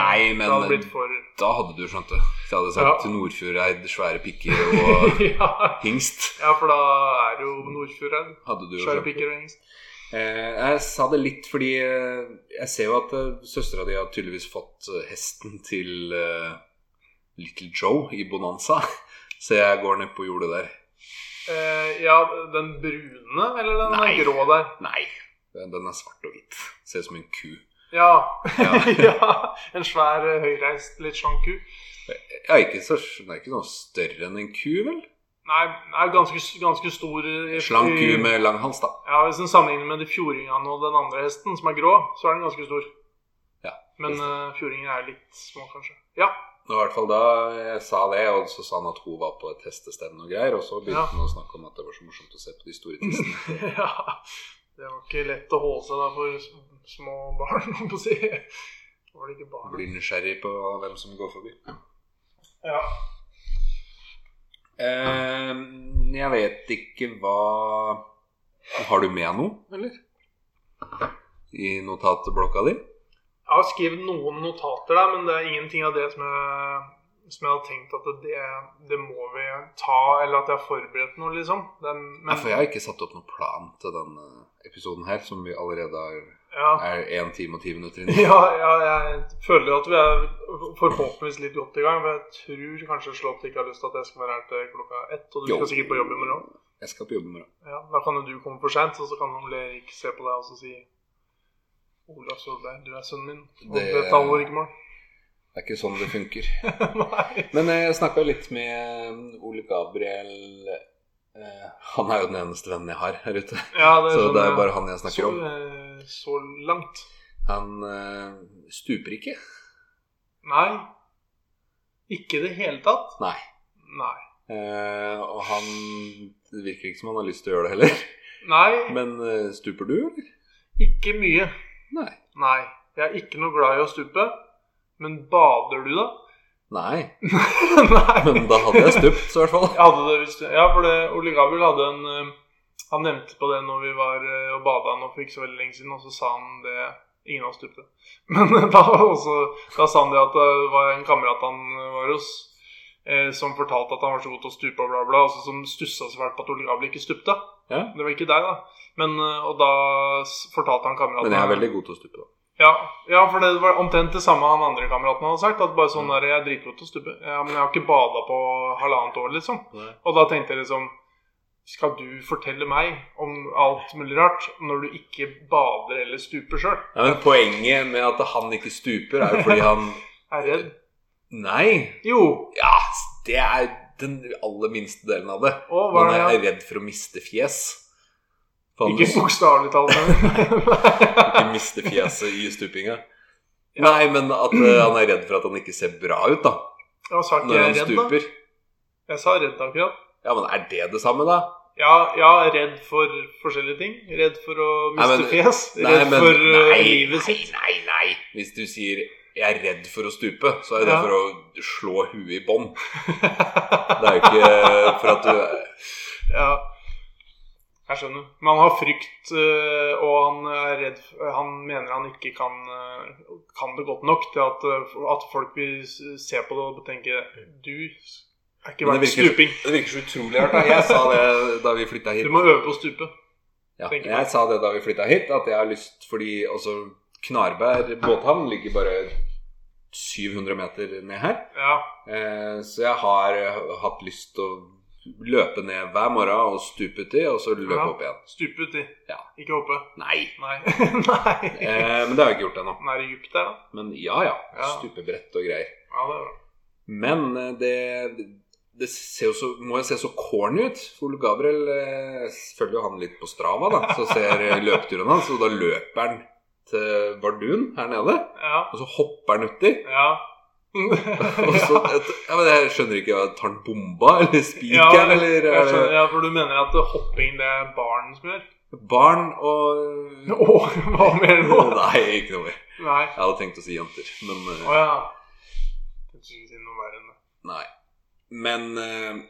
[SPEAKER 2] Nei,
[SPEAKER 1] det
[SPEAKER 2] men
[SPEAKER 1] hadde blitt for
[SPEAKER 2] da hadde du skjønt det. Hvis jeg hadde sagt Nordfjordeid, svære pikker og
[SPEAKER 1] ja.
[SPEAKER 2] hingst,
[SPEAKER 1] ja, for da er det jo Nordfjordeid.
[SPEAKER 2] hadde du jo
[SPEAKER 1] Svære
[SPEAKER 2] skjønt det.
[SPEAKER 1] pikker og hengst.
[SPEAKER 2] Eh, jeg sa det litt fordi eh, jeg ser jo at eh, søstera di har tydeligvis fått eh, hesten til eh, Little Joe i Bonanza. Så jeg går ned på jordet der.
[SPEAKER 1] Eh, ja, den brune, eller den
[SPEAKER 2] Nei.
[SPEAKER 1] grå der?
[SPEAKER 2] Nei, den den er svart og hvit. Ser ut som en ku.
[SPEAKER 1] Ja.
[SPEAKER 2] Ja.
[SPEAKER 1] ja. En svær, eh, høyreist, litt slank ku.
[SPEAKER 2] Ja, ikke så, den er ikke noe større enn en ku, vel?
[SPEAKER 1] Nei, nei ganske, ganske stor eh, i-
[SPEAKER 2] Slank ku med lang hals, da.
[SPEAKER 1] Ja, Hvis en sammenligner med de fjordingene og den andre hesten, som er grå, så er den ganske stor.
[SPEAKER 2] Ja.
[SPEAKER 1] Men uh, fjordingene er litt små, kanskje. Ja.
[SPEAKER 2] Det var i hvert fall da jeg sa det, og så sa han at hun var på et hestestevne og greier. Og så begynte
[SPEAKER 1] Ja.
[SPEAKER 2] han å snakke om at det var så morsomt å se på de store tissene.
[SPEAKER 1] ja. Det var ikke lett å holde seg da for s- små barn, holdt på å si. Var det ikke barn?
[SPEAKER 2] Blir nysgjerrig på hvem som går forbi.
[SPEAKER 1] Ja.
[SPEAKER 2] Eh, jeg vet ikke hva Har du med noe, eller? I notatblokka di?
[SPEAKER 1] Jeg har skrevet noen notater der, men det er ingenting av det som jeg, som jeg hadde tenkt at det, det må vi ta, eller at jeg har forberedt noe, liksom. Det, er- men,
[SPEAKER 2] Nei, for jeg har ikke satt opp noen plan til denne episoden her, som vi allerede har-
[SPEAKER 1] ja.
[SPEAKER 2] er 1 time og 10 minutter inn i.
[SPEAKER 1] Ja, ja, jeg føler at vi er forhåpentligvis litt godt i gang. Men jeg tror kanskje Slott ikke har lyst til at jeg skal være her til klokka ett. Og du
[SPEAKER 2] Jo.
[SPEAKER 1] skal sikkert på jobb i morgen.
[SPEAKER 2] Jeg skal på jobb i morgen.
[SPEAKER 1] Ja, da kan jo du komme for seint, og så kan Ole Erik se på deg og så si Olav Solberg, du er sønnen min. Og
[SPEAKER 2] Det-
[SPEAKER 1] dette alvor ikke mål.
[SPEAKER 2] Det er ikke sånn det funker.
[SPEAKER 1] Nei.
[SPEAKER 2] Men eh, jeg snakka litt med Ole Gabriel eh, Han er jo den eneste vennen jeg har her ute.
[SPEAKER 1] Ja, det
[SPEAKER 2] Så
[SPEAKER 1] sånn,
[SPEAKER 2] det er
[SPEAKER 1] eh,
[SPEAKER 2] bare han jeg snakker
[SPEAKER 1] så,
[SPEAKER 2] om.
[SPEAKER 1] eh, Så langt.
[SPEAKER 2] Han eh, stuper ikke.
[SPEAKER 1] Nei. Ikke i det hele tatt.
[SPEAKER 2] Nei.
[SPEAKER 1] Nei.
[SPEAKER 2] Eh, og han Det virker ikke som han har lyst til å gjøre det heller.
[SPEAKER 1] Nei,
[SPEAKER 2] Men eh, stuper du, eller?
[SPEAKER 1] ikke mye.
[SPEAKER 2] Nei.
[SPEAKER 1] Nei. Jeg er ikke noe glad i å stupe. Men bader du, da?
[SPEAKER 2] Nei.
[SPEAKER 1] Nei.
[SPEAKER 2] Men da hadde jeg stupt, så i hvert fall.
[SPEAKER 1] Jeg hadde det hvis du Ja, for det, Ole Gabriel hadde en eh, Han nevnte på det når vi var eh, og bada nå for ikke så veldig lenge siden, og så sa han det Ingen av oss stupte. Men da, var også, da sa han det at det var en kamerat han var hos, eh, som fortalte at han var så god til å stupe og bla, bla, og så som stussa så fælt på at Ole Gabriel ikke stupte.
[SPEAKER 2] Ja.
[SPEAKER 1] Det var ikke deg, da. Men, eh, og da s- fortalte han kameraten
[SPEAKER 2] Men jeg er veldig god til å stupe, da.
[SPEAKER 1] Ja, ja, for det var omtrent det samme han andre kameraten hadde sagt. At bare sånn
[SPEAKER 2] Mm.
[SPEAKER 1] der, jeg er dritgod til å stupe. Ja, men jeg har ikke bada på halvannet år, liksom. Og da tenkte jeg liksom Skal du fortelle meg om alt mulig rart når du ikke bader eller stuper sjøl?
[SPEAKER 2] Ja, men poenget med at han ikke stuper, er jo fordi han
[SPEAKER 1] Er redd?
[SPEAKER 2] Nei.
[SPEAKER 1] Jo.
[SPEAKER 2] Ja, det er den aller minste delen av det.
[SPEAKER 1] Å, hva
[SPEAKER 2] Man
[SPEAKER 1] er
[SPEAKER 2] er
[SPEAKER 1] det?
[SPEAKER 2] redd for å miste fjes.
[SPEAKER 1] ja?
[SPEAKER 2] For han
[SPEAKER 1] Ikke bokstavelig talt, men
[SPEAKER 2] ikke miste fjeset i stupinga.
[SPEAKER 1] Ja.
[SPEAKER 2] Nei, men at eh, han er redd for at han ikke ser bra ut, da.
[SPEAKER 1] Jeg sa ikke
[SPEAKER 2] Når han
[SPEAKER 1] redd, da.
[SPEAKER 2] stuper.
[SPEAKER 1] Jeg sa redd akkurat.
[SPEAKER 2] Ja, men er det det samme, da?
[SPEAKER 1] Ja, ja, redd for forskjellige ting. Redd for å
[SPEAKER 2] Nei,
[SPEAKER 1] miste
[SPEAKER 2] men-
[SPEAKER 1] fjes.
[SPEAKER 2] Nei,
[SPEAKER 1] Redd
[SPEAKER 2] men
[SPEAKER 1] for eh,
[SPEAKER 2] nei,
[SPEAKER 1] livet
[SPEAKER 2] nei,
[SPEAKER 1] sitt.
[SPEAKER 2] nei, nei. Hvis du sier 'jeg er redd for å stupe', så er det
[SPEAKER 1] Ja.
[SPEAKER 2] for å slå huet i bånn. Det er jo ikke eh, for at du
[SPEAKER 1] Ja, jeg skjønner. Men han har frykt, øh, og han er redd Han mener han ikke kan, øh, kan det godt nok til at, øh, at folk vil s- se på det og tenke Du er ikke
[SPEAKER 2] Men det
[SPEAKER 1] verdt
[SPEAKER 2] virker-
[SPEAKER 1] stuping.
[SPEAKER 2] Det virker så utrolig hardt. da. Jeg sa det da vi flytta hit.
[SPEAKER 1] Du må øve på å stupe.
[SPEAKER 2] Ja,
[SPEAKER 1] tenker
[SPEAKER 2] jeg
[SPEAKER 1] jeg.
[SPEAKER 2] sa det da vi flytta hit, at jeg har lyst fordi også Knarberg båthavn ligger bare 700 meter ned her.
[SPEAKER 1] Ja.
[SPEAKER 2] Eh, Så jeg har eh, hatt lyst til å løpe ned hver morgen og stupe uti, og så løpe
[SPEAKER 1] Ja.
[SPEAKER 2] opp igjen.
[SPEAKER 1] Stupe uti.
[SPEAKER 2] Ja.
[SPEAKER 1] Ikke hoppe.
[SPEAKER 2] Nei.
[SPEAKER 1] Nei. Nei.
[SPEAKER 2] Eh, Men det har jeg ikke gjort ennå.
[SPEAKER 1] Den er det dypt der, da.
[SPEAKER 2] Men ja, ja.
[SPEAKER 1] Ja.
[SPEAKER 2] Stupebrett og greier.
[SPEAKER 1] Ja, det er bra.
[SPEAKER 2] Men eh, det, det ser jo så, må jo se så corny ut. For Ole Gabriel eh, følger jo han litt på Strava, da. Så ser eh, løpeturen hans, og da løper han til Vardun her nede.
[SPEAKER 1] Ja.
[SPEAKER 2] Og så hopper han uti.
[SPEAKER 1] Ja.
[SPEAKER 2] Og så, ja, men jeg skjønner ikke, tar han bomba, eller spikeren, eller er
[SPEAKER 1] jeg
[SPEAKER 2] det-
[SPEAKER 1] skjønner, ja, for du mener at hopping det er barn som gjør?
[SPEAKER 2] Barn og
[SPEAKER 1] Å, hva mer nå?
[SPEAKER 2] Nei, ikke noe mer.
[SPEAKER 1] Nei.
[SPEAKER 2] Jeg hadde tenkt å si jenter, men eh,
[SPEAKER 1] Å ja. Jeg skulle ikke si noe verre enn det.
[SPEAKER 2] nei. Men eh,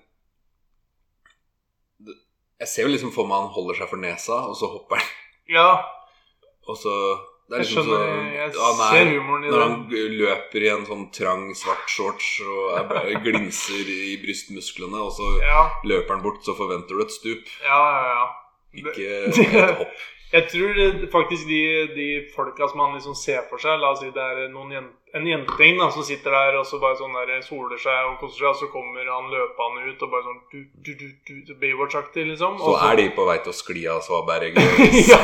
[SPEAKER 2] det- Jeg ser jo liksom for meg han holder seg for nesa, og så hopper han.
[SPEAKER 1] Ja,
[SPEAKER 2] Og så Det er
[SPEAKER 1] jeg
[SPEAKER 2] liksom
[SPEAKER 1] skjønner. Jeg
[SPEAKER 2] sånn han
[SPEAKER 1] ser
[SPEAKER 2] er-
[SPEAKER 1] humoren i
[SPEAKER 2] Når
[SPEAKER 1] det.
[SPEAKER 2] han løper i en sånn trang, svart shorts og er bare glinser i brystmusklene, og så
[SPEAKER 1] Ja,
[SPEAKER 2] løper han bort, så forventer du et stup,
[SPEAKER 1] ja, ja. ja.
[SPEAKER 2] ikke et hopp.
[SPEAKER 1] Jeg tror det- faktisk de, de folka som han liksom ser for seg La oss si det er noen jen- en jenting da, som sitter der og så bare sånn der soler seg og koser seg, og så kommer han løpende ut og bare sånn du, du, du, du, du, Baywatch-aktig, liksom.
[SPEAKER 2] Så
[SPEAKER 1] Og
[SPEAKER 2] er de på vei til å skli av svaberget hvis,
[SPEAKER 1] Ja.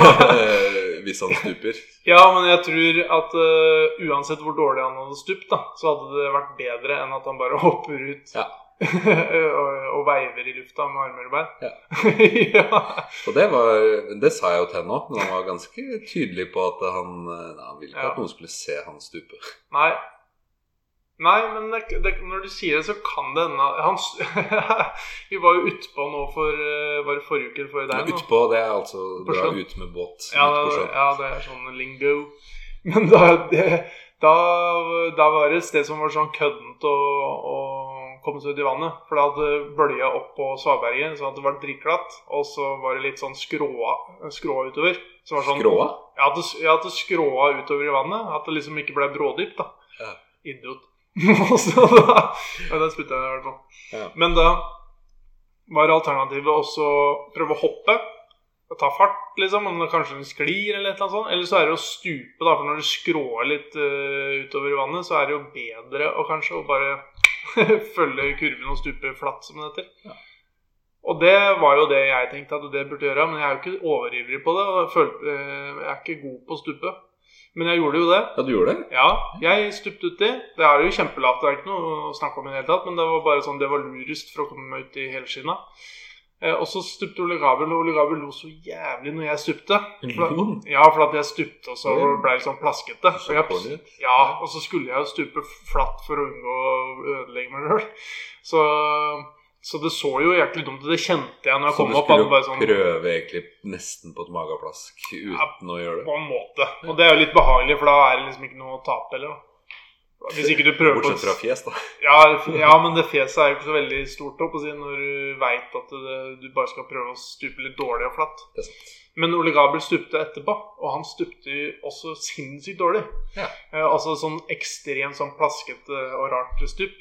[SPEAKER 2] hvis han stuper.
[SPEAKER 1] Ja, men jeg tror at eh, uansett hvor dårlig han hadde stupt, da, så hadde det vært bedre enn at han bare hopper ut
[SPEAKER 2] Ja.
[SPEAKER 1] og, og veiver i lufta med armer og bein.
[SPEAKER 2] Ja.
[SPEAKER 1] ja.
[SPEAKER 2] Og det, var, det sa jeg jo til henne òg, men han var ganske tydelig på at han, nei, han ville ikke
[SPEAKER 1] Ja.
[SPEAKER 2] at noen skulle se han stupe.
[SPEAKER 1] Nei. Nei, men det, det, når du sier det, så kan det hende han, s- Vi var jo utpå nå for eh, Var det forrige uke eller forrige
[SPEAKER 2] Men
[SPEAKER 1] der? nå?
[SPEAKER 2] Utpå, det er altså
[SPEAKER 1] På
[SPEAKER 2] dra
[SPEAKER 1] sjøen.
[SPEAKER 2] ut med båt
[SPEAKER 1] Ja,
[SPEAKER 2] ut på
[SPEAKER 1] det,
[SPEAKER 2] sjøen.
[SPEAKER 1] ja, det er sånn lingo. Men da, det, da, da var det et sted som var sånn køddent å, å komme seg ut i vannet. For det hadde bølja opp på svaberget, så det var dritglatt. Og så var det litt sånn skråa, skråa utover. Så det var sånn,
[SPEAKER 2] Skråa?
[SPEAKER 1] Ja, at det, ja, at det skråa utover i vannet. At det liksom ikke ble brådypt, da.
[SPEAKER 2] Ja.
[SPEAKER 1] Idiot. Og så da Ja, den spytta jeg i hvert fall.
[SPEAKER 2] Ja.
[SPEAKER 1] Men da var alternativet også prøve å hoppe. og Ta fart, liksom, om det kanskje den sklir, eller et eller annet sånt. Eller så er det å stupe, da, for når det skråer litt eh, utover i vannet, så er det jo bedre å kanskje å bare følge kurven og stupe flatt, som det heter. Og det var jo det jeg tenkte at det burde gjøre, men jeg er jo ikke overivrig på det. Og jeg, følte, eh, jeg er ikke god på å stupe. Men jeg gjorde jo det.
[SPEAKER 2] Ja, du gjorde det?
[SPEAKER 1] Ja, jeg stupte uti. Det er jo kjempelavt, det er ikke noe å snakke om i det hele tatt, men det var bare sånn, det var lurest for å komme meg ut i helskinna. Eh, og så stupte Ole Gabel, og Ole Gabel lo så jævlig når jeg stupte.
[SPEAKER 2] Mm.
[SPEAKER 1] For,
[SPEAKER 2] Lo
[SPEAKER 1] ja, for at jeg stupte, og så ble jeg sånn plaskete.
[SPEAKER 2] han?
[SPEAKER 1] Og
[SPEAKER 2] Så
[SPEAKER 1] jeg,
[SPEAKER 2] corny ut.
[SPEAKER 1] ja, og så skulle jeg jo stupe flatt for å unngå å ødelegge meg sjøl. Så, så det så jo jæklig dumt ut. Det kjente jeg når jeg
[SPEAKER 2] Så
[SPEAKER 1] kom
[SPEAKER 2] du
[SPEAKER 1] opp. at det
[SPEAKER 2] skulle
[SPEAKER 1] bare sånn,
[SPEAKER 2] prøve egentlig nesten på et mageplask uten å gjøre det?
[SPEAKER 1] på en måte. Og det er jo litt behagelig, for da er det liksom ikke noe å tape heller. da. Hvis ikke du prøver
[SPEAKER 2] Bortsett fra
[SPEAKER 1] på
[SPEAKER 2] fjes, da.
[SPEAKER 1] ja, f- ja, men det fjeset er jo ikke så veldig stort opp, å si, når du veit at det, du bare skal prøve å stupe litt dårlig og flatt.
[SPEAKER 2] Det er sant.
[SPEAKER 1] Men Ole Gabel stupte etterpå, og han stupte også sinnssykt dårlig.
[SPEAKER 2] Ja.
[SPEAKER 1] Eh, altså sånn ekstremt sånn plaskete og rart stup.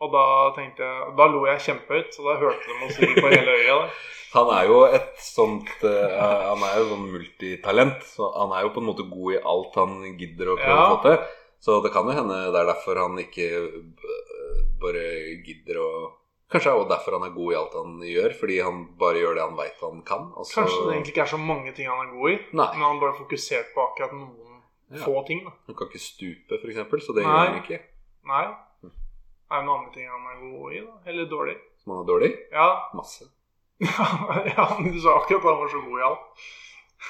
[SPEAKER 1] Og da tenkte jeg, da lo jeg kjempehøyt, så da hørte de oss i på hele øya. der.
[SPEAKER 2] Han er jo et sånt eh, Han er jo sånn multitalent. Så han er jo på en måte god i alt han gidder å prøve å
[SPEAKER 1] Ja.
[SPEAKER 2] få til. Så det kan jo hende det er derfor han ikke eh, bare gidder å Kanskje det er også derfor han er god i alt han gjør, fordi han bare gjør det han veit han kan. og så-
[SPEAKER 1] Kanskje det egentlig ikke er så mange ting han er god i, men
[SPEAKER 2] Nei.
[SPEAKER 1] han bare fokusert på akkurat noen
[SPEAKER 2] Ja.
[SPEAKER 1] få ting. da.
[SPEAKER 2] Han kan ikke stupe, for eksempel, så det
[SPEAKER 1] Nei.
[SPEAKER 2] gjør han ikke.
[SPEAKER 1] Nei.
[SPEAKER 2] Mm.
[SPEAKER 1] Er det noen andre ting han er god i, da? Eller dårlig?
[SPEAKER 2] Som han er dårlig.
[SPEAKER 1] Ja,
[SPEAKER 2] Masse.
[SPEAKER 1] ja men du sa akkurat at han var så god i alt.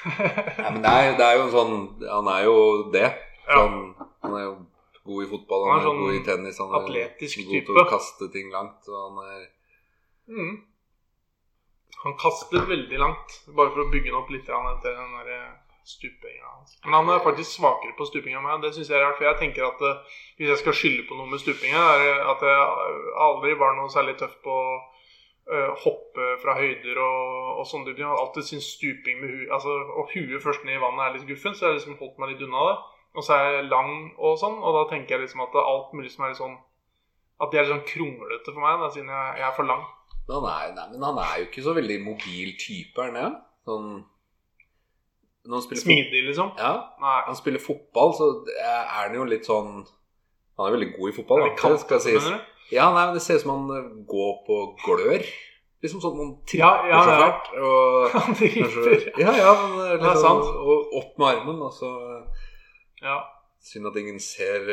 [SPEAKER 2] Nei, men det er, det er jo en sånn Han er jo det.
[SPEAKER 1] Ja.
[SPEAKER 2] Sånn, han er jo god i fotball, han,
[SPEAKER 1] Han er
[SPEAKER 2] er,
[SPEAKER 1] sånn
[SPEAKER 2] god i tennis, han er
[SPEAKER 1] atletisk
[SPEAKER 2] god til å
[SPEAKER 1] type.
[SPEAKER 2] kaste ting langt. Og han er
[SPEAKER 1] Mm. Han kaster veldig langt, bare for å bygge den opp litt grann etter den der eh, stupinga hans. Men han er faktisk svakere på stuping enn meg. Det syns jeg er rart. For jeg tenker at eh, hvis jeg skal skylde på noe med stupinga, er det at jeg aldri var noe særlig tøff på å eh, hoppe fra høyder og, og sånne type ting. Jeg har alltid syntes stuping med hu altså, og huet først ned i vannet er litt guffen, så jeg har liksom holdt meg litt unna det. Og så er jeg lang og sånn, og da tenker jeg liksom at det er alt mulig som er litt sånn At det er litt sånn kronglete for meg, da, siden jeg, jeg er for lang.
[SPEAKER 2] Men han er, nei, men han er jo ikke så veldig mobil type, er han det? Sånn Når han spiller, fot-
[SPEAKER 1] Smidig, liksom?
[SPEAKER 2] ja,
[SPEAKER 1] Nei.
[SPEAKER 2] han spiller fotball, så er han jo litt sånn Han er veldig god i fotball,
[SPEAKER 1] Eller
[SPEAKER 2] da. Det skal sies.
[SPEAKER 1] mener du?
[SPEAKER 2] Ja, nei, men det ser ut som han eh, går på glør. Liksom sånn han tripper
[SPEAKER 1] Ja, ja,
[SPEAKER 2] så
[SPEAKER 1] ja.
[SPEAKER 2] fælt. Og
[SPEAKER 1] Han driter.
[SPEAKER 2] kanskje, ja, ja, men eh,
[SPEAKER 1] Det er
[SPEAKER 2] liksom,
[SPEAKER 1] sant.
[SPEAKER 2] Og opp med armen, og så
[SPEAKER 1] Ja.
[SPEAKER 2] Synd at ingen ser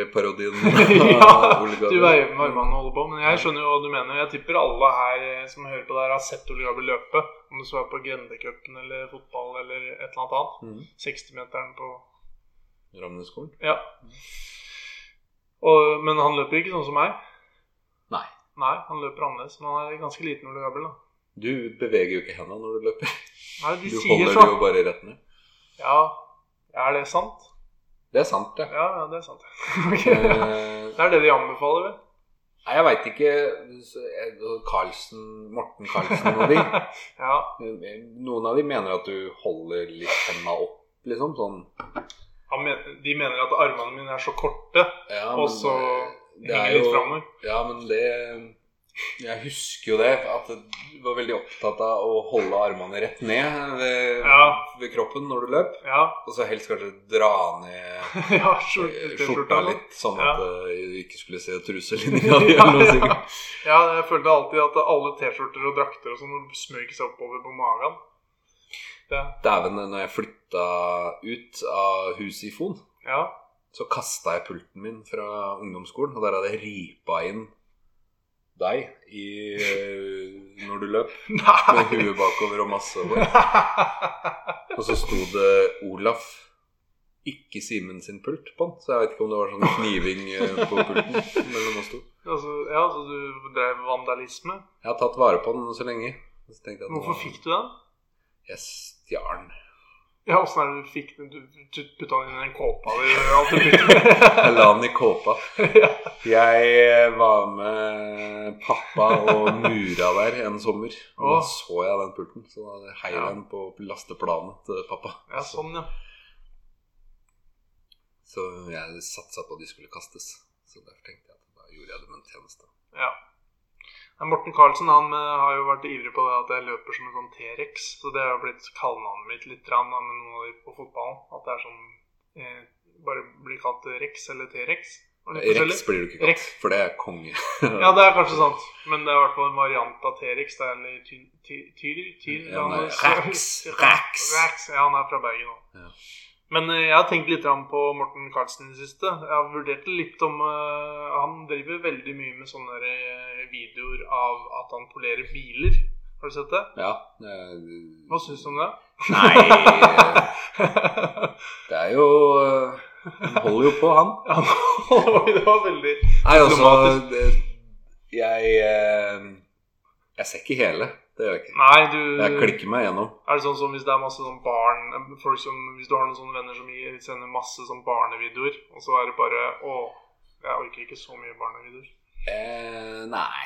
[SPEAKER 2] parodien.
[SPEAKER 1] Ja,
[SPEAKER 2] Ole
[SPEAKER 1] Du
[SPEAKER 2] Gabriel.
[SPEAKER 1] veiver med armene og holder på, men jeg skjønner jo hva du mener. Jeg tipper alle her eh, som hører på det her, har sett Ole Gabriel løpe. Om det så er på Grendecupen eller fotball eller et eller annet annet.
[SPEAKER 2] Mhm.
[SPEAKER 1] 60-meteren på
[SPEAKER 2] Ramneskolen?
[SPEAKER 1] Ja. Og, men han løper ikke sånn som meg.
[SPEAKER 2] Nei.
[SPEAKER 1] Nei, Han løper annerledes. Men han er ganske liten, Ole Gabriel. da.
[SPEAKER 2] Du beveger jo ikke hendene når du løper.
[SPEAKER 1] Nei, de
[SPEAKER 2] Du
[SPEAKER 1] sier
[SPEAKER 2] holder det
[SPEAKER 1] sånn.
[SPEAKER 2] jo bare rett ned.
[SPEAKER 1] Ja, er det sant?
[SPEAKER 2] Det er sant, det.
[SPEAKER 1] Ja, ja, det er sant. Ok.
[SPEAKER 2] Eh,
[SPEAKER 1] Det er det de anbefaler, vel?
[SPEAKER 2] Nei, jeg veit ikke så jeg- og Carlsen, Morten Carlsen og de.
[SPEAKER 1] ja.
[SPEAKER 2] Noen av de mener at du holder litt henda opp, liksom. Sånn.
[SPEAKER 1] Han men, de mener at armene mine er så korte
[SPEAKER 2] Ja,
[SPEAKER 1] Og så
[SPEAKER 2] eh, det er
[SPEAKER 1] Henger litt
[SPEAKER 2] jo-
[SPEAKER 1] framover
[SPEAKER 2] Ja, men det Jeg husker jo det, at du var veldig opptatt av å holde armene rett ned ved,
[SPEAKER 1] Ja.
[SPEAKER 2] ved kroppen når du løp.
[SPEAKER 1] Ja.
[SPEAKER 2] Og så helst kanskje dra ned
[SPEAKER 1] ja
[SPEAKER 2] eh,
[SPEAKER 1] skjorte,
[SPEAKER 2] skjorta
[SPEAKER 1] da.
[SPEAKER 2] litt, sånn
[SPEAKER 1] Ja.
[SPEAKER 2] at eh, du ikke skulle se truselinja di. eller noe
[SPEAKER 1] ja.
[SPEAKER 2] sikkert.
[SPEAKER 1] ja, jeg følte alltid at alle T-skjorter og drakter og sånn smøg seg oppover på magen. Det,
[SPEAKER 2] Dæven, når jeg flytta ut av huset i Fon,
[SPEAKER 1] ja.
[SPEAKER 2] så kasta jeg pulten min fra ungdomsskolen, og der hadde jeg ripa inn deg i, eh, når du løp, med
[SPEAKER 1] Nei!
[SPEAKER 2] huet bakover og masse over. Og så sto det Olaf, ikke Simen sin pult på den. Så jeg vet ikke om det var sånn kniving eh, på pulten mellom oss to.
[SPEAKER 1] altså, ja, så du drev vandalisme.
[SPEAKER 2] Jeg har tatt vare på den så lenge. Så tenkte jeg at nå-
[SPEAKER 1] Hvorfor fikk du den?
[SPEAKER 2] Jeg stjal den.
[SPEAKER 1] Ja, åssen er det du fikk den? Du putta den inn i en kåpa di? og alt du putter-
[SPEAKER 2] Jeg la den i kåpa.
[SPEAKER 1] Ja.
[SPEAKER 2] Jeg eh, var med pappa og mura der en sommer. Og da
[SPEAKER 1] Åh.
[SPEAKER 2] så jeg den pulten, så da heiv jeg
[SPEAKER 1] Ja.
[SPEAKER 2] den på lasteplanet til pappa.
[SPEAKER 1] ja, sånn, ja.
[SPEAKER 2] Så jeg satsa på at de skulle kastes. Så derfor tenkte jeg at da gjorde jeg dem en tjeneste.
[SPEAKER 1] ja. Nei, Morten Karlsen han eh, har jo vært ivrig på det at jeg løper som en sånn T-rex. Så det har jo blitt kallenavnet mitt litt rann, da, med noen av de på fotballen. At det er sånn eh, Bare blir kalt Rex eller T-rex. og litt forskjellig.
[SPEAKER 2] Rex blir du ikke kalt,
[SPEAKER 1] Rex.
[SPEAKER 2] for det er konge.
[SPEAKER 1] Ja, det er kanskje sant. Men det er i hvert fall en variant av T-rex. Det er en litt ty- ty- tyr... tyr
[SPEAKER 2] Ja, nei,
[SPEAKER 1] han er-
[SPEAKER 2] Rex, Rex.
[SPEAKER 1] Rex. Ja, han er fra Bergen òg.
[SPEAKER 2] Ja.
[SPEAKER 1] Men eh, jeg har tenkt litt grann på Morten Karlsen i det siste. Jeg har vurdert det litt om eh, Han driver veldig mye med sånne eh, videoer av at han polerer biler. Har du sett det?
[SPEAKER 2] Ja.
[SPEAKER 1] Hva syns du om det?
[SPEAKER 2] Nei eh, Det er jo Han holder jo på, han.
[SPEAKER 1] Ja, Oi, det var veldig
[SPEAKER 2] Nei, altså
[SPEAKER 1] Problematisk.
[SPEAKER 2] det, Jeg eh, Jeg ser ikke hele. Det gjør jeg ikke.
[SPEAKER 1] Nei, du
[SPEAKER 2] Jeg klikker meg gjennom.
[SPEAKER 1] Er det sånn som hvis det er masse sånn barn eh, folk som, Hvis du har noen sånne venner som gir- sender masse sånn barnevideoer, og så er det bare Å, jeg orker ikke så mye barnevideoer.
[SPEAKER 2] Eh, nei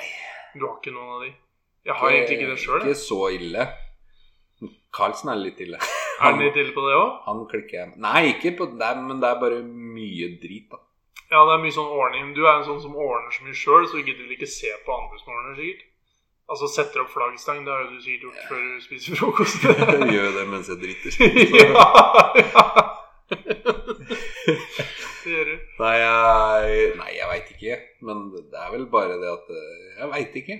[SPEAKER 1] Du har ikke noen av de? Jeg har egentlig ikke det sjøl.
[SPEAKER 2] Ikke så ille. Carlsen er litt ille.
[SPEAKER 1] Er den litt ille på det òg?
[SPEAKER 2] Han klikker jeg Nei, ikke på dem, men det er bare mye drit, da.
[SPEAKER 1] Ja, det er mye sånn ordning. Du er en sånn som ordner så mye sjøl, så du gidder vel ikke se på andre som ordner, sikkert. Altså setter opp flaggstang, det har jo du sikkert gjort før du spiser frokost.
[SPEAKER 2] Jeg gjør jo det mens jeg driter.
[SPEAKER 1] ja, ja. Det gjør du.
[SPEAKER 2] Nei, jeg, nei, jeg veit ikke. Men det er vel bare det at eh, Jeg veit ikke.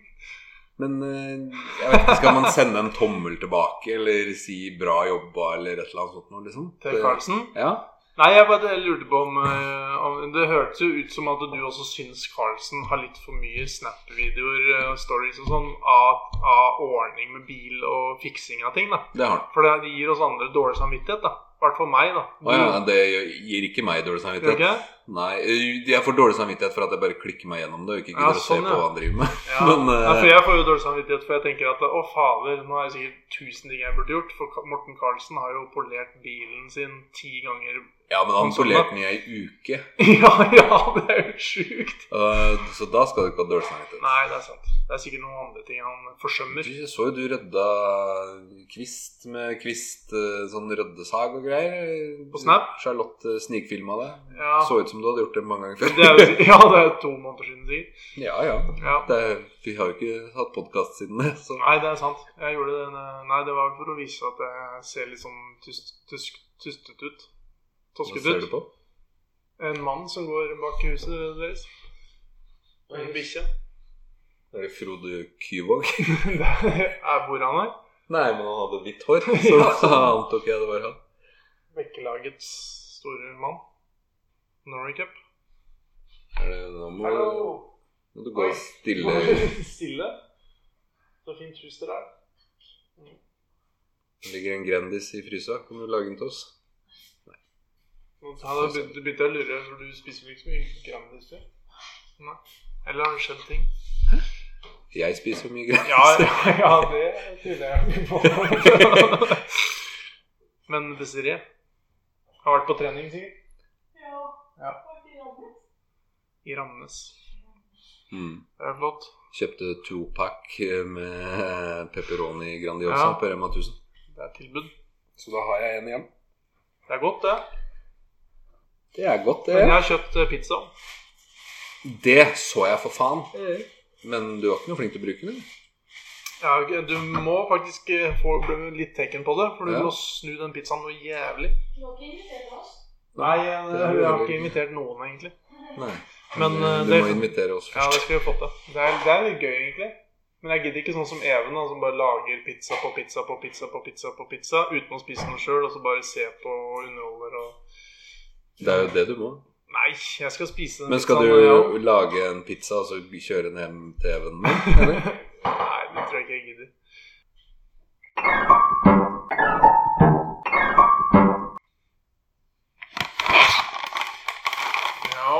[SPEAKER 2] Men eh, jeg vet ikke, skal man sende en tommel tilbake eller si 'bra jobba' eller et eller annet sånt noe, liksom?
[SPEAKER 1] Til Karlsen?
[SPEAKER 2] Ja.
[SPEAKER 1] Nei, jeg bare lurte på om, eh, om Det hørtes jo ut som at du også syns Carlsen har litt for mye Snap-videoer eh, stories og sånn av, av ordning med bil og fiksing av ting. da
[SPEAKER 2] Det har han.
[SPEAKER 1] For det det gir oss andre dårlig samvittighet. da I hvert fall meg, da.
[SPEAKER 2] Å ja, det gir ikke meg dårlig
[SPEAKER 1] Du, Mm. gjør
[SPEAKER 2] samvittighet.
[SPEAKER 1] ikke?
[SPEAKER 2] Nei, eh, Jeg får dårlig samvittighet for at jeg bare klikker meg gjennom det og ikke
[SPEAKER 1] Ja, sånn,
[SPEAKER 2] gidder å se
[SPEAKER 1] ja.
[SPEAKER 2] på hva han driver med.
[SPEAKER 1] Ja.
[SPEAKER 2] Men, eh,
[SPEAKER 1] Nei, for jeg får jo dårlig samvittighet, for jeg tenker at å fader, nå er det sikkert tusen ting jeg burde gjort. For Ka- Morten Karlsen har jo polert bilen sin ti ganger.
[SPEAKER 2] Ja, men han
[SPEAKER 1] Sånn, sånn,
[SPEAKER 2] polerte den i ei uke,
[SPEAKER 1] ja, ja, det er jo sjukt!
[SPEAKER 2] eh, så da skal du ikke ha dårlig samvittighet.
[SPEAKER 1] Nei, det er sant. Det er sikkert noen andre ting han forsømmer.
[SPEAKER 2] Du, jeg så jo du rydda kvist med kvist, eh, sånn røddesag og greier.
[SPEAKER 1] På Snap?
[SPEAKER 2] Charlotte snikfilma det.
[SPEAKER 1] Ja,
[SPEAKER 2] Så ut som du hadde gjort det mange ganger
[SPEAKER 1] det er
[SPEAKER 2] før.
[SPEAKER 1] jo ja, det er to måneder siden sikkert.
[SPEAKER 2] ja, ja.
[SPEAKER 1] Ja.
[SPEAKER 2] Det, er- vi har jo ikke hatt podkast siden det, så
[SPEAKER 1] Nei, det er sant. Jeg gjorde det denne- Nei, det var for å vise at jeg ser litt sånn tus- tus- tustete ut.
[SPEAKER 2] hva
[SPEAKER 1] Tosket
[SPEAKER 2] ser du
[SPEAKER 1] ut.
[SPEAKER 2] på?
[SPEAKER 1] En mann som går bak huset deres. Og en bikkje.
[SPEAKER 2] Er det Frode Kyvåg?
[SPEAKER 1] Det er hvor han er.
[SPEAKER 2] Nei, men han hadde hvitt hår, så
[SPEAKER 1] Ja,
[SPEAKER 2] da antok jeg det var han.
[SPEAKER 1] Bekkelagets store mann. Norway-cup.
[SPEAKER 2] Er det, nå må du, må du gå
[SPEAKER 1] Oi.
[SPEAKER 2] stille.
[SPEAKER 1] Stille. Så fint hus dere er.
[SPEAKER 2] Det ligger en Grendis i frysa. Kan du lage den til oss?
[SPEAKER 1] Nå tar jeg- begynte begynte jeg å lure, for du spiser vel ikke så mye Grandis? du? Nei. Eller har det skjedd ting?
[SPEAKER 2] Jeg spiser jo mye Grendis.
[SPEAKER 1] Ja, ja det tviler jeg ikke på. Men Desiree har vært på trening, sikkert? Ja. I Ramnes.
[SPEAKER 2] Mm.
[SPEAKER 1] Det er flott.
[SPEAKER 2] Kjøpte topack med pepperoni grandiosa
[SPEAKER 1] Ja.
[SPEAKER 2] på Rema 1000.
[SPEAKER 1] Det er tilbud.
[SPEAKER 2] Så da har jeg en igjen.
[SPEAKER 1] Det er godt, det.
[SPEAKER 2] Det er godt,
[SPEAKER 1] Men jeg
[SPEAKER 2] det.
[SPEAKER 1] har kjøpt eh, pizza.
[SPEAKER 2] Det så jeg, for faen. Men du var ikke noe flink til å bruke den?
[SPEAKER 1] Ja, ok, du må faktisk eh, få bli litt taken på det, for du
[SPEAKER 2] Ja.
[SPEAKER 1] må snu den pizzaen noe jævlig.
[SPEAKER 4] Du har ikke invitert oss?
[SPEAKER 1] Nei, eh, jeg,
[SPEAKER 2] det er
[SPEAKER 1] jeg har
[SPEAKER 2] veldig-
[SPEAKER 1] ikke invitert noen, egentlig.
[SPEAKER 2] Nei.
[SPEAKER 1] Men,
[SPEAKER 2] Men,
[SPEAKER 1] eh,
[SPEAKER 2] du
[SPEAKER 1] det-
[SPEAKER 2] må invitere oss
[SPEAKER 1] Ja, det
[SPEAKER 2] først.
[SPEAKER 1] skulle vi fått til. Det er, det er litt gøy, egentlig. Men jeg gidder ikke sånn som Even, da, som bare lager pizza på pizza på pizza på pizza på pizza uten å spise noe sjøl, og så bare se på og underholder og
[SPEAKER 2] Det er jo det du må.
[SPEAKER 1] Nei, jeg skal spise den
[SPEAKER 2] Men skal
[SPEAKER 1] pizzaen, jeg også.
[SPEAKER 2] du lage en pizza og så kjøre den hjem til Even? Eller?
[SPEAKER 1] Nei, det tror jeg ikke jeg gidder. Ja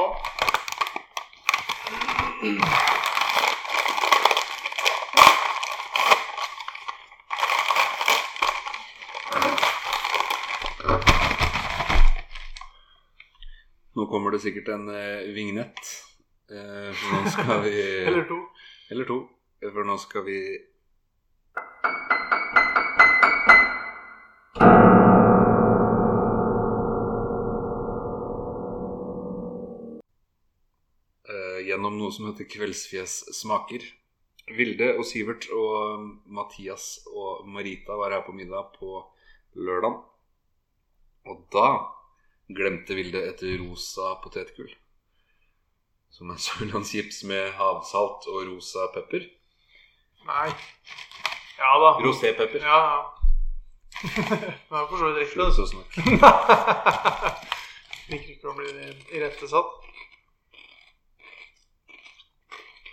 [SPEAKER 2] Nå kommer det sikkert en eh, vignett. Eh, for nå skal vi
[SPEAKER 1] Eller to.
[SPEAKER 2] Eller to. For nå skal vi Eh, Gjennom noe som heter Kveldsfjes smaker. Vilde og Sivert og um, Mathias og Marita var her på middag på lørdag. Og da glemte Vilde et rosa potetgull. Som er sørlandschips med havsalt og rosa pepper.
[SPEAKER 1] Nei. Ja da.
[SPEAKER 2] Rosépepper.
[SPEAKER 1] Ja, ja. Det er sånn. for så vidt riktig. altså. det.
[SPEAKER 2] Slutt å snakke.
[SPEAKER 1] Liker ikke å bli irettesatt.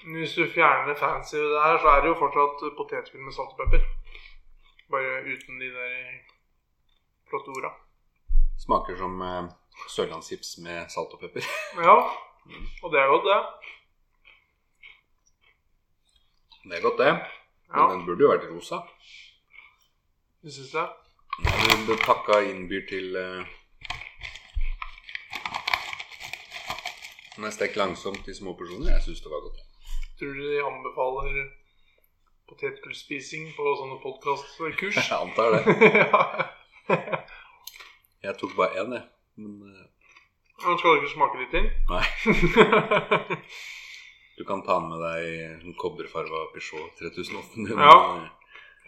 [SPEAKER 1] Men Hvis du fjerner det fancy ved det her, så er det jo fortsatt potetgull med salt og pepper. Bare uten de der flotte orda.
[SPEAKER 2] Smaker som eh, sørlandschips med salt og pepper.
[SPEAKER 1] Ja, og det er godt, det.
[SPEAKER 2] Det er godt, det. Men
[SPEAKER 1] Ja,
[SPEAKER 2] den burde jo vært rosa.
[SPEAKER 1] du syns det?
[SPEAKER 2] Du pakka innbyr til eh, Den er stekt langsomt i små porsjoner. Jeg syns det var godt.
[SPEAKER 1] Tror du de anbefaler potetgullspising på sånne podkastkurs?
[SPEAKER 2] Jeg antar det.
[SPEAKER 1] ja.
[SPEAKER 2] Jeg tok bare én, jeg. Men eh,
[SPEAKER 1] Men Skal du ikke smake litt til?
[SPEAKER 2] Nei.
[SPEAKER 1] Nei.
[SPEAKER 2] du kan ta den med deg en kobberfarga Peugeot 3008. din.
[SPEAKER 1] Ja.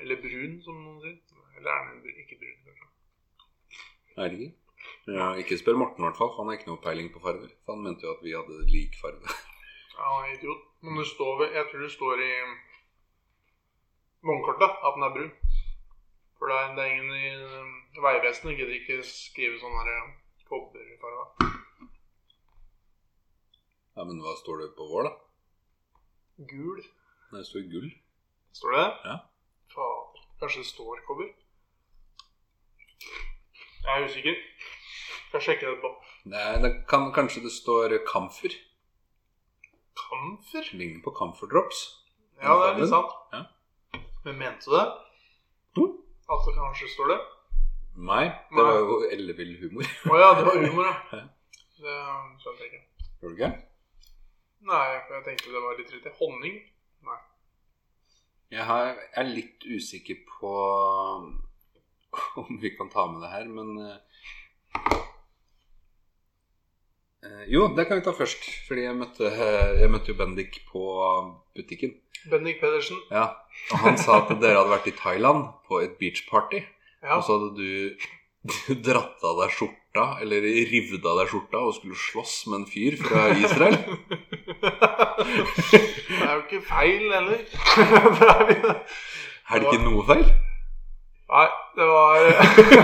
[SPEAKER 1] Eller brun, som noen sier. Eller er den br- ikke brun, kanskje.
[SPEAKER 2] Er det ikke? Ja, ikke spør Morten, i hvert fall. for Han har ikke noe peiling på farger. For han mente jo at vi hadde lik farge.
[SPEAKER 1] Ja, han er idiot. Men det står vel Jeg tror det står i vognkortet at den er brun. For det er, det er ingen i eh, Vegvesenet gidder ikke skrive sånn her eh, kobberfarga.
[SPEAKER 2] Ja, Men hva står det på vår, da?
[SPEAKER 1] Gul.
[SPEAKER 2] Nei, Det står gull.
[SPEAKER 1] Står det?
[SPEAKER 2] Ja.
[SPEAKER 1] Fader. Kanskje det står kobber? Jeg er usikker. Skal sjekke det etterpå.
[SPEAKER 2] Nei, det kan, Kanskje det står kamfer?
[SPEAKER 1] Kamfer?
[SPEAKER 2] Ligner på camphor drops.
[SPEAKER 1] Ja, det er litt sant.
[SPEAKER 2] Ja.
[SPEAKER 1] Men mente du det?
[SPEAKER 2] Mm.
[SPEAKER 1] At det kanskje står det?
[SPEAKER 2] Nei, det var jo ellevill humor.
[SPEAKER 1] Å ja, det var humor, ja.
[SPEAKER 2] Ja.
[SPEAKER 1] Det skjønte jeg ikke.
[SPEAKER 2] Gjorde du ikke?
[SPEAKER 1] Nei, for jeg tenkte det var litt riktig. Honning?
[SPEAKER 2] Jeg har, er litt usikker på om vi kan ta med det her, men eh, eh, Jo, det kan vi ta først. Fordi jeg møtte, eh, jeg møtte jo Bendik på butikken.
[SPEAKER 1] Bendik Pedersen.
[SPEAKER 2] Ja, Og han sa at dere hadde vært i Thailand på et beachparty.
[SPEAKER 1] Ja.
[SPEAKER 2] Og så hadde du, du dratt av deg skjorta, eller revet av deg skjorta, og skulle slåss med en fyr fra Israel.
[SPEAKER 1] det er jo ikke feil heller. det er vi-
[SPEAKER 2] Er det ikke noe feil?
[SPEAKER 1] Nei, det var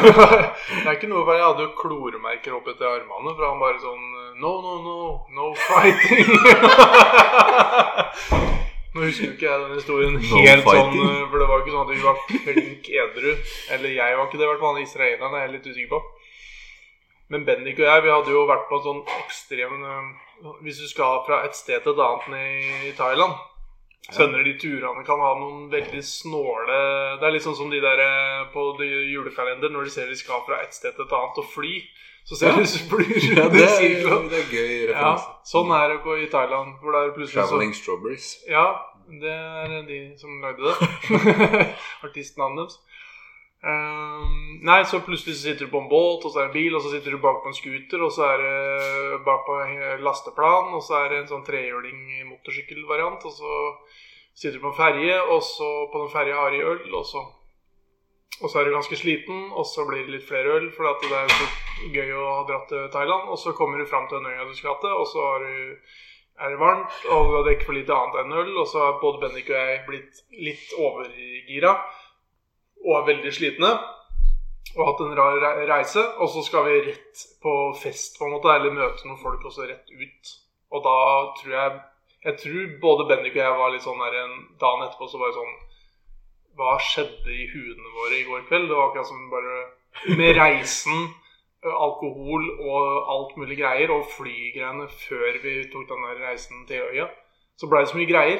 [SPEAKER 1] Det er ikke noe feil. Jeg hadde jo kloremerker opp etter armene, for han bare sånn No, no, no. No fighting. Nå husker jo ikke jeg den historien
[SPEAKER 2] No
[SPEAKER 1] helt
[SPEAKER 2] fighting.
[SPEAKER 1] sånn, eh, for det var ikke sånn at vi var klink edru. Eller jeg var ikke det, i hvert fall. Israelerne er jeg litt usikker på. Men Bendik og jeg, vi hadde jo vært på en sånn ekstrem eh, Hvis du skal fra et sted til et annet ned i Thailand, så hender de turene kan ha noen veldig snåle Det er litt sånn som de der eh, på de julekalender, når de ser de skal fra et sted til et annet og fly, så ser
[SPEAKER 2] Ja.
[SPEAKER 1] de så flyr
[SPEAKER 2] Ja,
[SPEAKER 1] rundt i
[SPEAKER 2] det er,
[SPEAKER 1] sirkler.
[SPEAKER 2] det er gøy
[SPEAKER 1] Ja,
[SPEAKER 2] referanse.
[SPEAKER 1] sånn er det jo i Thailand, hvor det er plutselig så
[SPEAKER 2] Traveling Strawberries.
[SPEAKER 1] ja, det er de som lagde det. Artistnavnet deres. Ehm, nei, så plutselig så sitter du på en båt, og så er det en bil, og så sitter du bak på en scooter, og så er det bak på en lasteplan, og så er det en sånn trehjuling motorsykkelvariant, og så sitter du på en ferje, og så på den ferja har de øl, og så og så er du ganske sliten, og så blir det litt flere øl, for at det er så gøy å ha dratt til Thailand. Og så kommer du fram til den øya du skal til, og så har du, er det varmt, og du har drukket for lite annet enn øl, og så har både Bendik og jeg blitt litt overgira og er veldig slitne. Og har hatt en rar re- reise, og så skal vi rett på fest, på en måte, eller møte noen folk, og så rett ut. Og da tror jeg Jeg tror både Bendik og jeg var litt sånn der en dagen etterpå, så var det sånn hva skjedde i huene våre i går kveld. Det var akkurat som bare med reisen, ø, eh, alkohol og alt mulig greier, og flygreiene før vi tok den der reisen til øya. Så blei det så mye greier.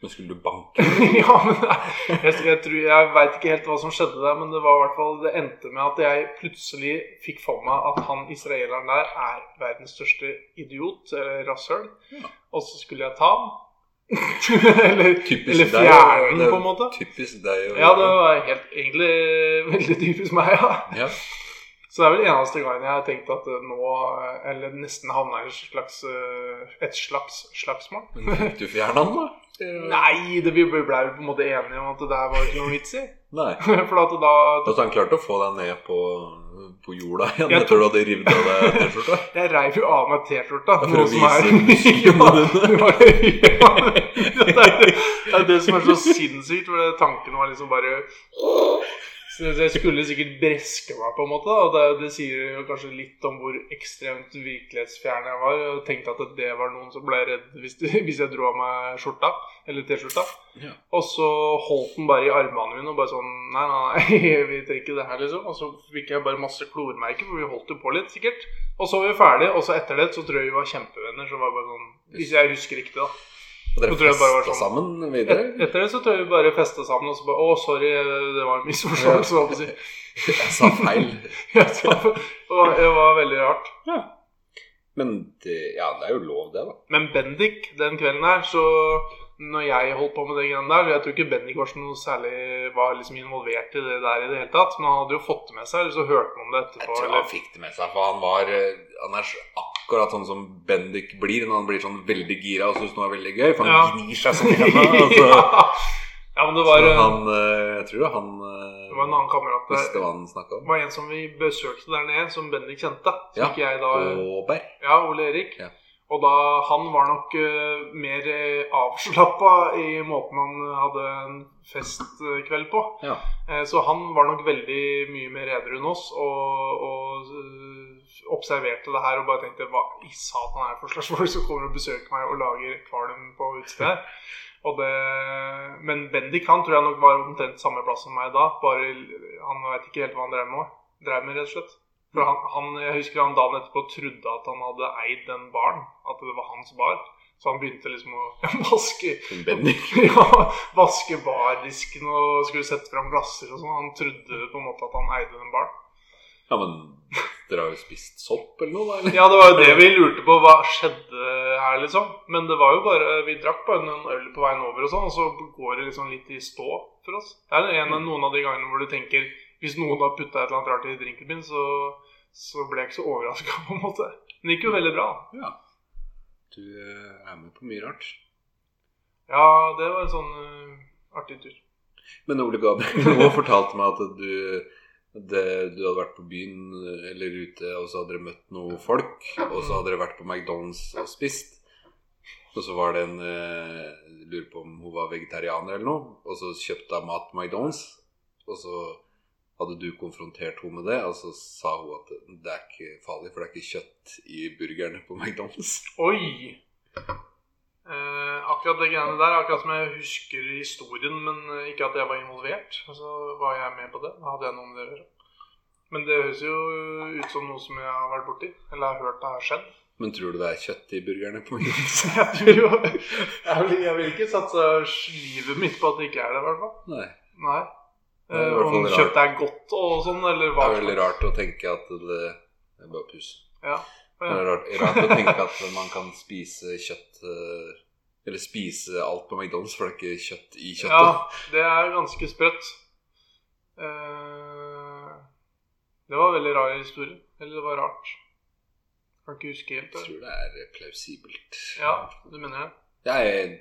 [SPEAKER 2] Men skulle du banke?
[SPEAKER 1] ja, men det- jeg, jeg, tror- jeg veit ikke helt hva som skjedde der, men det var i hvert fall Det endte med at jeg plutselig fikk for meg at han israeleren der er verdens største idiot, eller rasshøl,
[SPEAKER 2] Ja.
[SPEAKER 1] og så skulle jeg ta ham. eller,
[SPEAKER 2] Typisk
[SPEAKER 1] eller
[SPEAKER 2] deg,
[SPEAKER 1] fjerne
[SPEAKER 2] det
[SPEAKER 1] den,
[SPEAKER 2] er
[SPEAKER 1] på en måte.
[SPEAKER 2] Typisk deg. å
[SPEAKER 1] Ja, det
[SPEAKER 2] gjøre.
[SPEAKER 1] var helt, egentlig veldig typisk meg, ja.
[SPEAKER 2] ja.
[SPEAKER 1] Så det er vel eneste gangen jeg har tenkt at eh, nå eh, Eller nesten havna i et slags, eh, et slags slagsmål.
[SPEAKER 2] Men fikk du fjerna den, da?
[SPEAKER 1] Nei, det, vi ble ble på en måte enige om at det der var ikke noe vits i.
[SPEAKER 2] Nei.
[SPEAKER 1] For at da
[SPEAKER 2] Altså, han klarte å få deg ned på, på jorda igjen
[SPEAKER 1] Jeg
[SPEAKER 2] etter du hadde revet av deg T-skjorta?
[SPEAKER 1] Jeg reiv jo av meg T-skjorta.
[SPEAKER 2] Ja, for
[SPEAKER 1] noe
[SPEAKER 2] å
[SPEAKER 1] som er-
[SPEAKER 2] vise musklene
[SPEAKER 1] Ja, det var- ja, det er- det er det som er så sinnssykt, for det- tanken var liksom bare så jeg skulle sikkert breske meg, på en måte. da, Og det, det sier jo kanskje litt om hvor ekstremt virkelighetsfjern jeg var. Jeg tenkte at det var noen som ble redd hvis, hvis jeg dro av meg skjorta, eller T-skjorta.
[SPEAKER 2] Ja.
[SPEAKER 1] Og så holdt den bare i armene mine og bare sånn Nei, nei, nei, vi trenger ikke det her, liksom. Og så fikk jeg bare masse klormerker, for vi holdt jo på litt, sikkert. Og så var vi ferdige, og så etter det så tror jeg vi var kjempevenner. Så var det bare sånn Hvis jeg husker riktig, da.
[SPEAKER 2] Og
[SPEAKER 1] Nå
[SPEAKER 2] dere
[SPEAKER 1] tror jeg bare det var
[SPEAKER 2] festa
[SPEAKER 1] sånn.
[SPEAKER 2] sammen
[SPEAKER 1] Et,
[SPEAKER 2] videre?
[SPEAKER 1] etter det så tror jeg vi bare festa sammen og så bare Å, sorry, det var en misforståelse, hva skal jeg si.
[SPEAKER 2] Jeg sa feil.
[SPEAKER 1] Ja, så- Det var, det var veldig rart.
[SPEAKER 2] Men det, ja, det er jo lov, det, da.
[SPEAKER 1] Men Bendik, den kvelden her, så når jeg holdt på med det greiene der Jeg tror ikke Bendik var, så noe særlig, var liksom involvert i det der i det hele tatt. Men han hadde jo fått det med seg, eller så hørte han om det
[SPEAKER 2] Jeg
[SPEAKER 1] etterpå.
[SPEAKER 2] tror han
[SPEAKER 1] Eller,
[SPEAKER 2] fikk det med seg, for han var eh, Han er så akkurat sånn som Bendik blir når han blir sånn veldig gira og syns noe er veldig gøy. For han
[SPEAKER 1] Ja.
[SPEAKER 2] gnir seg sånn hjemme. Altså.
[SPEAKER 1] ja. ja, men det var,
[SPEAKER 2] Så
[SPEAKER 1] eh,
[SPEAKER 2] han, eh, jeg tror han eh,
[SPEAKER 1] det var en annen kamerat
[SPEAKER 2] visste
[SPEAKER 1] der.
[SPEAKER 2] hva han snakka
[SPEAKER 1] Det
[SPEAKER 2] om.
[SPEAKER 1] var en som vi besøkte der nede, som Bendik kjente. Som
[SPEAKER 2] Ja.
[SPEAKER 1] ikke jeg da
[SPEAKER 2] Åberg.
[SPEAKER 1] Ja, Ole Erik.
[SPEAKER 2] Ja.
[SPEAKER 1] Og da, han var nok eh, mer uh, avslappa i måten han hadde en festkveld på.
[SPEAKER 2] Ja.
[SPEAKER 1] Eh, Så han var nok veldig mye mer edru enn oss og, og øh, observerte det her og bare tenkte hva i satan er det for slags folk som kommer og besøker meg og lager kvalm på utestedet? Og det, men Bendik han tror jeg nok var omtrent samme plass som meg da. Bare l- Han veit ikke helt hva han drev med, drev med rett og slett. For han, han, jeg husker han dagen etterpå trodde at han hadde eid den baren. At det var hans bar. Så han begynte liksom å vaske
[SPEAKER 2] Bendik.
[SPEAKER 1] ja, vaske bardisken og skulle sette fram glasser og sånn. Han trodde på en måte at han eide den baren.
[SPEAKER 2] Ja, men dere har jo spist sopp eller noe, da? Eller?
[SPEAKER 1] Ja, det var jo det vi lurte på. Hva skjedde her, liksom? Men det var jo bare Vi drakk bare noen øl på veien over og sånn, og så går det liksom litt i stå for oss. Det er en av noen av de gangene hvor du tenker Hvis noen har putta et eller annet rart i drinken min, så, så ble jeg ikke så overraska, på en måte. Men det gikk jo veldig bra.
[SPEAKER 2] Ja. Du eh, er med på mye rart.
[SPEAKER 1] Ja, det var en sånn øh, artig tur.
[SPEAKER 2] Men Ole Gabriel nå fortalte meg at du, det, du hadde vært på byen eller ute, og så hadde dere møtt noen folk, og så hadde dere vært på McDonald's og spist. Og så var det en eh, Lurer på om hun var vegetarianer eller noe, og så kjøpte hun mat på McDonald's, og så hadde du konfrontert henne med det, og så sa hun at det er ikke farlig, for det er ikke kjøtt i burgerne på McDonald's.
[SPEAKER 1] Oi! Eh, akkurat det greiene der, akkurat som jeg husker historien, men eh, ikke at jeg var involvert. Så var jeg med på det. Da hadde jeg noe med det å gjøre. Men det høres jo eh, ut som noe som jeg har vært borti, eller har hørt det har skjedd.
[SPEAKER 2] Men tror du det er kjøtt i burgerne på McDonald's?
[SPEAKER 1] Så jeg tror jo Jeg vil, jeg vil ikke satse livet mitt på at det ikke er det, i hvert fall.
[SPEAKER 2] Nei.
[SPEAKER 1] Nei.
[SPEAKER 2] Det er i
[SPEAKER 1] Eh,
[SPEAKER 2] hvert fall
[SPEAKER 1] om
[SPEAKER 2] rart.
[SPEAKER 1] kjøttet er godt og sånn, eller
[SPEAKER 2] Det
[SPEAKER 1] hva
[SPEAKER 2] er veldig rart å tenke at det, det er bare pus.
[SPEAKER 1] Ja.
[SPEAKER 2] Det er rart, rart å tenke at man kan spise kjøtt eh, Eller spise alt på McDonald's, for det er ikke kjøtt i kjøttet.
[SPEAKER 1] Ja, det er ganske sprøtt. Eh, Det var en veldig rar historie. Eller det var rart. Kan ikke huske helt. det.
[SPEAKER 2] Jeg tror det er plausibelt.
[SPEAKER 1] Ja, du mener det?
[SPEAKER 2] Jeg,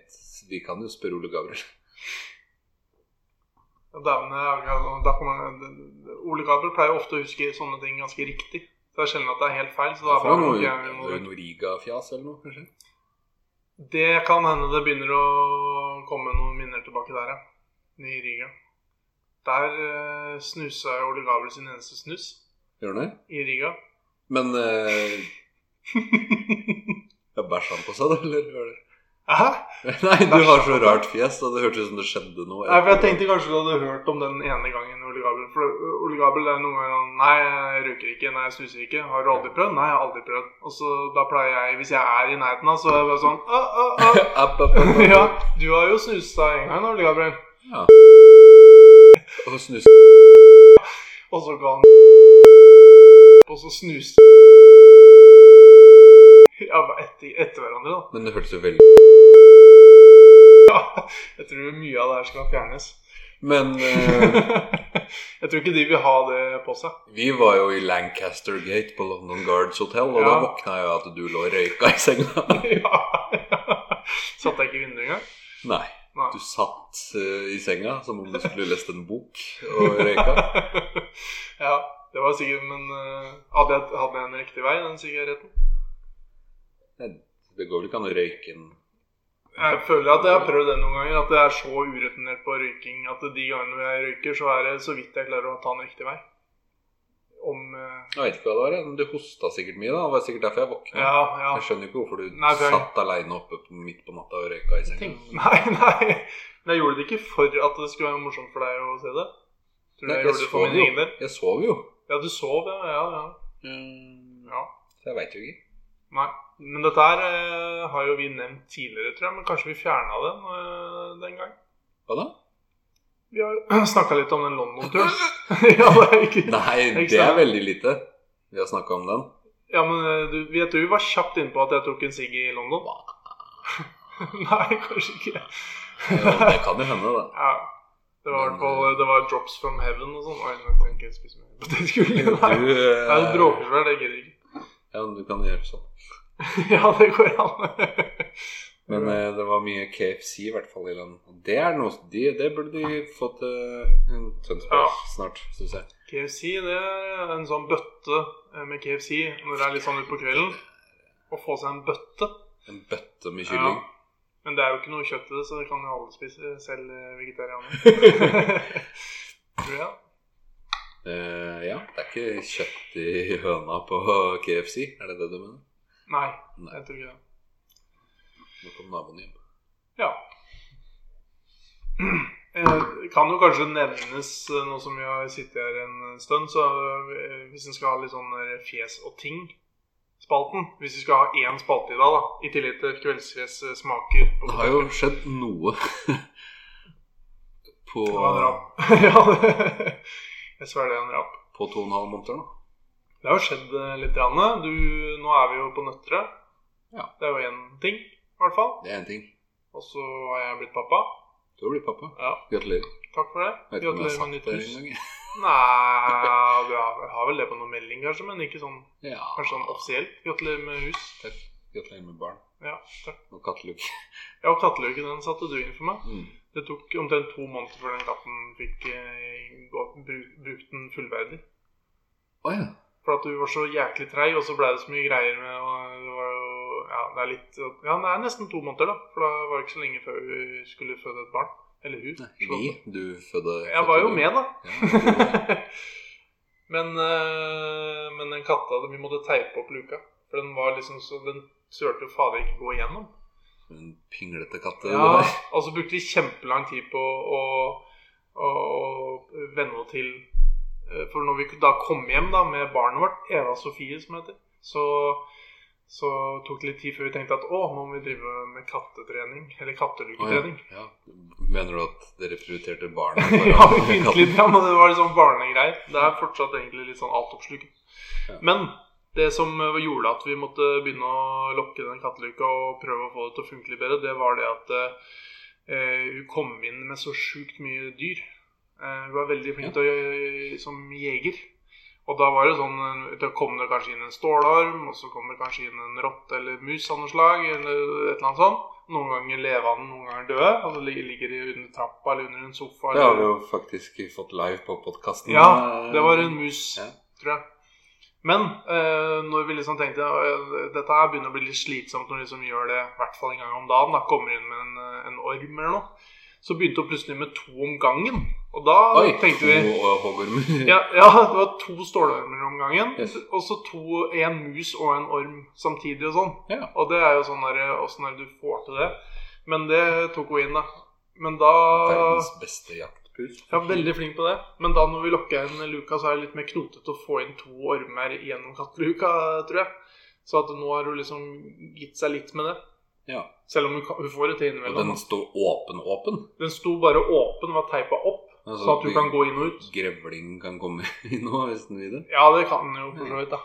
[SPEAKER 2] vi kan jo spørre Ole Gabriel.
[SPEAKER 1] Ja, Dæven, jeg- jeg- da kommer jeg- Ole Gabriel pleier jo ofte å huske sånne ting ganske riktig. Så det er sjelden at det er helt feil. Så da
[SPEAKER 2] Det var
[SPEAKER 1] bare,
[SPEAKER 2] noe,
[SPEAKER 1] ok, vi må
[SPEAKER 2] noe, noe Riga-fjas eller noe, kanskje?
[SPEAKER 1] Det kan hende det begynner å komme noen minner tilbake der, ja. Nede i Riga. Der uh, snusa jo Ole Gabriel sin eneste snus.
[SPEAKER 2] Gjør han det?
[SPEAKER 1] I Riga.
[SPEAKER 2] Men eh, ja, Bæsja han på seg, da? Eller? hva er det?
[SPEAKER 1] Hæ?
[SPEAKER 2] Nei, du har så rart fjes, og det hørtes ut som det skjedde noe.
[SPEAKER 1] Nei, for Jeg tenkte kanskje du hadde hørt om den ene gangen Ole Gabriel For øh, Ole Gabriel er noen ganger sånn Nei, jeg røyker ikke. Nei, jeg snuser ikke. Har du aldri prøvd? Nei, jeg har aldri prøvd. Og så da pleier jeg, hvis jeg er i nærheten av, så er jeg bare sånn «Å, å, å».
[SPEAKER 2] App, app, app, app.
[SPEAKER 1] Ja, du har jo snust deg en gang, Ole Gabriel.
[SPEAKER 2] Og snus
[SPEAKER 1] Og så ga han Og så snuste Ja, bare etter, etter hverandre, da.
[SPEAKER 2] Men det hørtes jo veldig
[SPEAKER 1] Jeg tror mye av det her skal fjernes.
[SPEAKER 2] Men eh,
[SPEAKER 1] Jeg tror ikke de vil ha det på seg.
[SPEAKER 2] vi var jo i Lancaster Gate på London Guards Hotel, og da
[SPEAKER 1] Ja.
[SPEAKER 2] våkna jeg av at du lå og røyka i senga.
[SPEAKER 1] Ja. Satt jeg ikke i vinduet engang?
[SPEAKER 2] Nei.
[SPEAKER 1] Nei.
[SPEAKER 2] Du satt eh, i senga som om du skulle lest en bok og røyka.
[SPEAKER 1] ja, det var sikkert Men eh, hadde, jeg, hadde jeg en riktig vei, den sigaretten?
[SPEAKER 2] Det går vel ikke an å røyke en
[SPEAKER 1] Jeg føler at jeg har prøvd det noen ganger, at jeg er så uretinert på røyking at de gangene jeg røyker, så er det så vidt jeg klarer å ta en riktig vei. Om eh,
[SPEAKER 2] Jeg vet ikke hva det var, jeg, men du hosta sikkert mye, da. Det var sikkert derfor jeg våkna.
[SPEAKER 1] Ja, ja.
[SPEAKER 2] Jeg skjønner jo ikke hvorfor du
[SPEAKER 1] Nei, for jeg-
[SPEAKER 2] satt aleine oppe på- midt på natta og røyka i senga.
[SPEAKER 1] Tenk- Nei, nei. Men jeg gjorde det ikke for at det skulle være morsomt for deg å se det. Tror du
[SPEAKER 2] Nei,
[SPEAKER 1] jeg
[SPEAKER 2] jeg
[SPEAKER 1] gjorde det for
[SPEAKER 2] sov
[SPEAKER 1] min
[SPEAKER 2] jo.
[SPEAKER 1] egen del?
[SPEAKER 2] Jeg sov jo.
[SPEAKER 1] Ja, du sov, ja. ja, ja.
[SPEAKER 2] Mm.
[SPEAKER 1] Ja.
[SPEAKER 2] Så jeg veit jo ikke.
[SPEAKER 1] Nei. Men dette her eh, har jo vi nevnt tidligere, tror jeg. Men kanskje vi fjerna den eh, den gang.
[SPEAKER 2] Hva da?
[SPEAKER 1] Vi har snakka litt om den London-turen. ja, det er ikke
[SPEAKER 2] Nei,
[SPEAKER 1] Ikke
[SPEAKER 2] det er
[SPEAKER 1] sant?
[SPEAKER 2] veldig lite. Vi har snakka om den.
[SPEAKER 1] Ja, men eh, du, jeg tror vi var kjapt innpå at jeg tok en sigg i London. Nei, kanskje ikke.
[SPEAKER 2] Ja, det kan jo hende, da.
[SPEAKER 1] Ja. Det var i hvert fall eh, Det var 'Drops from Heaven' og sånn. Oi, nå tenker jeg å spise mer potetgull.
[SPEAKER 2] Du,
[SPEAKER 1] Nei,
[SPEAKER 2] eh,
[SPEAKER 1] Nei, det bråker seg, det gidder jeg ikke.
[SPEAKER 2] Ja, men du kan gjøre sånn.
[SPEAKER 1] Ja, det går an.
[SPEAKER 2] Men eh, det var mye KFC i hvert fall i den. Og det er noe de, Det burde de fått til Tønsberg
[SPEAKER 1] Ja.
[SPEAKER 2] snart, syns jeg.
[SPEAKER 1] KFC, det er en sånn bøtte eh, med KFC når det er litt sånn utpå kvelden. Å få seg en bøtte.
[SPEAKER 2] En bøtte med kylling.
[SPEAKER 1] Ja. Men det er jo ikke noe kjøtt i det, så det kan jo alle spise, selv eh, vegetarianere. Tror jeg.
[SPEAKER 2] Eh, ja, det er ikke kjøtt i høna på KFC, er det det du mener?
[SPEAKER 1] Nei,
[SPEAKER 2] Nei.
[SPEAKER 1] jeg tror ikke det.
[SPEAKER 2] Nå kom naboen hjem.
[SPEAKER 1] Ja. Eh, kan jo kanskje nevnes, eh, nå som vi har sittet her en stund, så eh, hvis en skal ha litt sånn der fjes og ting-spalten Hvis vi skal ha én spalte i dag, da, i tillegg til Kveldsfjes eh, smaker på
[SPEAKER 2] Det har jo skjedd noe på,
[SPEAKER 1] Det var en rap. ja, det, jeg svelger en rap.
[SPEAKER 2] på to og en halv måneder nå.
[SPEAKER 1] Det har jo skjedd eh, litt. Rann. Du, nå er vi jo på Nøtterøy.
[SPEAKER 2] Ja.
[SPEAKER 1] Det er jo én ting, i hvert fall.
[SPEAKER 2] Det er én ting.
[SPEAKER 1] Og så har jeg blitt pappa.
[SPEAKER 2] Du har blitt pappa.
[SPEAKER 1] Ja,
[SPEAKER 2] Gratulerer.
[SPEAKER 1] Takk for det.
[SPEAKER 2] Jeg vet ikke om jeg har
[SPEAKER 1] med
[SPEAKER 2] sagt
[SPEAKER 1] nytt
[SPEAKER 2] det
[SPEAKER 1] hus.
[SPEAKER 2] engang. jeg.
[SPEAKER 1] Nei, du har, har vel det på noen melding, kanskje, men ikke sånn,
[SPEAKER 2] Ja.
[SPEAKER 1] kanskje sånn offisielt. Gratulerer med hus.
[SPEAKER 2] Takk. Gratulerer med barn
[SPEAKER 1] Ja, takk.
[SPEAKER 2] og katteluke.
[SPEAKER 1] Ja, og katteluken den satte du inn for meg.
[SPEAKER 2] Mm.
[SPEAKER 1] Det tok omtrent to måneder før den katten fikk eh, gå, bru, brukt den fullverdig.
[SPEAKER 2] Å ja.
[SPEAKER 1] For at du var så jæklig treig, og så blei det så mye greier med og det var jo, ja, det er litt, ja, det er nesten to måneder, da. For da var det ikke så lenge før vi skulle føde et barn. Eller hun.
[SPEAKER 2] Vi, du fødte
[SPEAKER 1] Jeg var jo med, da.
[SPEAKER 2] Ja,
[SPEAKER 1] men, eh, men den katta, vi måtte teipe opp luka. For den var liksom så Den turte jo fader ikke gå igjennom.
[SPEAKER 2] en pinglete katt.
[SPEAKER 1] Ja, og så brukte vi kjempelang tid på å, å, å venne henne til eh, For når vi da kom hjem da med barnet vårt, Eva Sofie som heter, så, så tok det litt tid før vi tenkte at å, nå må vi drive med kattetrening. Eller
[SPEAKER 2] Å, ja.
[SPEAKER 1] katteluketrening.
[SPEAKER 2] ja. Mener du at dere prioriterte barna
[SPEAKER 1] Ja, vi begynte litt, ja, men det var litt sånn barnegreier. Det er fortsatt egentlig litt sånn altoppslukende.
[SPEAKER 2] Ja.
[SPEAKER 1] Men det som eh, gjorde at vi måtte begynne å lokke den katteluka og prøve å få det til å funke litt bedre, det var det at eh, hun kom inn med så sjukt mye dyr. Eh, hun var veldig flink til å gjø- som jeger. Og da var det sånn eh, Da kom det kanskje inn en stålarm, og så kom det kanskje inn en rotte eller mus av noe slag. Eller et eller annet sånt. Noen ganger levende, noen ganger døde. Altså lig- ligger de under trappa eller under en sofa.
[SPEAKER 2] Det har vi
[SPEAKER 1] Eller,
[SPEAKER 2] jo faktisk fått live på podkasten.
[SPEAKER 1] Ja, det var en mus.
[SPEAKER 2] Ja.
[SPEAKER 1] tror jeg. Men eh, når vi liksom tenkte eh, dette her begynner å bli litt slitsomt når vi liksom gjør det i hvert fall en gang om dagen, da kommer inn med en, eh, en orm eller noe, så begynte hun plutselig med to om gangen. Og da
[SPEAKER 2] Oi, eh,
[SPEAKER 1] tenkte vi
[SPEAKER 2] to hoggormer.
[SPEAKER 1] ja, ja, det var to stålormer om gangen.
[SPEAKER 2] Yes.
[SPEAKER 1] Og så to, en mus og en orm samtidig og sånn.
[SPEAKER 2] Ja.
[SPEAKER 1] Og det er jo sånn der, åssen er det du får til det? Men det tok hun inn, da. Men da
[SPEAKER 2] Verdens beste jaktpus.
[SPEAKER 1] ja, veldig flink på det. Men da når vi lokker inn luka, så er det litt mer knotete å få inn to ormer gjennom katteluka, tror jeg. Så at nå har hun liksom gitt seg litt med det.
[SPEAKER 2] Ja.
[SPEAKER 1] Selv om hun, kan- hun får det til
[SPEAKER 2] Og den
[SPEAKER 1] innimellom. Den,
[SPEAKER 2] står åpen-åpen.
[SPEAKER 1] den sto bare åpen, var teipa opp,
[SPEAKER 2] Altså,
[SPEAKER 1] sånn at du kan gå inn og ut.
[SPEAKER 2] Grevling kan komme inn nå hvis den vil det.
[SPEAKER 1] Ja, det kan den jo
[SPEAKER 2] Mm.
[SPEAKER 1] for så vidt, da.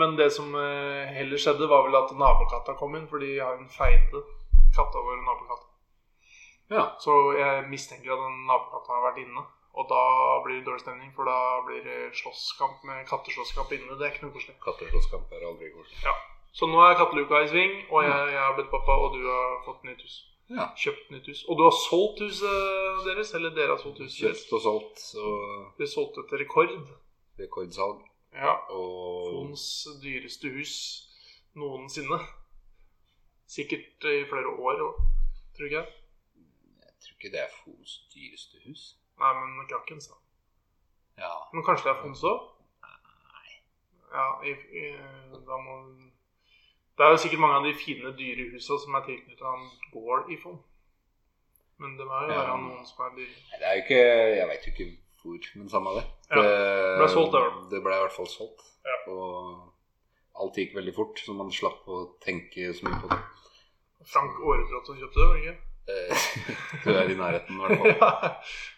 [SPEAKER 1] Men det som eh, heller skjedde, var vel at nabokatta kom inn, for de har en feide, katta vår og nabokatta.
[SPEAKER 2] Ja.
[SPEAKER 1] Så jeg mistenker at den nabokatta har vært inne. Og da blir det dårlig stemning, for da blir det slåsskamp med katteslåsskamp inne. Det er ikke noe koselig.
[SPEAKER 2] Katteslåsskamp er aldri koselig.
[SPEAKER 1] Så nå er katteluka i sving, og jeg, jeg har blitt pappa, og du har fått nytt hus.
[SPEAKER 2] Mm. Ja.
[SPEAKER 1] Kjøpt nytt hus. Og du har solgt huset deres? Eller dere har solgt huset deres?
[SPEAKER 2] Kjøpt og solgt og
[SPEAKER 1] Dere solgte etter rekord.
[SPEAKER 2] rekordsalg.
[SPEAKER 1] Ja.
[SPEAKER 2] Og
[SPEAKER 1] Fons dyreste hus noensinne. Sikkert i flere år òg, tror ikke jeg.
[SPEAKER 2] jeg tror ikke det er Fons dyreste hus.
[SPEAKER 1] Nei, men Krakens, da.
[SPEAKER 2] Ja.
[SPEAKER 1] Men kanskje det er Fons òg? Ja, i, i, da må Det er jo sikkert mange av de fine dyrehusa som er tilknytta en gård i Fon. Men det må jo
[SPEAKER 2] Ja.
[SPEAKER 1] være noen som er dyre.
[SPEAKER 2] Nei, Det er jo ikke Jeg veit jo ikke hvor, men samme det.
[SPEAKER 1] Ja,
[SPEAKER 2] Det
[SPEAKER 1] ble solgt, det vel.
[SPEAKER 2] Det ble i hvert fall solgt.
[SPEAKER 1] Ja.
[SPEAKER 2] Og alt gikk veldig fort, så man slapp å tenke så mye på det.
[SPEAKER 1] Frank Aarebrot som kjøpte det, var det ikke?
[SPEAKER 2] Eh, Du er i nærheten, i hvert fall.
[SPEAKER 1] Ja.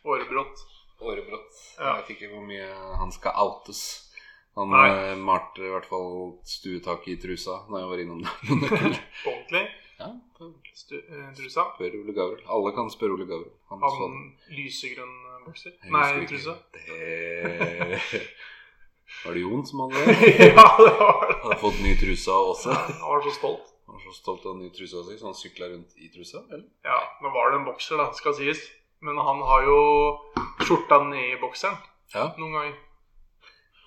[SPEAKER 1] Aarebrot.
[SPEAKER 2] Årebrott.
[SPEAKER 1] Ja.
[SPEAKER 2] Jeg vet ikke hvor mye han skal outes. Han
[SPEAKER 1] Nei.
[SPEAKER 2] eh, malte i hvert fall stuetaket i trusa da jeg var innom der.
[SPEAKER 1] Ordentlig.
[SPEAKER 2] ja,
[SPEAKER 1] Stu- eh, Trusa.
[SPEAKER 2] spør Ole Gabriel. Alle kan spørre Ole Gabriel. Han
[SPEAKER 1] Han
[SPEAKER 2] så den.
[SPEAKER 1] lysegrønn eh, bokser.
[SPEAKER 2] Sånn. Jeg
[SPEAKER 1] Nei, truse.
[SPEAKER 2] husker ikke. Det... Var det Jon som hadde det?
[SPEAKER 1] ja, det var det.
[SPEAKER 2] Han har fått ny trusa også.
[SPEAKER 1] Han var så stolt.
[SPEAKER 2] Han var så stolt av den nye trusa si, så han sykla rundt i trusa? eller?
[SPEAKER 1] Ja, nå var det en bokser, da, skal sies. Men han har jo skjorta ned i bokseren
[SPEAKER 2] Ja.
[SPEAKER 1] noen ganger.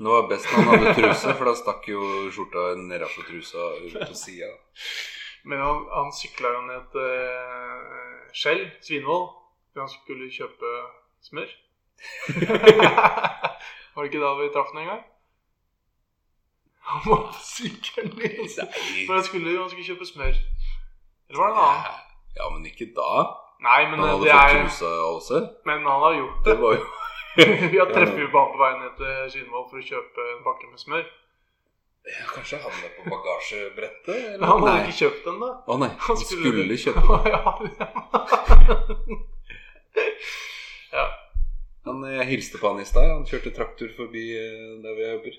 [SPEAKER 2] Det var best når han hadde truse, for da stakk jo skjorta nedafor trusa ut på sida.
[SPEAKER 1] Men han, han sykla jo ned et eh, skjell, Svinvoll, da han skulle kjøpe smør. var det ikke da vi traff ham en gang? Han måtte sykle ned Når jeg skulle, han skulle kjøpe smør. Eller var det en annen?
[SPEAKER 2] Ja, men ikke da.
[SPEAKER 1] Nei, men,
[SPEAKER 2] Han hadde
[SPEAKER 1] det
[SPEAKER 2] fått
[SPEAKER 1] er,
[SPEAKER 2] trusa også.
[SPEAKER 1] men han har gjort
[SPEAKER 2] Det
[SPEAKER 1] det.
[SPEAKER 2] var jo
[SPEAKER 1] Vi har treffet jo på han på vei ned til Svinvoll for å kjøpe en pakke med smør.
[SPEAKER 2] Kanskje han var på bagasjebrettet?
[SPEAKER 1] Men han hadde
[SPEAKER 2] nei.
[SPEAKER 1] ikke kjøpt den, da.
[SPEAKER 2] Å nei, han skulle kjøpe
[SPEAKER 1] den. ja, ja. ja.
[SPEAKER 2] han, Jeg hilste på han i stad. Han kjørte traktor forbi eh, der hvor jeg jobber.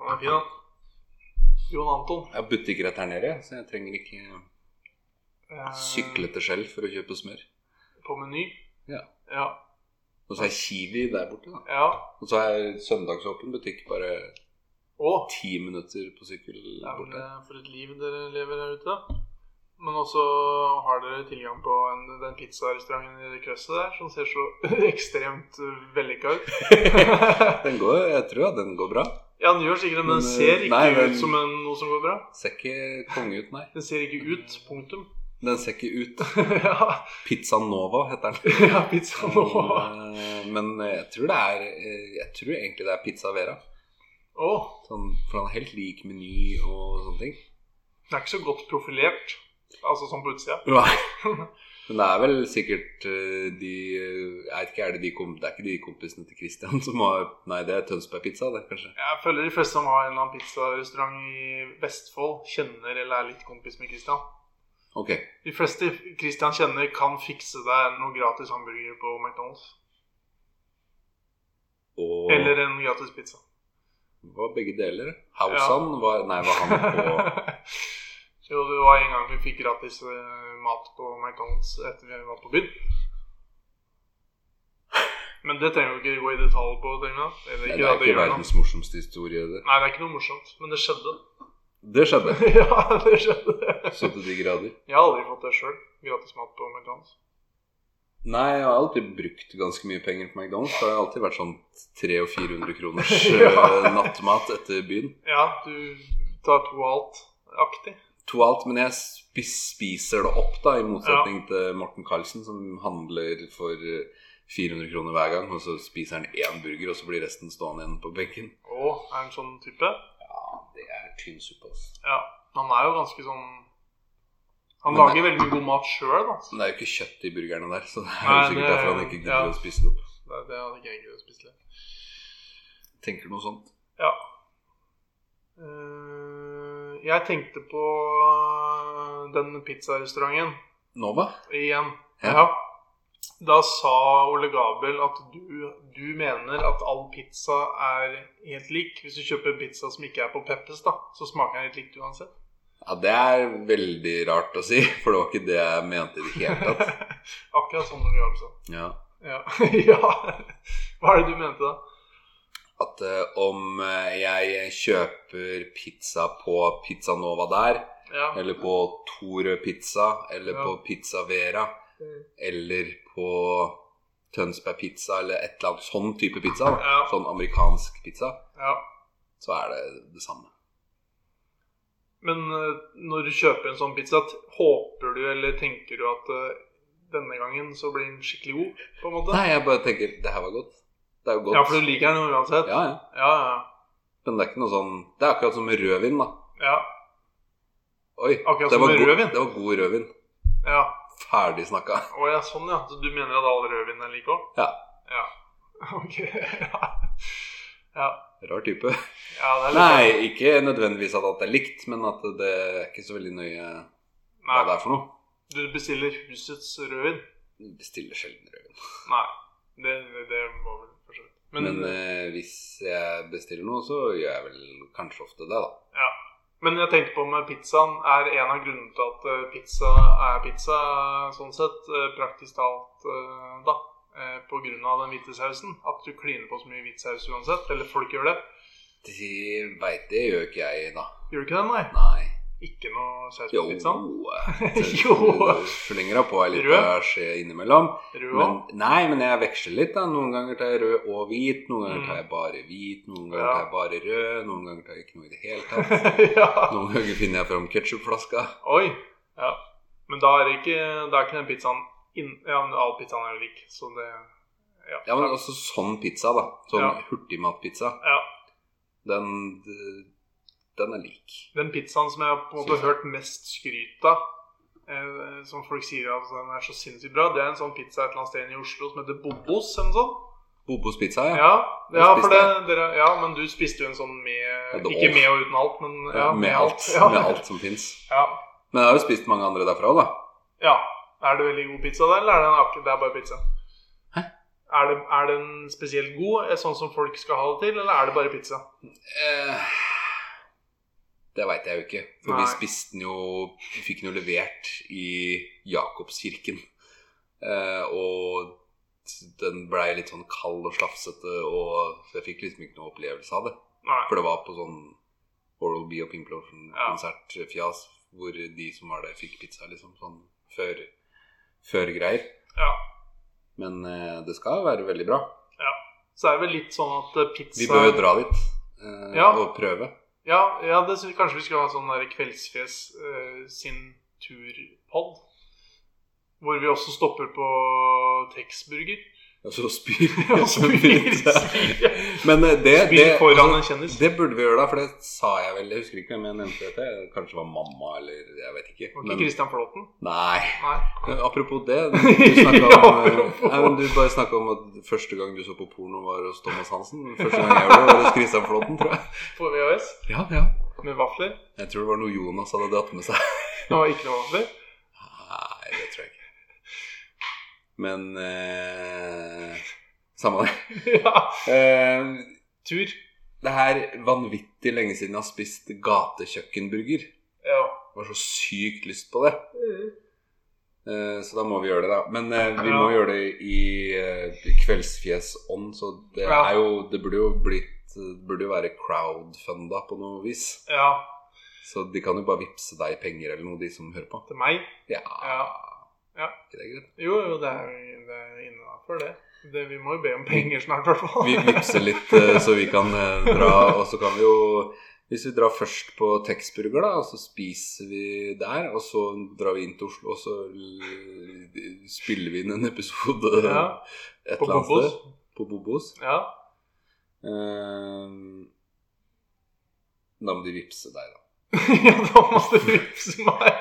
[SPEAKER 1] Han er fin, han. Jon Anton.
[SPEAKER 2] Jeg har butikk rett her nede, så jeg trenger ikke
[SPEAKER 1] Eh,
[SPEAKER 2] syklete skjell for å kjøpe smør.
[SPEAKER 1] På Meny.
[SPEAKER 2] Ja.
[SPEAKER 1] Ja.
[SPEAKER 2] Og så er Kiwi der borte, da.
[SPEAKER 1] ja.
[SPEAKER 2] Og så er søndagsåpen butikk bare
[SPEAKER 1] Å,
[SPEAKER 2] ti minutter på sykkel
[SPEAKER 1] ja, men,
[SPEAKER 2] borte.
[SPEAKER 1] eh, for et liv dere lever her ute. Men også har dere tilgang på en, den pizzarestauranten i det krøsset der, som ser så ekstremt eh, vellykka ut.
[SPEAKER 2] Den går, jeg tror at den går bra.
[SPEAKER 1] ja, den gjør sikkert det, men
[SPEAKER 2] Men,
[SPEAKER 1] den
[SPEAKER 2] eh,
[SPEAKER 1] ser ikke
[SPEAKER 2] nei, men-
[SPEAKER 1] ut som en, noe som går bra.
[SPEAKER 2] Ser ikke konge ut, nei.
[SPEAKER 1] Den ser ikke ut, punktum.
[SPEAKER 2] Den ser ikke ut.
[SPEAKER 1] ja,
[SPEAKER 2] Pizza Nova heter den.
[SPEAKER 1] ja, pizza nå. Å,
[SPEAKER 2] Eh, Men jeg tror det er eh, Jeg tror egentlig det er Pizza Vera. Sånn, for han er helt lik Meny og sånne ting.
[SPEAKER 1] den er ikke så godt profilert, altså sånn på utsida.
[SPEAKER 2] Men det er vel sikkert eh, de Jeg vet ikke, er det de kom, Det er ikke de kompisene til Christian som har Nei, det er Tønsberg Pizza, det, kanskje.
[SPEAKER 1] Jeg føler de fleste som har en eller annen pizzarestaurant i Vestfold, kjenner eller er litt kompis med Christian.
[SPEAKER 2] Ok.
[SPEAKER 1] De fleste Christian kjenner, kan fikse deg noe gratis hamburger på McDonald's.
[SPEAKER 2] Og
[SPEAKER 1] Eller en gratis pizza.
[SPEAKER 2] var begge deler. Hausan var Nei, var han på
[SPEAKER 1] jo, det var en gang vi fikk gratis eh, mat på McDonald's etter vi var på byen. Men det trenger vi ikke gå i detalj på. trenger vi da. Eller
[SPEAKER 2] Nei,
[SPEAKER 1] ikke,
[SPEAKER 2] det
[SPEAKER 1] da,
[SPEAKER 2] er
[SPEAKER 1] det
[SPEAKER 2] ikke
[SPEAKER 1] gjør noe.
[SPEAKER 2] verdens morsomste historie, det.
[SPEAKER 1] Nei, det er ikke noe morsomt. Men det skjedde.
[SPEAKER 2] Det skjedde.
[SPEAKER 1] ja, det skjedde.
[SPEAKER 2] Så til de grader.
[SPEAKER 1] Jeg har aldri fått det sjøl. Gratis mat på McDonald's.
[SPEAKER 2] Nei, jeg har alltid brukt ganske mye penger på McDonald's. Det har alltid vært sånn 300-400 kroners
[SPEAKER 1] Ja.
[SPEAKER 2] eh, nattmat etter byen.
[SPEAKER 1] Ja, du tar to av alt-aktig.
[SPEAKER 2] To alt, men jeg spis, spiser det opp, da, i motsetning til Morten Carlsen, som handler for eh, 400 kroner hver gang, og så spiser han én burger, og så blir resten stående igjen på benken.
[SPEAKER 1] Å, er han sånn type?
[SPEAKER 2] Ja, det er tynn suppe, altså.
[SPEAKER 1] Ja. Han er jo ganske sånn Han
[SPEAKER 2] Men-
[SPEAKER 1] lager veldig mye god mat sjøl, da.
[SPEAKER 2] Men det er jo ikke kjøtt i burgerne der, så det er jo
[SPEAKER 1] Nei,
[SPEAKER 2] sikkert
[SPEAKER 1] det-
[SPEAKER 2] derfor han ikke gidder
[SPEAKER 1] ja.
[SPEAKER 2] å spise det opp.
[SPEAKER 1] Det, det hadde ikke jeg giddet å spise. det.
[SPEAKER 2] Tenker du noe sånt?
[SPEAKER 1] Ja. Eh, jeg tenkte på eh, den pizzarestauranten
[SPEAKER 2] Nova?
[SPEAKER 1] igjen.
[SPEAKER 2] Ja.
[SPEAKER 1] Ja. Da sa Ole Gabel at du, du mener at all pizza er helt lik. Hvis du kjøper en pizza som ikke er på Peppes, da, så smaker den helt likt uansett.
[SPEAKER 2] Ja, det er veldig rart å si, for det var ikke det jeg mente i det hele tatt.
[SPEAKER 1] Akkurat sånn Ole Gabel sa.
[SPEAKER 2] Ja.
[SPEAKER 1] Ja. ja. Hva er det du mente da?
[SPEAKER 2] At eh, om eh, jeg kjøper pizza på Pizza Nova der,
[SPEAKER 1] Ja.
[SPEAKER 2] eller på Torø Pizza, eller
[SPEAKER 1] Ja.
[SPEAKER 2] på Pizza Vera,
[SPEAKER 1] Mm.
[SPEAKER 2] eller på Tønsberg Pizza, eller et eller annet sånn type pizza, da.
[SPEAKER 1] Ja.
[SPEAKER 2] sånn amerikansk pizza,
[SPEAKER 1] ja.
[SPEAKER 2] så er det det samme.
[SPEAKER 1] Men eh, når du kjøper en sånn pizza, t- håper du eller tenker du at eh, denne gangen så blir den skikkelig god, på en måte?
[SPEAKER 2] Nei, jeg bare tenker det her var godt. Det er jo godt.
[SPEAKER 1] Ja, for du liker den jo uansett?
[SPEAKER 2] ja, ja.
[SPEAKER 1] Ja, ja.
[SPEAKER 2] Men det er ikke noe sånn Det er akkurat som rødvin, da.
[SPEAKER 1] ja.
[SPEAKER 2] Oi,
[SPEAKER 1] Akkurat
[SPEAKER 2] det
[SPEAKER 1] som
[SPEAKER 2] var god-
[SPEAKER 1] rødvin?
[SPEAKER 2] Det var god rødvin.
[SPEAKER 1] ja.
[SPEAKER 2] Ferdig snakka.
[SPEAKER 1] Å ja, sånn ja. Så du mener at all rødvin er lik òg?
[SPEAKER 2] Ja.
[SPEAKER 1] ja. Ok. ja. ja.
[SPEAKER 2] Rar type.
[SPEAKER 1] Ja, det er litt sånn.
[SPEAKER 2] Nei, ikke nødvendigvis at alt er likt, men at det er ikke så veldig nøye hva
[SPEAKER 1] Nei.
[SPEAKER 2] det er for noe.
[SPEAKER 1] Du bestiller husets rødvin?
[SPEAKER 2] Du Bestiller sjelden rødvin.
[SPEAKER 1] Nei. Det, det, det må vel for så vidt.
[SPEAKER 2] Men,
[SPEAKER 1] Men, men,
[SPEAKER 2] eh, hvis jeg bestiller noe, så gjør jeg vel kanskje ofte det, da.
[SPEAKER 1] jeg tenkte på med pizzaen er en av grunnene til at eh, pizza er pizza, sånn sett, eh, praktisk talt, eh, da. eh, På grunn av den hvite sausen. At du kliner på så mye hvit saus uansett. Eller folk gjør det.
[SPEAKER 2] Det veit det gjør ikke jeg, da.
[SPEAKER 1] Gjør du ikke det, nei?
[SPEAKER 2] Nei.
[SPEAKER 1] Ikke noe saus på
[SPEAKER 2] Jo,
[SPEAKER 1] pizzaen? sånn? Jo.
[SPEAKER 2] jo. Slenger av på ei lita
[SPEAKER 1] Rød.
[SPEAKER 2] skje innimellom.
[SPEAKER 1] Rød
[SPEAKER 2] Men,
[SPEAKER 1] òg?
[SPEAKER 2] nei, men jeg veksler litt. da Noen ganger tar jeg rød og hvit. Noen ganger
[SPEAKER 1] Mm.
[SPEAKER 2] tar jeg bare hvit, noen ganger
[SPEAKER 1] Ja.
[SPEAKER 2] tar jeg bare rød. Noen ganger tar jeg ikke noe i det hele tatt.
[SPEAKER 1] ja.
[SPEAKER 2] Noen ganger finner jeg fram ketsjupflaska.
[SPEAKER 1] Oi! Ja. Men da er det ikke, da er ikke den pizzaen inn, Ja, men all pizzaen er jo lik, så det Ja.
[SPEAKER 2] Ja, men også sånn pizza, da. Sånn
[SPEAKER 1] Ja.
[SPEAKER 2] hurtigmatpizza.
[SPEAKER 1] Ja.
[SPEAKER 2] Den, eh, den er lik.
[SPEAKER 1] Den pizzaen som jeg på en måte har hørt mest skryt av, eh, som folk sier at den er så sinnssykt bra, det er en sånn pizza et eller annet sted inne i Oslo som heter Bobos eller noe sånt.
[SPEAKER 2] Bobos pizza, ja.
[SPEAKER 1] Ja,
[SPEAKER 2] Den
[SPEAKER 1] ja, for
[SPEAKER 2] spiste
[SPEAKER 1] det,
[SPEAKER 2] jeg.
[SPEAKER 1] dere, ja, men du spiste jo en sånn
[SPEAKER 2] Med
[SPEAKER 1] med
[SPEAKER 2] det
[SPEAKER 1] Ikke
[SPEAKER 2] all.
[SPEAKER 1] med og uten alt, men ja,
[SPEAKER 2] Eh, med, alt,
[SPEAKER 1] Ja.
[SPEAKER 2] med alt som fins.
[SPEAKER 1] Ja.
[SPEAKER 2] Men jeg har jo spist mange andre derfra òg, da.
[SPEAKER 1] ja. Er det veldig god pizza der, eller er det, en, ak- det er bare pizza?
[SPEAKER 2] Hæ?
[SPEAKER 1] Er, det, er den spesielt god, eh, sånn som folk skal ha det til, eller er det bare pizza?
[SPEAKER 2] Eh, det veit jeg jo ikke. For
[SPEAKER 1] Nei.
[SPEAKER 2] vi spiste den jo Vi fikk den jo levert i Jakobskirken. Eh, og den blei litt sånn kald og slafsete, og så jeg fikk liksom ikke noe opplevelse av det.
[SPEAKER 1] Nei.
[SPEAKER 2] For det var på sånn Oral B og Pink
[SPEAKER 1] Ja.
[SPEAKER 2] Plotion-konsertfjas hvor de som var der, fikk pizza, liksom. Sånn før, før greier.
[SPEAKER 1] Ja.
[SPEAKER 2] Men eh, det skal være veldig bra.
[SPEAKER 1] Så er det vel litt sånn at eh, pizza
[SPEAKER 2] Vi bør jo dra dit eh,
[SPEAKER 1] Ja.
[SPEAKER 2] og prøve.
[SPEAKER 1] Ja, ja det synes jeg kanskje vi skulle ha sånn der Kveldsfjes eh, sin turpod. Hvor vi også stopper på Texburger.
[SPEAKER 2] Og så spyr
[SPEAKER 1] Og spyr,
[SPEAKER 2] Men eh, det, det,
[SPEAKER 1] Spiller foran en kjendis.
[SPEAKER 2] det burde vi gjøre, da, for det sa jeg vel. Jeg husker ikke hvem jeg nevnte dette. Kanskje det var mamma, eller jeg vet ikke.
[SPEAKER 1] Var ikke
[SPEAKER 2] Men,
[SPEAKER 1] Christian Flåten?
[SPEAKER 2] nei.
[SPEAKER 1] Nei.
[SPEAKER 2] Men Apropos det, du, snakket
[SPEAKER 1] Ja,
[SPEAKER 2] om, eh,
[SPEAKER 1] apropos.
[SPEAKER 2] nei, men du bare snakka om at første gang du så på porno, var hos Thomas Hansen. men Første gang jeg gjorde det, var hos Christian Flåten, tror jeg.
[SPEAKER 1] På VHS?
[SPEAKER 2] Ja, ja.
[SPEAKER 1] Med vafler?
[SPEAKER 2] Jeg tror det var noe Jonas hadde dratt med seg.
[SPEAKER 1] Det var ikke noe vafler?
[SPEAKER 2] Nei, det tror jeg ikke. Men eh, Samme det.
[SPEAKER 1] Ja.
[SPEAKER 2] Eh,
[SPEAKER 1] Tur.
[SPEAKER 2] det er vanvittig lenge siden jeg har spist gatekjøkkenburger.
[SPEAKER 1] Ja.
[SPEAKER 2] Jeg har så sykt lyst på det. Eh, Så da må vi gjøre det, da. Men eh, vi
[SPEAKER 1] Mm. Ja.
[SPEAKER 2] må gjøre det i eh, kveldsfjesånd, så det
[SPEAKER 1] Ja.
[SPEAKER 2] er jo Det burde jo blitt eh, det burde jo være crowdfunda på noe vis.
[SPEAKER 1] Ja,
[SPEAKER 2] Så de kan jo bare vippse deg penger eller noe, de som hører på.
[SPEAKER 1] til meg?
[SPEAKER 2] Ja,
[SPEAKER 1] Ja.
[SPEAKER 2] Ikke det er greit.
[SPEAKER 1] Jo, jo, det er, det er innafor, det. det. Vi må jo be om penger snart, i hvert fall.
[SPEAKER 2] Vi vippser litt eh, så vi kan eh, dra, og så kan vi jo hvis vi drar først på Texburger, da, og så spiser vi der, og så drar vi inn til Oslo, og så l- spiller vi inn en episode
[SPEAKER 1] Ja.
[SPEAKER 2] et
[SPEAKER 1] På
[SPEAKER 2] eller annet sted.
[SPEAKER 1] Bobos.
[SPEAKER 2] På Bobos.
[SPEAKER 1] Ja.
[SPEAKER 2] Ehm, Da må de vippse deg, da.
[SPEAKER 1] ja, da må du vippse meg.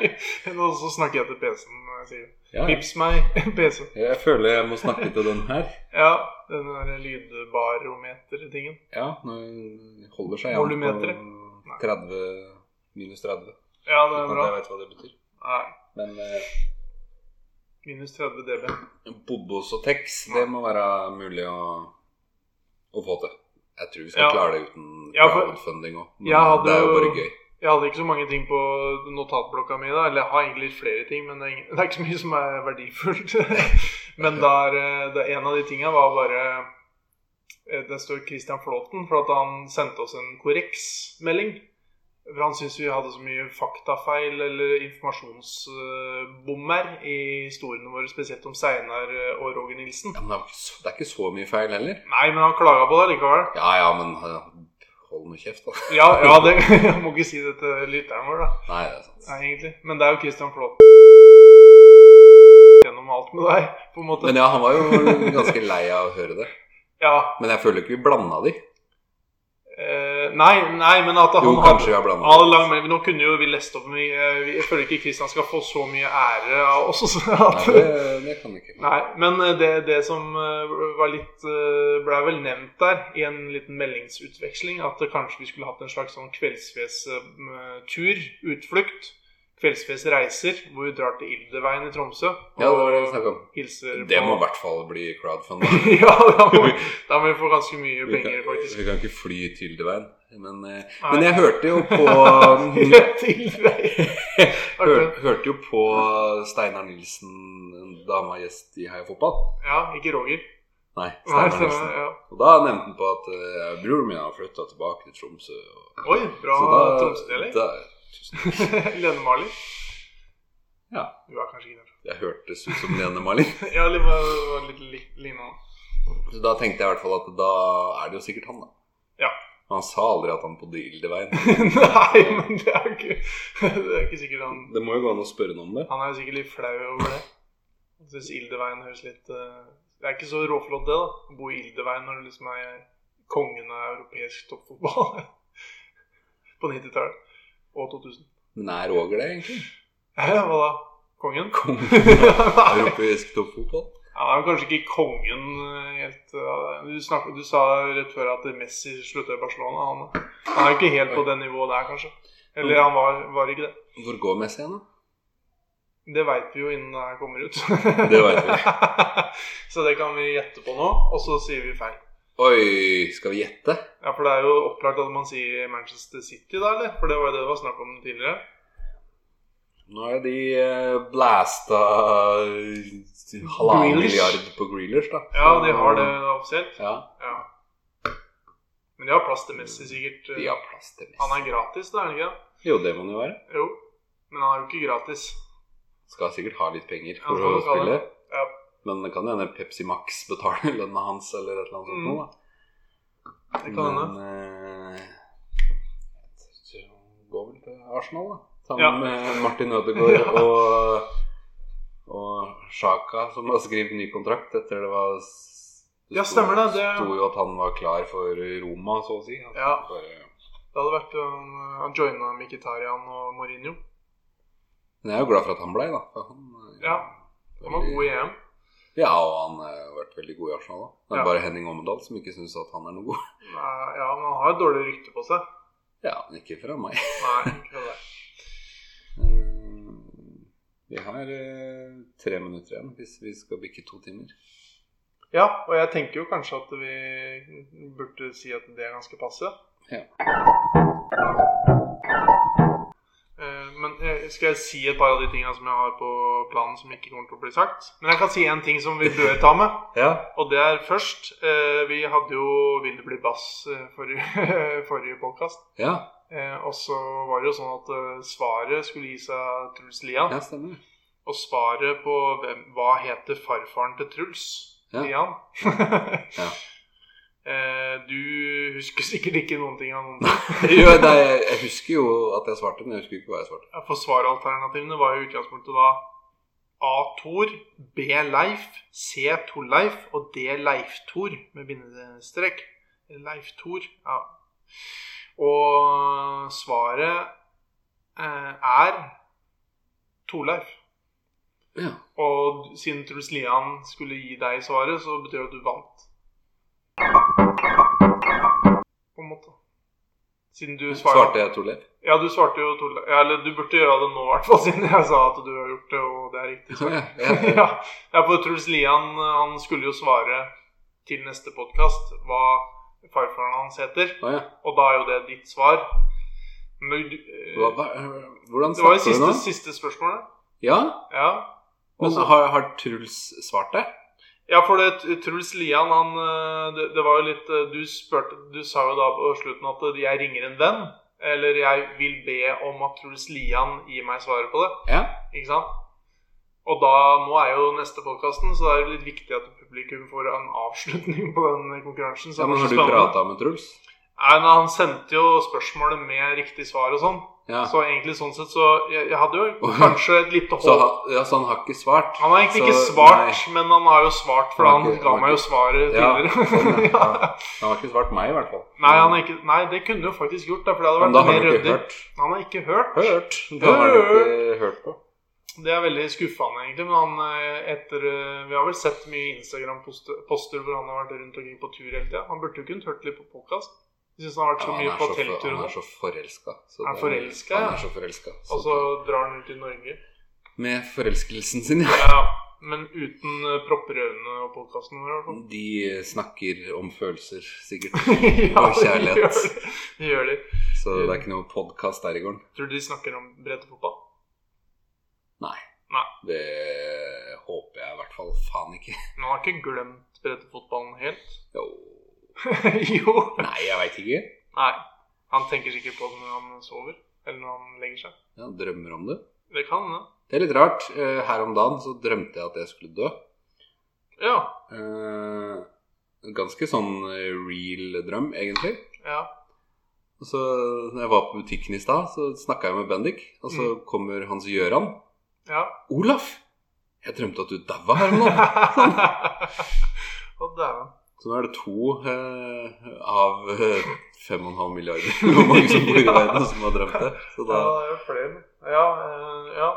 [SPEAKER 1] Og så snakker jeg til PC-en når jeg sier det.
[SPEAKER 2] Ja, ja.
[SPEAKER 1] Vips meg, PC.
[SPEAKER 2] Jeg føler jeg må snakke til den her.
[SPEAKER 1] Ja, den der lydbarometer-tingen.
[SPEAKER 2] Ja, nå holder seg
[SPEAKER 1] Volumetret?
[SPEAKER 2] på 30 minus 30.
[SPEAKER 1] Ja, det er
[SPEAKER 2] Uten
[SPEAKER 1] bra.
[SPEAKER 2] at jeg vet hva det betyr.
[SPEAKER 1] Nei,
[SPEAKER 2] Men eh,
[SPEAKER 1] minus 30 dB.
[SPEAKER 2] Bobos og Tex, det må være mulig å, å få til. Jeg tror vi skal
[SPEAKER 1] Ja.
[SPEAKER 2] klare det uten
[SPEAKER 1] Ja, for-
[SPEAKER 2] crowdfunding òg.
[SPEAKER 1] Ja, det
[SPEAKER 2] det er jo
[SPEAKER 1] er
[SPEAKER 2] bare
[SPEAKER 1] jo-
[SPEAKER 2] gøy.
[SPEAKER 1] Jeg hadde ikke så mange ting på notatblokka mi da. Eller jeg har egentlig litt flere ting, men det er, ing- det er ikke så mye som er verdifullt. men der, eh, det, en av de tinga var bare eh, Det står Christian Flåten, for at han sendte oss en korreksmelding. For han syntes vi hadde så mye faktafeil eller informasjonsbommer eh, i historiene våre, spesielt om Seinar eh, og Roger Nilsen.
[SPEAKER 2] Ja, men det er jo ikke så- det er ikke så mye feil heller.
[SPEAKER 1] Nei, men han klaga på det likevel.
[SPEAKER 2] Ja ja, men eh, hold nå kjeft, da.
[SPEAKER 1] Ja, ja det, jeg må ikke si det til lytteren vår, da.
[SPEAKER 2] Nei, det er sant.
[SPEAKER 1] Nei, egentlig. Men det er jo Christian Flåten gjennom alt med deg, på en måte.
[SPEAKER 2] Men ja, han var jo ganske lei av å høre det.
[SPEAKER 1] Ja.
[SPEAKER 2] Men jeg føler ikke vi blanda de.
[SPEAKER 1] Eh, nei, nei, men at han
[SPEAKER 2] Jo,
[SPEAKER 1] hadde-
[SPEAKER 2] kanskje vi har blanda
[SPEAKER 1] Ja, det er lang melding. Nå kunne jo vi lest opp mye eh, vi- Jeg føler ikke Christian skal få så mye ære av oss. så
[SPEAKER 2] Nei,
[SPEAKER 1] At,
[SPEAKER 2] det, det kan vi ikke.
[SPEAKER 1] Nei, men eh, det, det som eh, var litt eh, ble vel nevnt der i en liten meldingsutveksling, at eh, kanskje vi skulle hatt en slags sånn kveldsfjes-tur, utflukt. Kveldsfjes reiser, hvor vi drar til Ildeveien i Tromsø.
[SPEAKER 2] Ja, det var det
[SPEAKER 1] og
[SPEAKER 2] vi snakket om.
[SPEAKER 1] hilser
[SPEAKER 2] Det
[SPEAKER 1] på-
[SPEAKER 2] må i hvert fall bli crowdfunding.
[SPEAKER 1] ja, da må, vi, da må vi få ganske mye
[SPEAKER 2] Vi kan,
[SPEAKER 1] penger, faktisk.
[SPEAKER 2] vi kan ikke fly til Devein. Men, eh,
[SPEAKER 1] Nei.
[SPEAKER 2] men jeg hørte jo på um,
[SPEAKER 1] Til deg.
[SPEAKER 2] hør, Hørte jo på Steinar Nilsen, da han var gjest i Heia Fotball.
[SPEAKER 1] Ja, ikke Roger.
[SPEAKER 2] Nei,
[SPEAKER 1] Nei,
[SPEAKER 2] Steinar
[SPEAKER 1] stemmer.
[SPEAKER 2] Nilsen.
[SPEAKER 1] Ja.
[SPEAKER 2] Og da nevnte han på at eh, broren min har flytta tilbake til Tromsø. Og,
[SPEAKER 1] Oi, bra
[SPEAKER 2] så da,
[SPEAKER 1] Tromsø-deling.
[SPEAKER 2] da
[SPEAKER 1] Lene Marlin.
[SPEAKER 2] Ja.
[SPEAKER 1] Du er kanskje ikke derfra.
[SPEAKER 2] Jeg hørtes ut som Lene Marlin.
[SPEAKER 1] Ja, det var, det var litt li- lignende.
[SPEAKER 2] Så da tenkte jeg i hvert fall at da er det jo sikkert han, da.
[SPEAKER 1] Ja.
[SPEAKER 2] Men han sa aldri at han bodde i Ildeveien.
[SPEAKER 1] Nei, men det er jo ikke Det er ikke sikkert han
[SPEAKER 2] Det må jo gå an å spørre noen om det.
[SPEAKER 1] Han er jo sikkert litt flau over det. Jeg syns Ildeveien høres litt eh, Det er ikke så råflott, det, da. Å bo i Ildeveien når du liksom er kongen av europeisk toppfotball på 90-tallet og 2000.
[SPEAKER 2] Men er Roger det, egentlig?
[SPEAKER 1] Hæ, hva da? Kongen?
[SPEAKER 2] Kongen av
[SPEAKER 1] Nei.
[SPEAKER 2] europeisk toppfotball?
[SPEAKER 1] Han er jo kanskje ikke kongen eh, helt eh, du, snakket, du sa rett før at Messi slutta i Barcelona. Han, han er jo ikke helt på det nivået der, kanskje. Eller han var, var ikke det.
[SPEAKER 2] Hvor går Messi hen, da?
[SPEAKER 1] Det veit vi jo innen det her kommer ut.
[SPEAKER 2] Det vet
[SPEAKER 1] så det kan vi gjette på nå, og så sier vi feil.
[SPEAKER 2] Oi, skal vi gjette?
[SPEAKER 1] Ja, For det er jo opplagt at man sier Manchester City, da, eller? For det var jo det det var snakk om tidligere.
[SPEAKER 2] Nå er de eh, blæsta eh, halvannen
[SPEAKER 1] Grealish.
[SPEAKER 2] milliard på Grealish, da.
[SPEAKER 1] Ja, de har det offisielt.
[SPEAKER 2] Ja,
[SPEAKER 1] Ja. Men de har plass til Messi, sikkert. eh,
[SPEAKER 2] de har plass til
[SPEAKER 1] Han
[SPEAKER 2] Messi.
[SPEAKER 1] er gratis, da, er han ikke det?
[SPEAKER 2] Jo, det må han jo være.
[SPEAKER 1] Jo. Men han er jo ikke gratis.
[SPEAKER 2] Skal sikkert ha litt penger
[SPEAKER 1] Ja,
[SPEAKER 2] for
[SPEAKER 1] det
[SPEAKER 2] å
[SPEAKER 1] kan han.
[SPEAKER 2] spille.
[SPEAKER 1] Ja.
[SPEAKER 2] Men det kan jo hende Pepsi Max betaler lønna hans, eller et eller annet sånt
[SPEAKER 1] Mm.
[SPEAKER 2] noe, da.
[SPEAKER 1] Det kan hende.
[SPEAKER 2] Men eh, jeg tror han går vel til Arsenal, da. Sammen
[SPEAKER 1] Ja.
[SPEAKER 2] med Martin Ødegaard
[SPEAKER 1] Ja.
[SPEAKER 2] og, og Sjaka, som har skrevet ny kontrakt etter det var s-
[SPEAKER 1] Ja, stemmer det, det-
[SPEAKER 2] sto jo at han var klar for Roma, så å si. At
[SPEAKER 1] Ja.
[SPEAKER 2] han bare-
[SPEAKER 1] Det hadde vært um, Han joina Mkhitarian og Mourinho.
[SPEAKER 2] Men jeg er jo glad for at han blei, da. For han, eh,
[SPEAKER 1] Ja. Han var god i EM.
[SPEAKER 2] Ja, og han eh, har vært veldig god i Arsenal, da. Det er
[SPEAKER 1] Ja.
[SPEAKER 2] bare Henning Ommedal som ikke syns at han er noe god.
[SPEAKER 1] Nei, Ja, men han har et dårlig rykte på seg.
[SPEAKER 2] Ja, men ikke fra meg.
[SPEAKER 1] Nei, ikke det.
[SPEAKER 2] Eh, Vi har eh, tre minutter igjen hvis vi skal bikke to timer.
[SPEAKER 1] Ja, og jeg tenker jo kanskje at vi burde si at det er ganske passe.
[SPEAKER 2] Ja.
[SPEAKER 1] Eh, Men eh, skal jeg si et par av de tingene som jeg har på planen som ikke kommer til å bli sagt. Men jeg kan si en ting som vi bør ta med.
[SPEAKER 2] Ja.
[SPEAKER 1] Og det er først eh, Vi hadde jo 'Vil det bli bass' eh, forrige, forrige podkast.
[SPEAKER 2] Ja,
[SPEAKER 1] Eh, og så var det jo sånn at eh, svaret skulle gi seg Truls Lian.
[SPEAKER 2] ja stemmer.
[SPEAKER 1] Og svaret på hvem, hva heter farfaren til Truls
[SPEAKER 2] Ja.
[SPEAKER 1] Lian
[SPEAKER 2] Ja.
[SPEAKER 1] eh, Du husker sikkert ikke noen ting av noen ting.
[SPEAKER 2] Jo, nei, jeg- jeg husker jo at jeg svarte, men jeg husker ikke hva jeg svarte.
[SPEAKER 1] For svaralternativene var jo i utgangspunktet da A. Tor, B. Leif, C. Torleif og D. Leif-Tor med bindestrek. Leif-Tor. Ja. Og svaret eh, er Torleif.
[SPEAKER 2] Ja.
[SPEAKER 1] Og siden Truls Lian skulle gi deg svaret, så betyr det at du vant. På en måte. Siden du svarte
[SPEAKER 2] Svarte jeg Torleif?
[SPEAKER 1] Ja, du svarte jo Torleif. Ja, eller du burde gjøre det nå, i hvert fall, siden jeg sa at du har gjort det, og det er riktig svar.
[SPEAKER 2] Ja, ja.
[SPEAKER 1] ja. ja, for Truls Lian han skulle jo svare til neste podkast hva farfaren hans heter,
[SPEAKER 2] Å, ja.
[SPEAKER 1] og da er jo det ditt svar. Men du, eh,
[SPEAKER 2] Hva, hva, hvordan
[SPEAKER 1] det var jo
[SPEAKER 2] snakker du
[SPEAKER 1] siste,
[SPEAKER 2] nå?
[SPEAKER 1] siste spørsmålet.
[SPEAKER 2] Ja,
[SPEAKER 1] Ja.
[SPEAKER 2] men
[SPEAKER 1] Også-
[SPEAKER 2] har, har Truls svart det?
[SPEAKER 1] Ja, for det, Truls Lian, han eh, Det, det var jo litt eh, du, spurte, du sa jo da på slutten at eh, jeg ringer en venn. Eller jeg vil be om at Truls Lian gir meg svaret på det.
[SPEAKER 2] Ja.
[SPEAKER 1] Ikke sant? Og da, nå er jo neste podkasten, så det er jo litt viktig at publikum får en avslutning på den konkurransen. Så det
[SPEAKER 2] ja men
[SPEAKER 1] blir
[SPEAKER 2] har du
[SPEAKER 1] spennende.
[SPEAKER 2] prata med Truls?
[SPEAKER 1] Nei, men Han sendte jo spørsmålet med riktig svar og sånn.
[SPEAKER 2] Ja. Så,
[SPEAKER 1] Så egentlig sånn sett så Jeg, jeg hadde jo
[SPEAKER 2] Å, ja.
[SPEAKER 1] kanskje et lite håp.
[SPEAKER 2] ha- ja, så han har ikke svart?
[SPEAKER 1] Han har egentlig
[SPEAKER 2] Så-
[SPEAKER 1] ikke svart, men han har jo svart, for
[SPEAKER 2] Han
[SPEAKER 1] han,
[SPEAKER 2] har ikke-
[SPEAKER 1] ga
[SPEAKER 2] han har
[SPEAKER 1] meg jo
[SPEAKER 2] ikke-
[SPEAKER 1] svaret
[SPEAKER 2] Ja,
[SPEAKER 1] tidligere.
[SPEAKER 2] sånn, ja.
[SPEAKER 1] Ja.
[SPEAKER 2] Han har ikke svart meg, i hvert fall.
[SPEAKER 1] Nei, han er ikke, nei, det kunne jo faktisk gjort, da, for det hadde
[SPEAKER 2] Men da
[SPEAKER 1] vært
[SPEAKER 2] har
[SPEAKER 1] mer
[SPEAKER 2] du ikke
[SPEAKER 1] ryddig.
[SPEAKER 2] hørt.
[SPEAKER 1] Han har ikke hørt.
[SPEAKER 2] Hørt? Da har du ikke hørt på.
[SPEAKER 1] Det er veldig skuffende, egentlig. Men han eh, etter eh, Vi har vel sett mye Instagram-poster hvor han har vært rundt omkring på tur hele tida. Han burde jo kunnet hørt litt på podkast. Jeg syns han har vært så
[SPEAKER 2] Ja,
[SPEAKER 1] mye
[SPEAKER 2] han, er
[SPEAKER 1] på
[SPEAKER 2] så for,
[SPEAKER 1] telttur
[SPEAKER 2] han
[SPEAKER 1] og
[SPEAKER 2] er
[SPEAKER 1] sånn.
[SPEAKER 2] så forelska. så
[SPEAKER 1] Han er
[SPEAKER 2] det-
[SPEAKER 1] forelska,
[SPEAKER 2] Han
[SPEAKER 1] ja.
[SPEAKER 2] er så forelska. så-
[SPEAKER 1] Og så drar han ut i Norge.
[SPEAKER 2] Med forelskelsen sin, ja.
[SPEAKER 1] Ja, men uten eh, propper i øynene og podkasten vår, i hvert fall.
[SPEAKER 2] De snakker om følelser, sikkert.
[SPEAKER 1] Ja,
[SPEAKER 2] Og
[SPEAKER 1] det
[SPEAKER 2] kjærlighet.
[SPEAKER 1] gjør de. Det gjør de.
[SPEAKER 2] Så det er ikke noe podkast der i gården.
[SPEAKER 1] Tror du de snakker om breddefotball?
[SPEAKER 2] Det håper jeg i hvert fall faen ikke.
[SPEAKER 1] Men han har ikke glemt breddefotballen helt.
[SPEAKER 2] Jo.
[SPEAKER 1] jo.
[SPEAKER 2] Nei, jeg veit ikke.
[SPEAKER 1] Nei. Han tenker sikkert på det når han sover. Eller når han legger seg.
[SPEAKER 2] Jeg drømmer om det.
[SPEAKER 1] Det kan hende.
[SPEAKER 2] Det er litt rart. Eh, Her om dagen så drømte jeg at jeg skulle dø.
[SPEAKER 1] Ja.
[SPEAKER 2] Eh, Ganske sånn eh, real drøm, egentlig.
[SPEAKER 1] Ja.
[SPEAKER 2] Og så når jeg var på butikken i stad, så snakka jeg med Bendik, og så
[SPEAKER 1] Mm.
[SPEAKER 2] kommer Hans Gjøran.
[SPEAKER 1] Ja.
[SPEAKER 2] 'Olaf, jeg drømte at du daua her om dagen.'
[SPEAKER 1] Å, dæven.
[SPEAKER 2] Så nå er det to eh, av eh, fem og en halv milliarder hvor mange som bor i
[SPEAKER 1] Ja.
[SPEAKER 2] verden, som har drømt det. Så
[SPEAKER 1] Ja,
[SPEAKER 2] da
[SPEAKER 1] det er jo flere. Ja, eh, ja.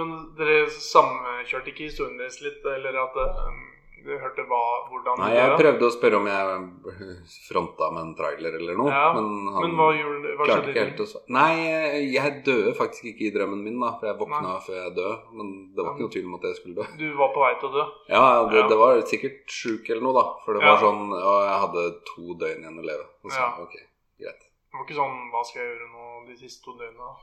[SPEAKER 1] Men dere samkjørte ikke historien deres litt? Eller at eh, dere hørte hva, hvordan
[SPEAKER 2] Nei,
[SPEAKER 1] det
[SPEAKER 2] jeg
[SPEAKER 1] var?
[SPEAKER 2] prøvde å spørre om jeg fronta med en trailer eller noe,
[SPEAKER 1] Ja,
[SPEAKER 2] men han
[SPEAKER 1] Men hva, gjorde, hva
[SPEAKER 2] klarte
[SPEAKER 1] skjedde?
[SPEAKER 2] ikke helt å svare. Nei, eh, jeg døde faktisk ikke i drømmen min, da, for jeg våkna
[SPEAKER 1] Nei.
[SPEAKER 2] før jeg døde. Men det var ikke noe tvil om at jeg skulle dø.
[SPEAKER 1] Du var på vei til å dø?
[SPEAKER 2] Ja, det,
[SPEAKER 1] Ja.
[SPEAKER 2] det var sikkert sjuk eller noe, da. For det
[SPEAKER 1] Ja.
[SPEAKER 2] var sånn Og jeg hadde to døgn igjen å leve. Og så,
[SPEAKER 1] Ja.
[SPEAKER 2] ok, greit.
[SPEAKER 1] Det var ikke sånn 'hva skal jeg gjøre nå de siste to døgnene'?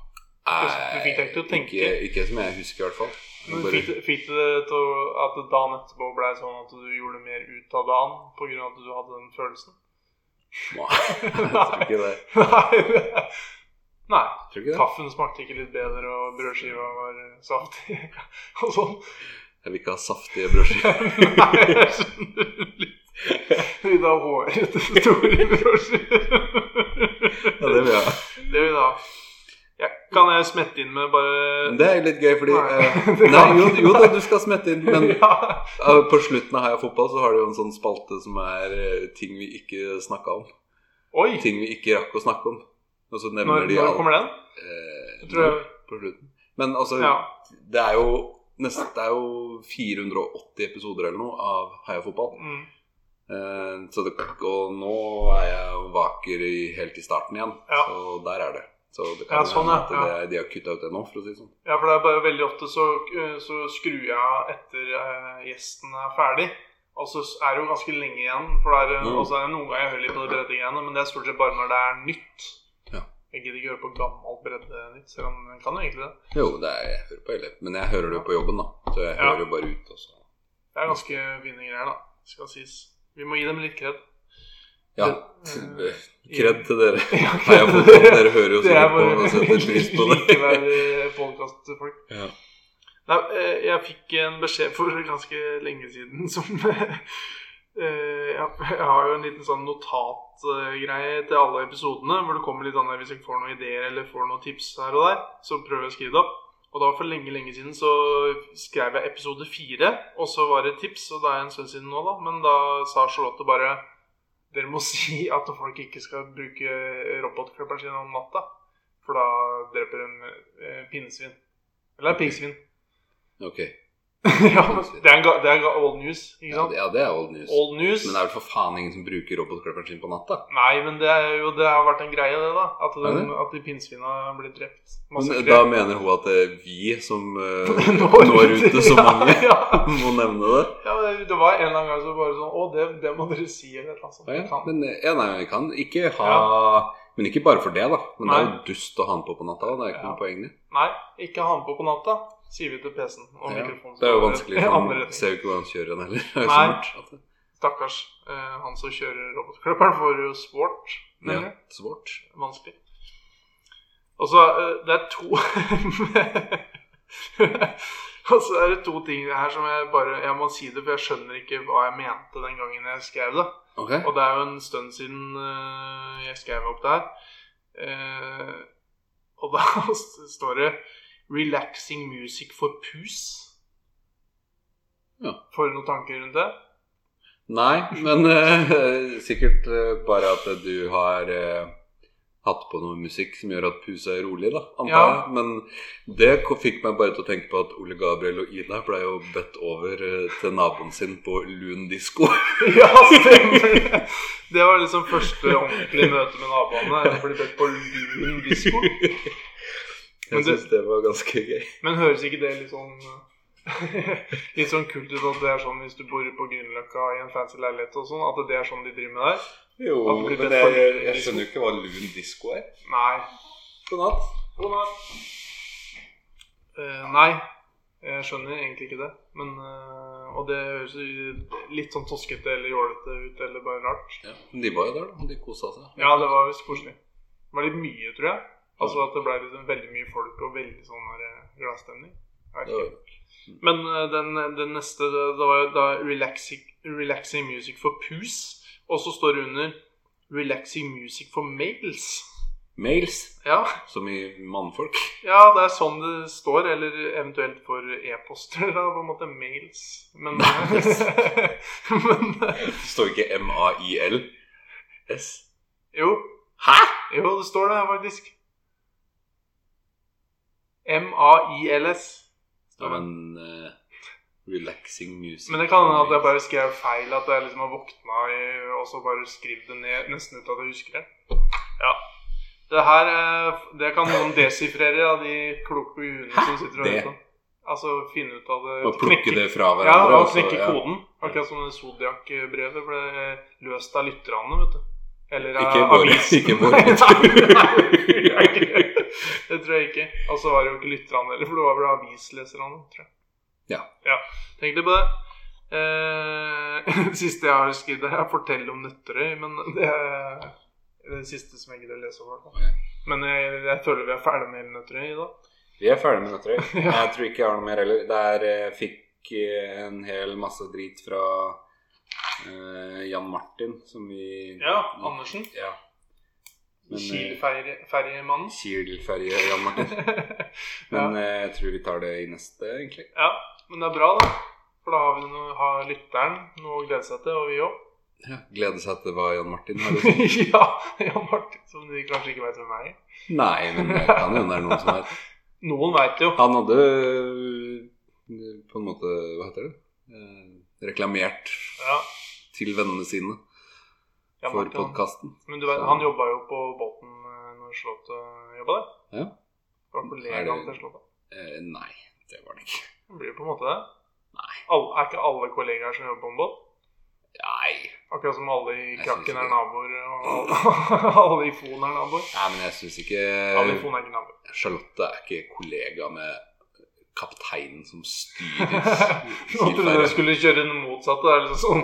[SPEAKER 2] Nei,
[SPEAKER 1] Du fikk deg ikke til å tenke?
[SPEAKER 2] Ikke, ikke som jeg husker, i hvert fall.
[SPEAKER 1] Men
[SPEAKER 2] Bare-
[SPEAKER 1] fikk, fikk du det til å- at dagen etterpå ble sånn at du gjorde mer ut av dagen pga. at du hadde den følelsen?
[SPEAKER 2] Nei, jeg tror ikke det.
[SPEAKER 1] Nei. det- Nei.
[SPEAKER 2] Jeg tror ikke det.
[SPEAKER 1] Taffen smakte ikke litt bedre, og brødskiva var eh, saftig og sånn.
[SPEAKER 2] Jeg vil ikke ha saftige brødskiver.
[SPEAKER 1] Nei, jeg skjønner litt. Vil du ha hårete, store brødskiver?
[SPEAKER 2] Ja, det vil jeg ha.
[SPEAKER 1] Det vil du ha. Ja, kan jeg smette inn med bare
[SPEAKER 2] Men Det er jo litt gøy, fordi
[SPEAKER 1] Nei.
[SPEAKER 2] eh,
[SPEAKER 1] Det
[SPEAKER 2] Nei,
[SPEAKER 1] kan
[SPEAKER 2] jo,
[SPEAKER 1] ikke
[SPEAKER 2] jo da,
[SPEAKER 1] være.
[SPEAKER 2] du skal smette inn, men
[SPEAKER 1] ja.
[SPEAKER 2] eh, på slutten av Heia Fotball så har du jo en sånn spalte som er eh, ting vi ikke snakka om.
[SPEAKER 1] Oi!
[SPEAKER 2] Ting vi ikke rakk å snakke om. Og så nevner
[SPEAKER 1] Når,
[SPEAKER 2] de
[SPEAKER 1] når kommer den?
[SPEAKER 2] Eh,
[SPEAKER 1] Jeg tror jeg,
[SPEAKER 2] på slutten. Men altså,
[SPEAKER 1] ja.
[SPEAKER 2] det er jo nesten Det er jo 480 episoder eller noe av Heia Fotball.
[SPEAKER 1] Mm.
[SPEAKER 2] Eh, så det, og nå er jeg vaker i, helt i starten igjen,
[SPEAKER 1] Ja.
[SPEAKER 2] så der er det. Så det
[SPEAKER 1] Ja,
[SPEAKER 2] kan
[SPEAKER 1] sånn,
[SPEAKER 2] hende at
[SPEAKER 1] ja,
[SPEAKER 2] det, de har kutta ut det nå, for å si det sånn.
[SPEAKER 1] Ja, for det er bare veldig ofte så, eh, så skrur jeg av etter eh, gjesten er ferdig. Og så er det jo ganske lenge igjen, for det er, eh, altså,
[SPEAKER 2] Mm.
[SPEAKER 1] og så er det noen ganger jeg hører litt på de brette greiene, men det er stort sett bare når det er nytt.
[SPEAKER 2] Ja.
[SPEAKER 1] Jeg gidder ikke høre på gammelt Breddenytt, selv om den kan jo egentlig det.
[SPEAKER 2] Jo, det er, jeg hører på hele Men jeg hører det jo på jobben, da. Så jeg
[SPEAKER 1] Ja.
[SPEAKER 2] hører jo bare ut. Og så.
[SPEAKER 1] Det er ganske fine greier, da. Skal sies. Vi må gi dem litt kred.
[SPEAKER 2] Ja.
[SPEAKER 1] Det-
[SPEAKER 2] Kred til dere.
[SPEAKER 1] Ja,
[SPEAKER 2] Nei, jeg får- dere hører jo
[SPEAKER 1] Det er
[SPEAKER 2] sikkert på
[SPEAKER 1] bare
[SPEAKER 2] og setter pris på det.
[SPEAKER 1] likeverdige podcastfolk.
[SPEAKER 2] Ja.
[SPEAKER 1] Nei, eh, jeg fikk en beskjed for ganske lenge siden som eh, eh, ja, Jeg har jo en liten sånn notatgreie til alle episodene hvor det kommer litt an hvis jeg får noen ideer eller får noen tips her og der. Så prøver jeg å skrive det opp. Og da for lenge lenge siden så skrev jeg episode fire, og så var det et tips. Og det er en stund siden nå, da. Men da sa Charlotte bare Dere må si at folk ikke skal bruke robotklipperen sin om natta. For da dreper en eh, pinnsvin. Eller pinnsvin.
[SPEAKER 2] Ok.
[SPEAKER 1] ja, men det er, en ga- det er ga- old news, ikke
[SPEAKER 2] Ja,
[SPEAKER 1] sant?
[SPEAKER 2] det- ja, det er old news.
[SPEAKER 1] Old news.
[SPEAKER 2] Men det er vel for faen ingen som bruker robotklipperen sin på natta?
[SPEAKER 1] Nei, men det, er jo, det har vært en greie, det, da. At,
[SPEAKER 2] Er
[SPEAKER 1] den,
[SPEAKER 2] det?
[SPEAKER 1] at de pinnsvina blir drept.
[SPEAKER 2] Men
[SPEAKER 1] Massakrert.
[SPEAKER 2] da mener hun at det er vi som eh,
[SPEAKER 1] Når-
[SPEAKER 2] når ut til så mange.
[SPEAKER 1] Ja, ja.
[SPEAKER 2] må nevne det.
[SPEAKER 1] ja, men det var en eller annen gang så bare sånn Å, det, det må dere si, eller et eller annet sånt.
[SPEAKER 2] Ja,
[SPEAKER 1] Det
[SPEAKER 2] ja.
[SPEAKER 1] kan-
[SPEAKER 2] Men eh, ja, nei, vi kan ikke ha Men ikke bare for det, da. Men det er jo dust å ha den på på natta. og Det er ikke
[SPEAKER 1] Ja.
[SPEAKER 2] noe poeng, det.
[SPEAKER 1] Nei, ikke ha den på på natta, sier vi til PC-en. Og
[SPEAKER 2] Ja.
[SPEAKER 1] mikrofonen.
[SPEAKER 2] Det er jo
[SPEAKER 1] står i
[SPEAKER 2] vanskelig.
[SPEAKER 1] andre
[SPEAKER 2] For man
[SPEAKER 1] retning.
[SPEAKER 2] ser jo ikke hvordan han kjører den heller. Det er jo
[SPEAKER 1] Nei.
[SPEAKER 2] så mørkt at det-
[SPEAKER 1] Stakkars eh, han som kjører robotklipperen, får jo sport.
[SPEAKER 2] Ja,
[SPEAKER 1] nemlig.
[SPEAKER 2] svårt.
[SPEAKER 1] Vanskelig. Og så eh, det er to Og så er det to ting her som jeg bare Jeg må si det, for jeg skjønner ikke hva jeg mente den gangen jeg skrev det.
[SPEAKER 2] Ok.
[SPEAKER 1] Og det er jo en stund siden eh, jeg skrev opp det her. Eh, og da står det 'Relaxing music for pus'.
[SPEAKER 2] Ja.
[SPEAKER 1] Får du noen tanker rundt det?
[SPEAKER 2] Nei, men eh, sikkert eh, bare at du har eh, hatt på noe musikk som gjør at pusa er rolig, da, antar
[SPEAKER 1] Ja.
[SPEAKER 2] jeg. Men det ko- fikk meg bare til å tenke på at Ole Gabriel og Ida ble jo bedt over eh, til naboen sin på Lun disko.
[SPEAKER 1] Ja, stemmer. Det var liksom første ordentlige møte med naboene. For de ble på lun disko. Men
[SPEAKER 2] Jeg
[SPEAKER 1] det-
[SPEAKER 2] syns det var ganske gøy.
[SPEAKER 1] Men høres ikke det litt sånn Litt sånn kult ut at det er sånn hvis du bor på Grünerløkka i en fancy leilighet og sånn, at det er sånn de driver med der?
[SPEAKER 2] Jo,
[SPEAKER 1] At det blir
[SPEAKER 2] men
[SPEAKER 1] bedt for
[SPEAKER 2] jeg,
[SPEAKER 1] Lun
[SPEAKER 2] jeg
[SPEAKER 1] Disco.
[SPEAKER 2] skjønner jo ikke hva Lun disko er.
[SPEAKER 1] Nei.
[SPEAKER 2] God natt.
[SPEAKER 1] God natt. Eh, nei, jeg skjønner egentlig ikke det. Men, eh, og det høres jo litt sånn toskete eller jålete ut, eller bare rart.
[SPEAKER 2] Ja, men de var jo der, da. De kosa seg.
[SPEAKER 1] Ja, det var visst koselig. Det var litt mye, tror jeg. Altså at det ble liksom veldig mye folk og veldig sånn her, eh, gladstemning. Jeg vet
[SPEAKER 2] Det
[SPEAKER 1] ikke.
[SPEAKER 2] var-
[SPEAKER 1] Men eh, den, den neste det, det var jo da relaxing, 'Relaxing music for pus'. Og så står det under 'Relaxing music for males'.
[SPEAKER 2] Mails,
[SPEAKER 1] Ja,
[SPEAKER 2] som i mannfolk.
[SPEAKER 1] ja det er sånn det står. Eller eventuelt for e-poster, da. På en måte mails. Men, men eh,
[SPEAKER 2] Det står jo ikke M-A-I-L-S.
[SPEAKER 1] Jo.
[SPEAKER 2] Hæ?!
[SPEAKER 1] Jo, det står det faktisk. M-a-i-l-s.
[SPEAKER 2] Ja, men eh, relaxing music
[SPEAKER 1] Men det kan hende at jeg bare skrev feil. At jeg liksom har våkna i- og så bare skrev det ned nesten ut at jeg husker det. Ja. Det her eh, Det kan noen desifrere av de kloke huene som sitter og
[SPEAKER 2] Det?
[SPEAKER 1] hører på. Altså finne ut av det
[SPEAKER 2] Og plukke det fra
[SPEAKER 1] Ja,
[SPEAKER 2] hverandre.
[SPEAKER 1] og
[SPEAKER 2] altså,
[SPEAKER 1] knekke
[SPEAKER 2] ja.
[SPEAKER 1] koden. Akkurat som det Zodiac-brevet ble løst av lytterne, vet du. Eller av
[SPEAKER 2] Ikke våre-
[SPEAKER 1] avisen.
[SPEAKER 2] ikke våre.
[SPEAKER 1] Nei, nei, nei, ikke. Det tror jeg ikke. Og så var det jo ikke lytterne heller, for det var vel avisleserne, tror jeg.
[SPEAKER 2] Ja.
[SPEAKER 1] Tenk litt på det. Eh, det siste jeg har skrevet her, er 'Fortell om Nøtterøy'. Men det er det siste som jeg gidder å lese over. da.
[SPEAKER 2] Ok.
[SPEAKER 1] Men jeg, jeg føler vi er ferdig med hele Nøtterøy i dag.
[SPEAKER 2] Vi er ferdige med dette. Jeg Jeg tror ikke jeg har noe mer heller. Der eh, fikk eh, en hel masse drit fra eh, Jan Martin, som vi
[SPEAKER 1] Ja, Andersen.
[SPEAKER 2] Ja. Men, eh,
[SPEAKER 1] Kiel-ferjemannen.
[SPEAKER 2] Kiel-ferje Jan Martin. Men
[SPEAKER 1] ja.
[SPEAKER 2] eh, jeg tror vi tar det i neste, egentlig.
[SPEAKER 1] ja, men det er bra, da. For da har, vi noe, har lytteren noe å glede seg til, og vi òg.
[SPEAKER 2] Ja. Glede seg til hva Jan Martin har å si.
[SPEAKER 1] ja, ja, Martin, som de kanskje ikke veit hvem er.
[SPEAKER 2] Nei, men det kan jo hende det er noen som er
[SPEAKER 1] Noen veit jo.
[SPEAKER 2] Han hadde øh, på en måte Hva heter det? Eh, Reklamert
[SPEAKER 1] Ja,
[SPEAKER 2] til vennene sine
[SPEAKER 1] ja,
[SPEAKER 2] for
[SPEAKER 1] Martin,
[SPEAKER 2] podkasten.
[SPEAKER 1] Men du vet, han jobba jo på båten eh, når Slottet jobba der.
[SPEAKER 2] Ja.
[SPEAKER 1] Var
[SPEAKER 2] Er
[SPEAKER 1] kollegaen
[SPEAKER 2] det-
[SPEAKER 1] til Slottet.
[SPEAKER 2] Eh, nei, det var det ikke.
[SPEAKER 1] Han blir jo på en måte det.
[SPEAKER 2] Nei.
[SPEAKER 1] Alle, er ikke alle kollegaer som jobber på en båt?
[SPEAKER 2] Nei.
[SPEAKER 1] Akkurat som alle i
[SPEAKER 2] Jeg
[SPEAKER 1] Krakken
[SPEAKER 2] synes
[SPEAKER 1] er
[SPEAKER 2] ikke-
[SPEAKER 1] naboer, og alle i Fon er naboer.
[SPEAKER 2] Nei, men jeg syns ikke
[SPEAKER 1] Alle i Fon er ikke naboer.
[SPEAKER 2] Charlotte er ikke kollega med kapteinen som styrer
[SPEAKER 1] Nå trodde jeg du
[SPEAKER 2] Kilfærøy.
[SPEAKER 1] skulle kjøre den motsatte. Det er liksom sånn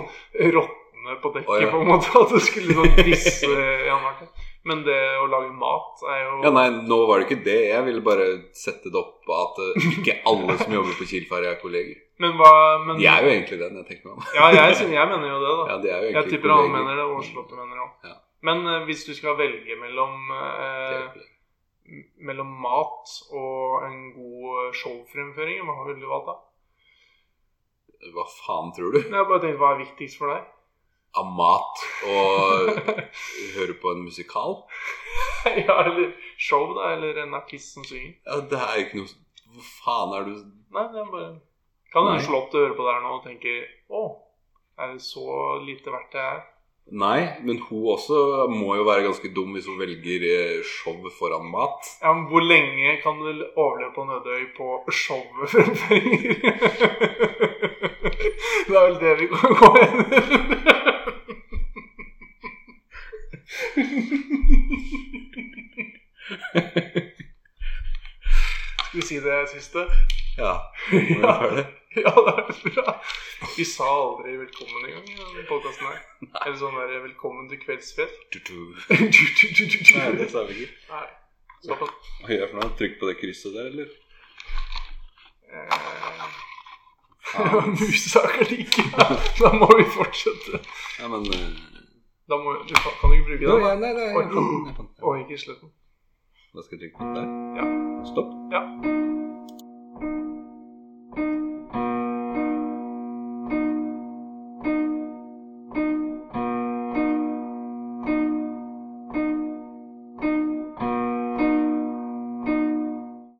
[SPEAKER 1] råtne på dekket,
[SPEAKER 2] Å, ja.
[SPEAKER 1] på en måte. At du skulle liksom disse Jan Martin. Men det å lage mat er jo
[SPEAKER 2] Ja, nei, nå var det ikke det. Jeg ville bare sette det opp at eh, ikke alle som jobber på Kilfærøy, er kolleger.
[SPEAKER 1] Men hva men,
[SPEAKER 2] De er jo egentlig det, når jeg tenker meg om.
[SPEAKER 1] Ja, jeg, synes- jeg mener jo det, da.
[SPEAKER 2] Ja, de er
[SPEAKER 1] jeg
[SPEAKER 2] jo egentlig
[SPEAKER 1] tipper han
[SPEAKER 2] kolleger.
[SPEAKER 1] mener det, og Charlotte mener det òg.
[SPEAKER 2] Ja.
[SPEAKER 1] Men eh, hvis du skal velge mellom
[SPEAKER 2] De er
[SPEAKER 1] eh,
[SPEAKER 2] jo kolleger.
[SPEAKER 1] mellom mat og en god eh, showfremføring. Hva ville du valgt da?
[SPEAKER 2] Hva faen tror du?
[SPEAKER 1] Men Jeg bare tenkte, Hva er viktigst for deg?
[SPEAKER 2] Av mat og høre på en musikal?
[SPEAKER 1] ja, eller show, da? Eller en artist som synger?
[SPEAKER 2] Ja, det er jo ikke noe Hvor faen er du
[SPEAKER 1] Nei, det er bare Kan
[SPEAKER 2] Nei.
[SPEAKER 1] hende Charlotte hører på det her nå og tenker Å, er det så lite verdt det her?
[SPEAKER 2] Nei, men hun også må jo være ganske dum hvis hun velger eh, show foran mat.
[SPEAKER 1] Ja, men Hvor lenge kan du overleve på Nødøy på showfremføringer? det er vel det vi kan gå etter. Skal vi si det siste?
[SPEAKER 2] Ja,
[SPEAKER 1] Ja,
[SPEAKER 2] ja. det.
[SPEAKER 1] ja det er bra. Vi sa aldri velkommen engang i denne podkasten her. Eller sånn der 'velkommen til kveldsfest'.
[SPEAKER 2] Tutu. Nei,
[SPEAKER 1] Nei,
[SPEAKER 2] det sa vi ikke.
[SPEAKER 1] såpass.
[SPEAKER 2] Hva gjør jeg for noe? Trykk på det krysset der, eller?
[SPEAKER 1] Eh, Ja,
[SPEAKER 2] Ja,
[SPEAKER 1] Eh, Musa klikker. Da må vi fortsette.
[SPEAKER 2] ja men eh,
[SPEAKER 1] Da må, du kan kan du ikke bruke
[SPEAKER 2] jo,
[SPEAKER 1] den?
[SPEAKER 2] ja,
[SPEAKER 1] da?
[SPEAKER 2] Nei, nei, jeg fant den. Jeg fant den.
[SPEAKER 1] Og ikke slutten.
[SPEAKER 2] Da skal jeg trykke på den der.
[SPEAKER 1] Ja.
[SPEAKER 2] Stopp.
[SPEAKER 1] Ja.